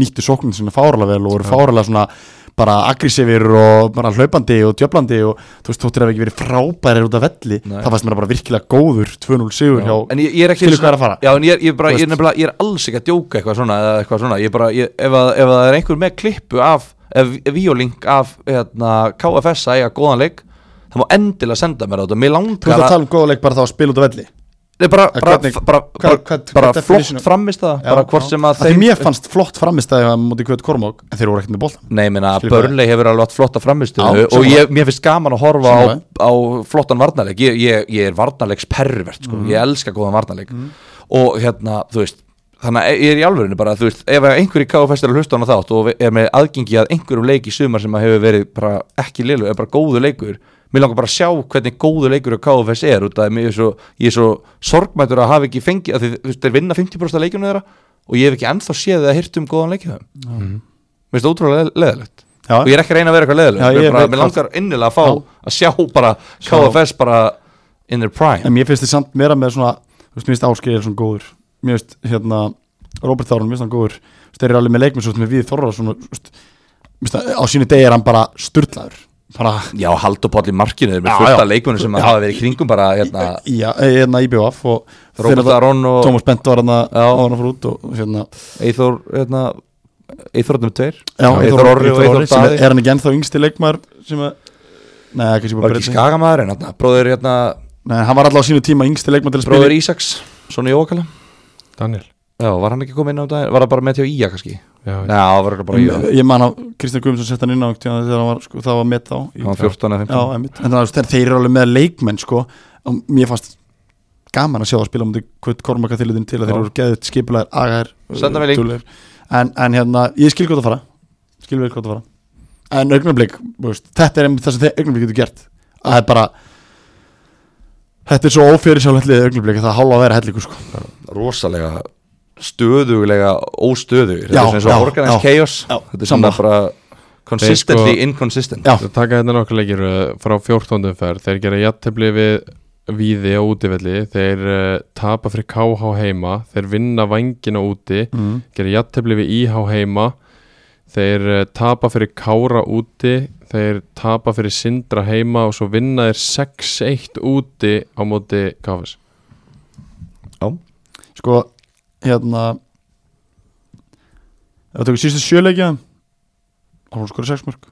[SPEAKER 3] nýttu sóknum sinna fáralega vel og voru fáralega svona bara aggressífir og bara hlaupandi og djöflandi og þú veist, þóttir að ekki verið frábærir út af velli
[SPEAKER 4] Nei.
[SPEAKER 3] það fannst mér bara virkilega góður 2-0 sigur hjá
[SPEAKER 4] en ég, ég er ekki
[SPEAKER 3] Skilur hvað er að fara?
[SPEAKER 4] já, en ég, ég, bara,
[SPEAKER 3] Þú
[SPEAKER 4] ég, er
[SPEAKER 3] veist.
[SPEAKER 4] nefnilega, ég er alls ekki að djóka eitthvað svona, eða eitthvað svona. Ég bara, ég, ef, að, ef að það er einhver með klippu af ef, ef Víolink af hérna, KFS að eiga góðan leik það má endilega senda mér á þetta mér
[SPEAKER 3] Þú veist
[SPEAKER 4] langar
[SPEAKER 3] um- að tala um góða leik bara þá að spila út af velli
[SPEAKER 4] Nei, bara,
[SPEAKER 3] Eh,
[SPEAKER 4] bara,
[SPEAKER 3] hvernig-
[SPEAKER 4] bara, bara,
[SPEAKER 3] hvað- hvað-
[SPEAKER 4] bara
[SPEAKER 3] hvað definition-
[SPEAKER 4] flott framist það
[SPEAKER 3] Já,
[SPEAKER 4] bara hvort
[SPEAKER 3] já.
[SPEAKER 4] sem að
[SPEAKER 3] Af því mér fannst flott framistæði að móti Kvöt Kormók en þeir voru ekkert með boltan
[SPEAKER 4] Nei, ég meina,
[SPEAKER 3] Skil hvað
[SPEAKER 4] Burnley hefur alveg átt flotta framistu
[SPEAKER 3] Já,
[SPEAKER 4] og ég, mér finnst gaman að horfa á,
[SPEAKER 3] Sammála.
[SPEAKER 4] á flottan varnarleik ég, ég, ég er varnarleiks pervert sko. ég elska góðan varnarleik og hérna, þú veist þannig að ég er í alvörinu bara, þú veist, ef einhver í KFS er að hlusta á hana þátt og er með aðgengi að einhverjum leik í sumar sem að hefur verið bara ekki lilu, er bara góðu leikur mér langar bara að sjá hvernig góðu leikur á KFS er út af því að ég er svo, ég er svo sorgmættur að hafa ekki fengið að þið, þú veist, þeir vinna 50% af leikjunum þeirra og ég hef ekki ennþá séð eða hirt um góðan leikið þeim mér finnst það ótrúlega le- leðilegt
[SPEAKER 3] Já.
[SPEAKER 4] og ég er ekki að reyna að vera eitthvað
[SPEAKER 3] Já,
[SPEAKER 4] leðilegt
[SPEAKER 3] ég
[SPEAKER 4] mér, bara,
[SPEAKER 3] veit
[SPEAKER 4] mér
[SPEAKER 3] hvað-
[SPEAKER 4] langar innilega að fá
[SPEAKER 3] Já.
[SPEAKER 4] að sjá bara KFS bara in their prime
[SPEAKER 3] en mér finnst þið samt meira með svona þú veist, mér finnst Áskei er svona góður mér finnst hérna Robert Þárun, mér finnst hann góður Þú veist, þeir eru alveg með leikmenn svo með við Þorra svona, veist, mér finnst það, á sínu degi er hann bara sturlaður bara
[SPEAKER 4] já, Haldur Páll í markinu er
[SPEAKER 3] Já,
[SPEAKER 4] með fullta
[SPEAKER 3] já.
[SPEAKER 4] leikmennu sem
[SPEAKER 3] Já.
[SPEAKER 4] hafa verið í kringum bara hérna,
[SPEAKER 3] í, hérna í BVF og
[SPEAKER 4] Robert Aron og
[SPEAKER 3] Thomas Bent var hann að
[SPEAKER 4] Já.
[SPEAKER 3] hann fór út og hérna
[SPEAKER 4] Eithor hérna, Eithor nummer tveir
[SPEAKER 3] Já,
[SPEAKER 4] Eithor Orri og Eithor
[SPEAKER 3] sem er,
[SPEAKER 4] Daði
[SPEAKER 3] er hann ekki ennþá yngsti leikmaður sem að Nei, kannski bara
[SPEAKER 4] var ekki
[SPEAKER 3] breyting
[SPEAKER 4] skagamaður en hérna, bróður hérna,
[SPEAKER 3] Nei, hann var alltaf á sínu tíma yngsti leikmaður til að spila
[SPEAKER 4] bróður Ísaks svona í ókala
[SPEAKER 2] Daniel
[SPEAKER 4] já, var hann ekki komið inn á daginn, var það bara með til Ía kannski já,
[SPEAKER 2] Já,
[SPEAKER 4] það var örugglega bara Ía
[SPEAKER 3] Ég- Ég man að Kristján Guðmundsson sett hann inn á einhvern tímann þegar hann var, sko, það var met þá
[SPEAKER 4] hann var 14 eða
[SPEAKER 3] Já,
[SPEAKER 4] 15
[SPEAKER 3] einmitt En þannig að þeir eru alveg með leikmenn, sko og mér fannst gaman að sjá það spila múti Kvöld Kormaka þýlutin til að þeir
[SPEAKER 4] Já.
[SPEAKER 3] eru geðið skipulegar, agar
[SPEAKER 4] Senda mér link.
[SPEAKER 3] en, en hérna, ég skil gott að fara Skil vel gott að fara En augnablik, þú veist, þetta er einmitt það sem þeir augnablik getur gert að það er bara Þetta er svo ófyrir sjálfhællið augnablik að það hálfa að vera hellikur, sko
[SPEAKER 4] rosalega stöðuglega óstöðugir
[SPEAKER 3] Já,
[SPEAKER 4] þetta er sem svo
[SPEAKER 3] já,
[SPEAKER 4] organized
[SPEAKER 3] já.
[SPEAKER 4] chaos
[SPEAKER 3] Já,
[SPEAKER 4] þetta er svona
[SPEAKER 3] sammála.
[SPEAKER 4] bara consistently
[SPEAKER 2] Þeir sko-
[SPEAKER 4] inconsistent
[SPEAKER 3] Já.
[SPEAKER 2] Þeir taka hérna nokkar leikir uh, frá 14. umferð þeir gera jættefli við víði á útivelli, þeir uh, tapa fyrir KH heima, þeir vinna vangina úti,
[SPEAKER 3] mm.
[SPEAKER 2] gera jættefli við IH heima þeir uh, tapa fyrir Kára úti þeir tapa fyrir Sindra heima og svo vinna þeir 6-1 úti á móti KFS
[SPEAKER 3] sko hérna ef það tökur sístu sjöleikja þá voru skora sex mörg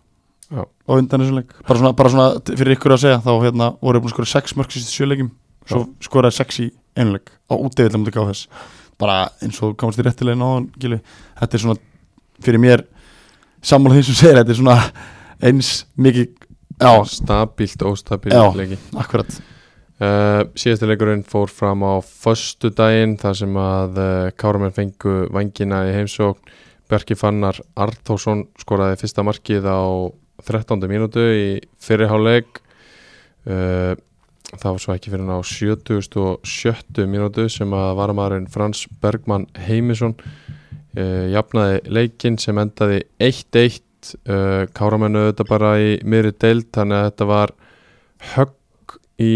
[SPEAKER 2] Já.
[SPEAKER 3] og undan þessum leik bara svona, bara svona t- fyrir ykkur að segja þá hérna voru þeir búin að skora sex mörg sístu sjöleikjum svo skoraði sex í einleik á útdefilega mútið gáð þess bara eins og þú komast í réttilega náðan gili þetta er svona fyrir mér sammála því sem segir þetta er svona eins mikið já,
[SPEAKER 2] stabílt, óstabílt
[SPEAKER 3] Já.
[SPEAKER 2] leiki
[SPEAKER 3] akkurat
[SPEAKER 2] Uh, síðasti leikurinn fór fram á föstu daginn þar sem að uh, Káramenn fengu vangina í heimsókn Bjarki Fannar Artórsson skoraði fyrsta markið á 13. mínútu í fyrirháleik uh, það var svo ekki fyrir hann á 77. mínútu sem að varamaðurinn Frans Bergmann Heimisson uh, jafnaði leikinn sem endaði 1-1 uh, Káramennu þetta bara í miðri deild þannig að þetta var högg í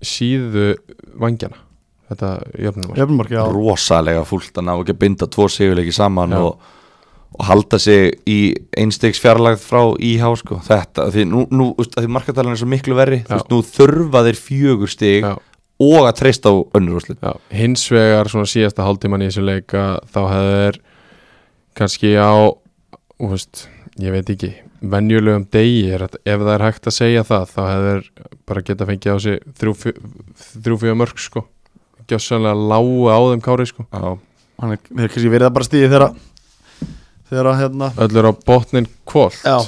[SPEAKER 2] síðu vangjana þetta jöfnum var
[SPEAKER 3] jöfnumörk, já,
[SPEAKER 4] rosalega fúlt að ná ekki að binda tvo sigurleiki saman
[SPEAKER 2] Já.
[SPEAKER 4] og, og halda sig í einstegs fjarlægð frá IH sko. þetta, því, nú, nú, þú veist, af því markatalinn er svo miklu verri þú
[SPEAKER 2] Já.
[SPEAKER 4] veist, nú þurfa þeir fjögur stig
[SPEAKER 2] já,
[SPEAKER 4] og að treysta á önnur úrslit
[SPEAKER 2] já. hins vegar svona síðasta hálftíman í þessu leik að þá hefði þeir kannski á þú veist, ég veit ekki venjulegum degi, er þetta- ef það er hægt að segja það þá hefði þeir bara geta fengið á sig þrjú, fjö- þrjú fjögur mörg sko gjössanlega lágu á þeim kári sko
[SPEAKER 4] Já.
[SPEAKER 3] hann er þeir kannski verið að bara stíði þegar að þegar að hérna
[SPEAKER 2] öllur á botnin kvólt
[SPEAKER 3] já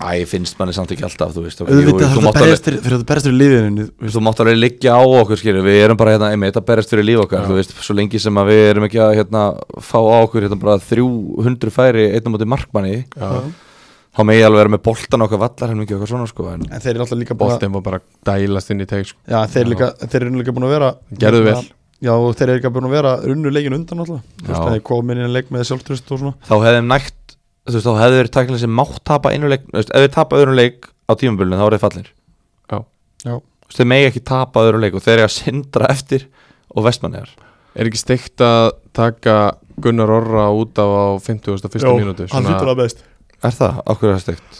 [SPEAKER 4] Æ, finnst manni samt ekki alltaf þú veist, ok, jú,
[SPEAKER 3] auðvitað
[SPEAKER 4] þú
[SPEAKER 3] þarf
[SPEAKER 4] mátt
[SPEAKER 3] þetta
[SPEAKER 4] alveg-
[SPEAKER 3] berjast fyrir- fyrir þetta berjast fyrir liðinu
[SPEAKER 4] Þú veist, þú mátt alveg liggja á okkur skilur við erum bara hérna, einmitt að berjast fyrir líf okkar
[SPEAKER 2] Já.
[SPEAKER 4] þú veist, svo lengi sem að við erum ekki að hérna, fá á okkur hérna bara 300 færi einnum átti markmanni þá megi alveg vera með boltan okkar vallar henni ekki okkar svona sko en
[SPEAKER 3] en þeir eru alltaf líka búin að
[SPEAKER 2] botnin var bara dælast inn í teg sko.
[SPEAKER 3] já, þeir, eru líka, þeir eru líka búin að vera
[SPEAKER 2] Gerðu vel.
[SPEAKER 3] já og þeir eru líka búin að vera runnu leikin undan alltaf þú veist
[SPEAKER 4] Já.
[SPEAKER 3] að þeir komin inn í leik með sjálftröst og svona
[SPEAKER 4] þá hefðum nægt þú veist, þá hefðu verið tæknilega sem mátt tapa einu leik þú veist, ef þeir tapa öðrum leik á tímabölinu þá eru þeir fallir þú
[SPEAKER 3] já
[SPEAKER 4] veist, þeir megi ekki tapa öðrum leik og þeir eru að sindra eftir og vestmanniðar
[SPEAKER 2] er ekki steikt að taka Gunnar Orra út af á 51. mínútu
[SPEAKER 3] hann hlutur að best
[SPEAKER 4] er það okkur er það steikt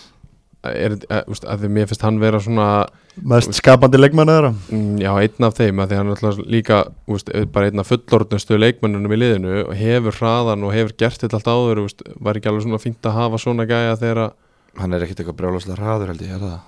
[SPEAKER 2] er, að, úst, að því mér finnst hann vera svona
[SPEAKER 3] mest skapandi leikmenn þeirra
[SPEAKER 2] mm, já, einn af þeim að því hann er alltaf líka úst, bara einn af fullorðnustu leikmönnunum í liðinu og hefur hraðan og hefur gert þetta allt áður úst, var ekki alveg svona fínt að hafa svona gæja þegar að
[SPEAKER 4] hann er ekkit eitthvað brjálaslega hraður held ég er það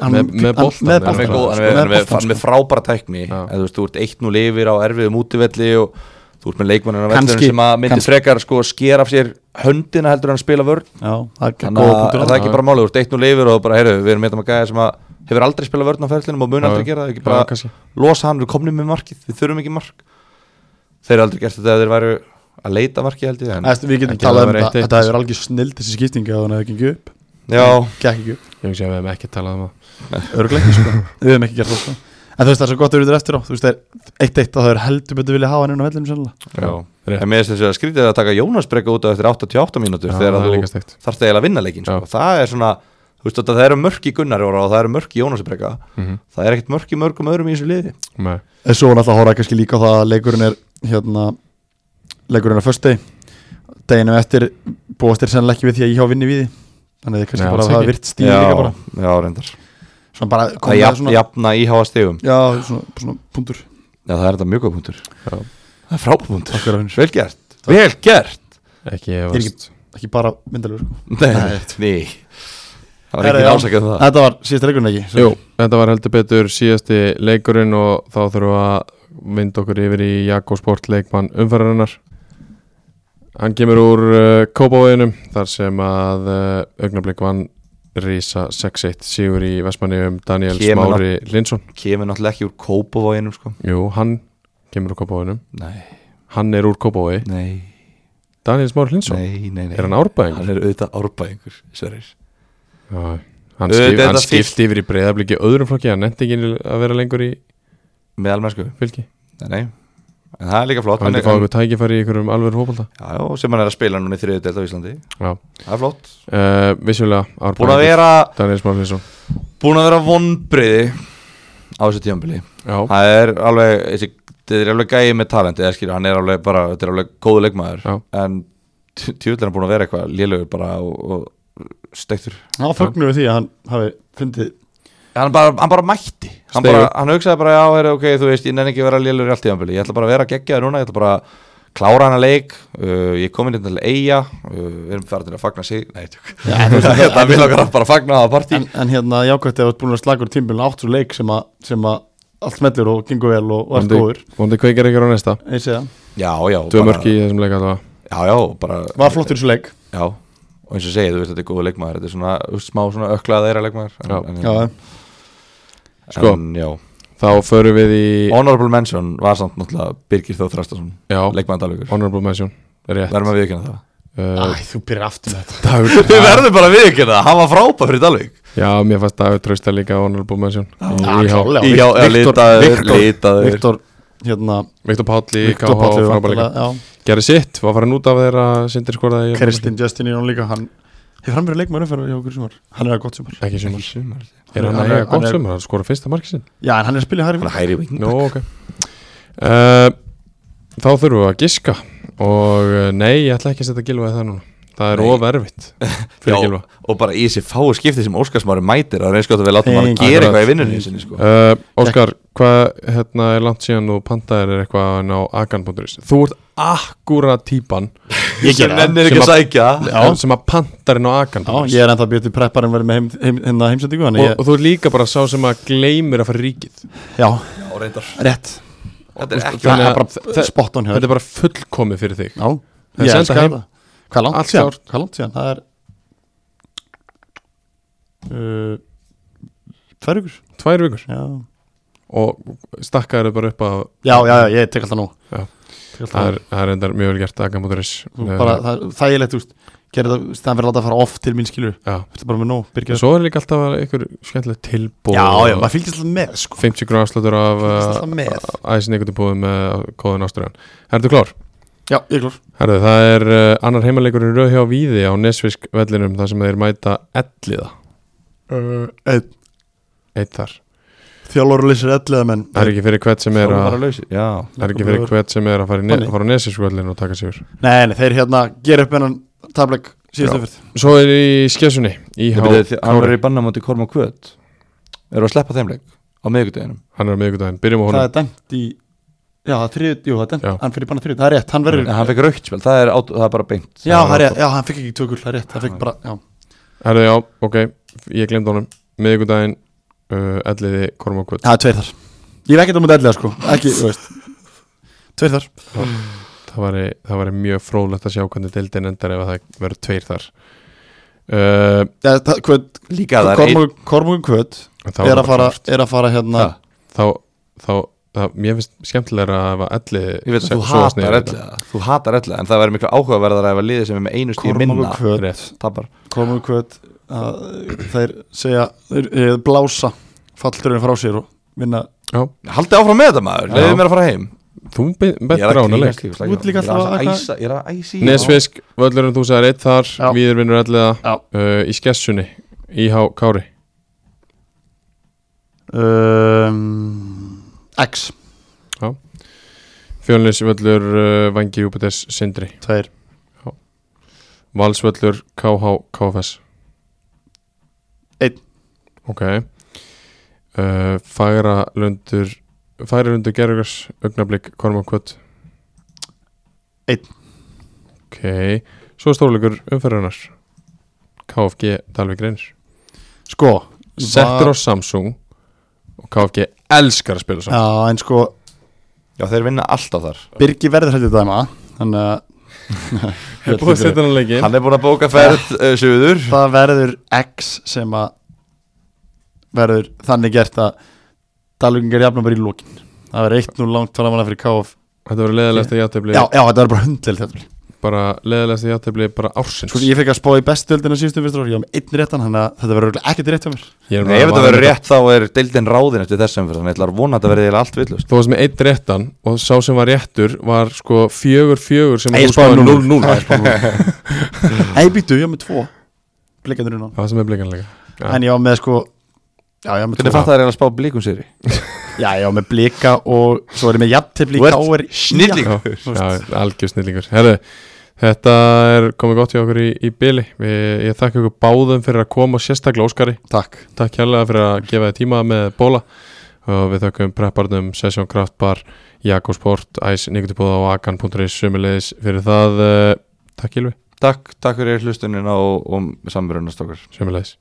[SPEAKER 3] hann,
[SPEAKER 2] Með- með boltann,
[SPEAKER 3] hann, með
[SPEAKER 2] eða?
[SPEAKER 3] boltan,
[SPEAKER 4] hann er með, góð, hann er með, hann er með, hann er með frábæra tækni
[SPEAKER 2] Já.
[SPEAKER 4] eða þú veist, þú ert 1-0 yfir á erfiðum útivelli og þú ert með leikmannina
[SPEAKER 3] Kannski-
[SPEAKER 4] sem að myndi
[SPEAKER 3] kannski.
[SPEAKER 4] frekar sko skera af sér höndina heldur en að spila vörn
[SPEAKER 3] já, það er
[SPEAKER 4] þannig
[SPEAKER 3] góð
[SPEAKER 4] að
[SPEAKER 3] punktur
[SPEAKER 4] það er ekki
[SPEAKER 2] Já.
[SPEAKER 4] bara máli, þú ert 1-0 yfir og bara, heyrðu, við erum eitthvað gæði sem að hefur aldrei spilað vörn á ferlinum og mun
[SPEAKER 2] Já, já.
[SPEAKER 4] aldrei gera það, ekki
[SPEAKER 2] Já,
[SPEAKER 4] bara
[SPEAKER 2] kannski.
[SPEAKER 4] losa hann, við komnum með markið, við þurfum ekki mark þeir eru aldrei gert þetta ef þeir væru að leita markið held ég en,
[SPEAKER 3] Æst, við getum
[SPEAKER 4] en
[SPEAKER 3] talað um
[SPEAKER 4] verið
[SPEAKER 3] það,
[SPEAKER 4] eitt eitt.
[SPEAKER 3] þetta hefur algjör snill þessi skiptinga að hann hefði gengið upp
[SPEAKER 4] Já,
[SPEAKER 3] gekk ekki upp,
[SPEAKER 2] Ég hugsi að við hefum ekki talað um það
[SPEAKER 3] örgleikni sko við hefum ekki gert það sko en þú veist það er svo gott að við erum eftir á þú veist það er eitt eitt að það er heldur betur vilja hafa hann inn á vellinum sannlega
[SPEAKER 2] Já, rétt
[SPEAKER 4] en mér finnst þess að skrítið að taka Jónas breyka út á eftir 88
[SPEAKER 2] Já,
[SPEAKER 4] mínútur þegar
[SPEAKER 2] það er
[SPEAKER 4] að
[SPEAKER 2] líka
[SPEAKER 4] þú
[SPEAKER 2] steikt.
[SPEAKER 4] þarfst eiginlega að vinna leikin sko. það er svona, þú veist þetta, það eru mörk í Gunnar Jóra og það eru mörk í Jónas breyka
[SPEAKER 2] Mhm.
[SPEAKER 4] það er ekkert mörk í mörgum öðrum í þessu liði
[SPEAKER 2] Nei.
[SPEAKER 3] en svo hann alltaf horfa kannski líka á það að leikurinn er hérna leikurinn er á föstudegi deginum eftir búast þér sennilega ekki við því að ég hjá vinni við því þannig að þið
[SPEAKER 2] Nei,
[SPEAKER 3] kannski bara
[SPEAKER 2] alls
[SPEAKER 3] að hafa
[SPEAKER 2] ekki.
[SPEAKER 3] virt stíð líka bara
[SPEAKER 4] já, reyndar
[SPEAKER 3] svona bara
[SPEAKER 4] að
[SPEAKER 3] komið með
[SPEAKER 4] jafna,
[SPEAKER 3] svona já,
[SPEAKER 4] jafna íháa stegum
[SPEAKER 3] svona, svona, punktur
[SPEAKER 4] já, það er þetta mjög góð punktur
[SPEAKER 2] Já.
[SPEAKER 4] það er frábæð punktur,
[SPEAKER 3] Takk fyrir að vinna.
[SPEAKER 4] vel gert vel gert
[SPEAKER 2] Ekki
[SPEAKER 3] Er
[SPEAKER 2] efast
[SPEAKER 3] ekki bara myndalur sko.
[SPEAKER 4] nei, nei. það var
[SPEAKER 3] Herra,
[SPEAKER 4] ekki
[SPEAKER 3] já.
[SPEAKER 4] ásakað um það
[SPEAKER 3] þetta var síðasta leikurinn ekki
[SPEAKER 2] Jú, þetta var heldur betur síðasti leikurinn og þá þurfum við að vinda okkur yfir í Jakko Sport leikmann umferðarinnar Hann kemur úr uh, Kópavoginum þar sem að uh, augnablík vann Rísa 6-1 sígur í Vestmanniðum Daniel
[SPEAKER 4] Kemur hann-
[SPEAKER 2] Smári Lindsson
[SPEAKER 4] kemur náttúrulega ekki úr Kópavoginum sko.
[SPEAKER 2] Jú, hann kemur úr Kópavoginum
[SPEAKER 4] nei,
[SPEAKER 2] Hann er úr Kópavogi
[SPEAKER 4] nei,
[SPEAKER 2] Daniel Smári Lindsson,
[SPEAKER 4] nei, nei, nei
[SPEAKER 2] er hann árbæðing?
[SPEAKER 4] hann er auðvitað árbæðingur, sverir
[SPEAKER 2] Já, hann,
[SPEAKER 4] Auðvitað
[SPEAKER 2] skip,
[SPEAKER 4] er
[SPEAKER 2] hann
[SPEAKER 4] þetta fyrst-
[SPEAKER 2] skipti yfir í breyðablíki öðrum flokki, hann nefndi ekki að vera lengur í
[SPEAKER 4] með almennsku
[SPEAKER 2] fylki
[SPEAKER 4] Nei, nei En það er líka flott
[SPEAKER 2] hann
[SPEAKER 4] hann
[SPEAKER 2] vildi
[SPEAKER 4] er,
[SPEAKER 2] fá okkur tækifæri í ykkurum alveg hópulta
[SPEAKER 4] já, já, sem hann er að spila núna í þriðu delt á Íslandi
[SPEAKER 2] Já,
[SPEAKER 4] Það er flott
[SPEAKER 2] uh, vissulega
[SPEAKER 4] Búin að
[SPEAKER 2] árbæðingur.
[SPEAKER 4] vera,
[SPEAKER 2] Daniel Smári Lindsson
[SPEAKER 4] búin að vera vonbriði á þessu tíðanbili
[SPEAKER 2] Já,
[SPEAKER 4] Það er alveg, þessi, þetta er alveg gæði með talenti eða skilur, hann er alveg bara, þetta er alveg góðu leikmaður
[SPEAKER 2] Já.
[SPEAKER 4] En tjóðlega er hann búin að vera eitthvað lélögur bara og, og stektur
[SPEAKER 3] hann fögnur við því að hann hafi fundið
[SPEAKER 4] Hann bara, hann bara mætti hann,
[SPEAKER 2] Steig
[SPEAKER 4] bara,
[SPEAKER 2] upp.
[SPEAKER 4] hann hugsaði bara, já, heru, ok, þú veist, ég nenni ekki að vera lélur í allt tíðanbili Ég ætla bara að vera geggjaður núna, ég ætla bara að klára hana leik uh, Ég kom inn hérna til Eyja uh, Við erum farin að fagna sig Nei, tjók Þetta vil okkar bara að fagna það á partí
[SPEAKER 3] en, en hérna jákvæmt eða þú ert búin að slaga úr tímbilin áttur leik sem að, sem að allt smellir og gengur vel og, og er
[SPEAKER 2] vondi,
[SPEAKER 3] góður
[SPEAKER 2] vondi kveikir ykkur á næsta
[SPEAKER 3] ég sé það,
[SPEAKER 4] Já, já
[SPEAKER 2] Tvö
[SPEAKER 4] bara-
[SPEAKER 2] mörki í þessum leik allavega
[SPEAKER 4] Já, já, bara
[SPEAKER 3] var flottur í þessu leik
[SPEAKER 4] Já, og eins og segið, þú veist, þetta er góða leikmaður Þetta er svona þú veist, smá svona öklaða þeirra leikmaður en,
[SPEAKER 2] Já.
[SPEAKER 4] en,
[SPEAKER 3] já,
[SPEAKER 2] Sko.
[SPEAKER 4] en, já.
[SPEAKER 2] Þá förum við í
[SPEAKER 4] Honorable mention var samt náttúrulega Birgir Þóð Þrastason
[SPEAKER 2] Já,
[SPEAKER 4] Leikmaður Dalvíkur
[SPEAKER 2] honorable mention Rétt
[SPEAKER 4] Verðum að viðkjöna það
[SPEAKER 2] uh,
[SPEAKER 3] Æ, þú byrjar aftur með þetta
[SPEAKER 2] Dagur
[SPEAKER 4] Við verðum bara að viðkjöna það, hann var frábæð fyrir Dalvík
[SPEAKER 2] Já, mér fannst Dagur trausta líka honorable mention
[SPEAKER 3] Já,
[SPEAKER 2] Í- IH.
[SPEAKER 3] klárlega.
[SPEAKER 4] Í já, já,
[SPEAKER 3] Viktor-
[SPEAKER 4] litaður,
[SPEAKER 3] Viktor-
[SPEAKER 4] litaður
[SPEAKER 3] Viktor, hérna
[SPEAKER 2] Viktor Páll í
[SPEAKER 3] Viktor
[SPEAKER 2] KH
[SPEAKER 3] Páll hefur
[SPEAKER 2] frábæð líka
[SPEAKER 3] væntanlega- já,
[SPEAKER 2] Gerði sitt, var farin út af þeirra Sindir skoraði í-
[SPEAKER 3] Kristinn Justin í hún líka hann hefur hann verið leikmaður umferðar hjá okkur í sumar hann er að gott sumar
[SPEAKER 2] Ekki
[SPEAKER 4] Ekki
[SPEAKER 2] sumar
[SPEAKER 4] sumar.
[SPEAKER 2] Er hann
[SPEAKER 3] Hann
[SPEAKER 2] að
[SPEAKER 3] er-
[SPEAKER 2] eiga
[SPEAKER 3] hann
[SPEAKER 2] góð
[SPEAKER 3] er-
[SPEAKER 2] sumar, hann skora fyrsta marki sinn
[SPEAKER 3] já, en hann er að spila í hægri
[SPEAKER 4] Hann
[SPEAKER 3] ving.
[SPEAKER 4] er hægri ving
[SPEAKER 2] Nú, ok uh, Þá þurfum við að giska Og uh, nei, ég ætla ekki að setja gilvaði það núna Það er
[SPEAKER 4] Nei.
[SPEAKER 2] of erfitt Fyrir
[SPEAKER 4] Já,
[SPEAKER 2] gilva
[SPEAKER 4] og bara í þessi fáu skipti sem Óskarsmári mætir það er eins gott að við látum hann
[SPEAKER 3] Engin-
[SPEAKER 4] gera eitthvað í
[SPEAKER 3] Akkurat.
[SPEAKER 4] vinnunni sinni sko.
[SPEAKER 2] Uh, Óskar, hvað hérna er langt síðan og pantaðir er eitthvað inn á agan.is Þú ert akkúra típan
[SPEAKER 3] ég
[SPEAKER 4] sem
[SPEAKER 3] gera það
[SPEAKER 4] nennir ekki að
[SPEAKER 2] Sem
[SPEAKER 4] sækja
[SPEAKER 3] Já.
[SPEAKER 2] sem að pantar inn á agan.is
[SPEAKER 3] já, ég er ennþá að býja til prepparinn verið með heim, heim, hérna heimsendingu hann
[SPEAKER 2] og,
[SPEAKER 3] ég,
[SPEAKER 2] og þú ert líka bara sá sem að gleymir að fara í ríkið
[SPEAKER 3] já,
[SPEAKER 4] Já, reyndar.
[SPEAKER 3] rétt
[SPEAKER 4] þetta er ekki
[SPEAKER 3] það
[SPEAKER 2] Þannig
[SPEAKER 3] er
[SPEAKER 2] að
[SPEAKER 3] bara
[SPEAKER 2] þe-
[SPEAKER 3] spot on hjá þér.
[SPEAKER 2] Þetta er bara fullkomið fyrir þig
[SPEAKER 3] Já,
[SPEAKER 2] Það er
[SPEAKER 3] ég
[SPEAKER 2] senda
[SPEAKER 3] elskar
[SPEAKER 2] heim.
[SPEAKER 3] þetta Hvað er langt
[SPEAKER 2] Allt
[SPEAKER 3] síðan?
[SPEAKER 2] klárt.
[SPEAKER 3] Hvað er langt síðan? Það er uh, Tvær ykkur
[SPEAKER 2] Tvær vikur
[SPEAKER 3] já.
[SPEAKER 2] og stakkaður bara upp að
[SPEAKER 3] já, já, já, ég tek alltaf nú
[SPEAKER 2] Já.
[SPEAKER 3] Tek
[SPEAKER 2] það
[SPEAKER 3] alltaf það,
[SPEAKER 2] er, það er endar mjög vel gert agan.is
[SPEAKER 3] er, bara,
[SPEAKER 2] Eh,
[SPEAKER 3] það er þægilegt, þú veist Gerið það, það verður að láta það fara off til mín skilur
[SPEAKER 2] Já
[SPEAKER 3] Þetta er bara með nóg, byrgja
[SPEAKER 2] Svo er líka alltaf einhver skemmtileg tilbúð
[SPEAKER 3] Já, já, maður fylgist alltaf með sko
[SPEAKER 2] 50 grunn afslutur af uh,
[SPEAKER 3] Fylgist alltaf með
[SPEAKER 2] æsningutabúðum með kóðun ástræðan Ertu klár?
[SPEAKER 3] Já, ég er klár
[SPEAKER 2] Herðu, það er uh, annar heimaleikur í rauð hjá Víði á Nesvisk vellinum þar sem þeir mæta elliða
[SPEAKER 3] uh,
[SPEAKER 2] eitt þar.
[SPEAKER 3] Þjálfur lýsir elliða menn
[SPEAKER 2] Það er ekki fyrir hvert sem er að
[SPEAKER 4] Þjálfara lausir. Já,
[SPEAKER 2] það er ekki fyrir hvert sem er að fara, í ne
[SPEAKER 3] Þannig.
[SPEAKER 2] að fara á Nesvisk vellin og taka sigur.
[SPEAKER 3] Nei, nei, þeir hérna gera upp hennan tableg síðustu fyrst
[SPEAKER 2] Svo er í skessunni IH
[SPEAKER 4] Ég byrja því- hann
[SPEAKER 2] Kári.
[SPEAKER 4] verður í banna múti Korma Kvöt eru að sleppa þeim leik á miðvikudeginum
[SPEAKER 2] Hann er á miðvikudaginn. Byrjum á
[SPEAKER 3] Það
[SPEAKER 2] honum.
[SPEAKER 3] er dæmt í Já, það er þrið, jú, það er dæmt
[SPEAKER 2] Já.
[SPEAKER 3] Hann fyrir banna þrið, það er rétt, hann verður
[SPEAKER 4] en hann fekk raukt spil, það er, át, það er bara beint
[SPEAKER 3] Já,
[SPEAKER 2] Það
[SPEAKER 3] það
[SPEAKER 2] var
[SPEAKER 3] er rétt, já, hann fekk ekki tökul, það er rétt, hann fekk bara, já
[SPEAKER 2] Herðu, já, ok, ég glemd honum. Miðvikudaginn uh, elliði Kormákvöld
[SPEAKER 3] það er tveir þar ég er ekkert á mútið ellega sko ekki, þú veist tveir þar
[SPEAKER 2] það væri, það væri mjög fróðlegt að sjá hvernig deildin endar ef að það verður tveir þar uh,
[SPEAKER 3] ja, það, hvöt,
[SPEAKER 4] Líka það er
[SPEAKER 3] Kormúl, Kormúl kvöt
[SPEAKER 2] en þá
[SPEAKER 3] er
[SPEAKER 2] bara
[SPEAKER 3] að fara
[SPEAKER 2] klárt.
[SPEAKER 3] er að fara hérna
[SPEAKER 4] Ha,
[SPEAKER 2] þá, þá, þá, mér finnst skemmtilegra að hafa elliði
[SPEAKER 4] Ég veit að
[SPEAKER 2] se-
[SPEAKER 4] þú
[SPEAKER 2] sogast niður
[SPEAKER 4] hatar
[SPEAKER 2] í
[SPEAKER 4] ellega Þú hatar ellega En það væri miklu áhugaverðar ef að liðið sem er með einu stíð minna
[SPEAKER 3] Kormúlkvöt
[SPEAKER 2] Rétt.
[SPEAKER 4] Tapar
[SPEAKER 3] Kormúlkvöt þeir segja þeir, þeir blása fallturinn frá sér og vinna
[SPEAKER 4] Haldið áfram með þetta maður
[SPEAKER 2] Já.
[SPEAKER 4] Leðið mér að fara heim
[SPEAKER 2] þetta. þú
[SPEAKER 4] Ég er
[SPEAKER 2] betur
[SPEAKER 4] að
[SPEAKER 2] ánuleik
[SPEAKER 4] grínast líka,
[SPEAKER 3] Þú ert líka
[SPEAKER 4] Ég er
[SPEAKER 3] alltaf að-
[SPEAKER 4] að æsa- Ég er að æsi
[SPEAKER 2] Nesfisk, völlurinn þú sagðir eitt þar
[SPEAKER 3] Já.
[SPEAKER 2] Víður vinnur elliða
[SPEAKER 3] Já.
[SPEAKER 2] uh, í skessunni IH Kári
[SPEAKER 3] um, X
[SPEAKER 2] Fjölnis völlur uh, Vangi Júpiters Sindri
[SPEAKER 3] tveir
[SPEAKER 2] Valsvöllur KH KFS
[SPEAKER 3] Einn.
[SPEAKER 2] Ok uh, Færa lundur Færa lundur Gerugars Ugnablík Kormakvöt
[SPEAKER 3] Einn.
[SPEAKER 2] Ok Svo stórleikur umferðunar KFG Dalvik Reynir
[SPEAKER 3] sko
[SPEAKER 2] Settur á
[SPEAKER 3] var-
[SPEAKER 2] Samsung og KFG elskar að spila saman
[SPEAKER 3] já en sko
[SPEAKER 4] Já þeir vinna alltaf þar
[SPEAKER 3] Birgi verður hættið dæma þannig að
[SPEAKER 2] Ég er búið að setja hann að leikin
[SPEAKER 4] Hann er búin að bóka ferð uh, suður
[SPEAKER 3] það verður X sem að verður þannig gert að Dalvíkingar jafna bara í lókin það verður eitt nú langt framanna fyrir KF
[SPEAKER 2] Þetta verður leðalegst að játefli
[SPEAKER 3] já, já, þetta verður bara hundleil þetta
[SPEAKER 2] bara leðalegst að játefli bara ársins
[SPEAKER 3] Sko, ég fekk að spá í bestöldina síðustu fyrstur ári, ég var með einn réttan, þannig að þetta verður örugglega ekkert rétt hjá mér.
[SPEAKER 2] Ég er
[SPEAKER 4] Nei, ef
[SPEAKER 2] bara
[SPEAKER 4] þetta
[SPEAKER 2] vanur
[SPEAKER 4] verður rétt þá er deildin ráðin eftir þessum fyrir þannig ætlar vona að þetta verði eiginlega allt villust
[SPEAKER 2] Þú varst með eitt réttan og sá sem var réttur var sko fjögur fjögur sem
[SPEAKER 3] Nei, ég
[SPEAKER 2] þú
[SPEAKER 3] spáði
[SPEAKER 2] skoðaðir
[SPEAKER 3] 0-0.
[SPEAKER 2] 0-0.
[SPEAKER 3] Nei, ég spáði 0-0. Nei, býtu, ég var með tvo. Blikandur innan.
[SPEAKER 2] Það var sem er blikanlega Já.
[SPEAKER 3] En ég var með sko, já, ég var með
[SPEAKER 4] Hvernig
[SPEAKER 3] tvo.
[SPEAKER 4] fatt það er eiginlega að spá blíkum sér
[SPEAKER 3] Já, ég var með blika og svo var ég með jafntefli
[SPEAKER 4] Þú
[SPEAKER 3] í
[SPEAKER 4] ert
[SPEAKER 3] káir.
[SPEAKER 4] snillingur.
[SPEAKER 2] Já, algjör snillingur Herðu, þetta er komið gott hjá okkur í, í byli Við, Ég þakka ykkur báðum fyrir að koma og sérstaklega Óskari
[SPEAKER 3] Takk.
[SPEAKER 2] Takk hérlega fyrir að gefa þið tíma með bóla og við þökkum prepparnum Session Kraftbar, Jakko Sport Æs, Nikotipóða og Akan.is sömulegis fyrir það, eh, takk Ylvi
[SPEAKER 4] Takk, takk fyrir hlustunin og, og samverunast okkur
[SPEAKER 2] sömulegis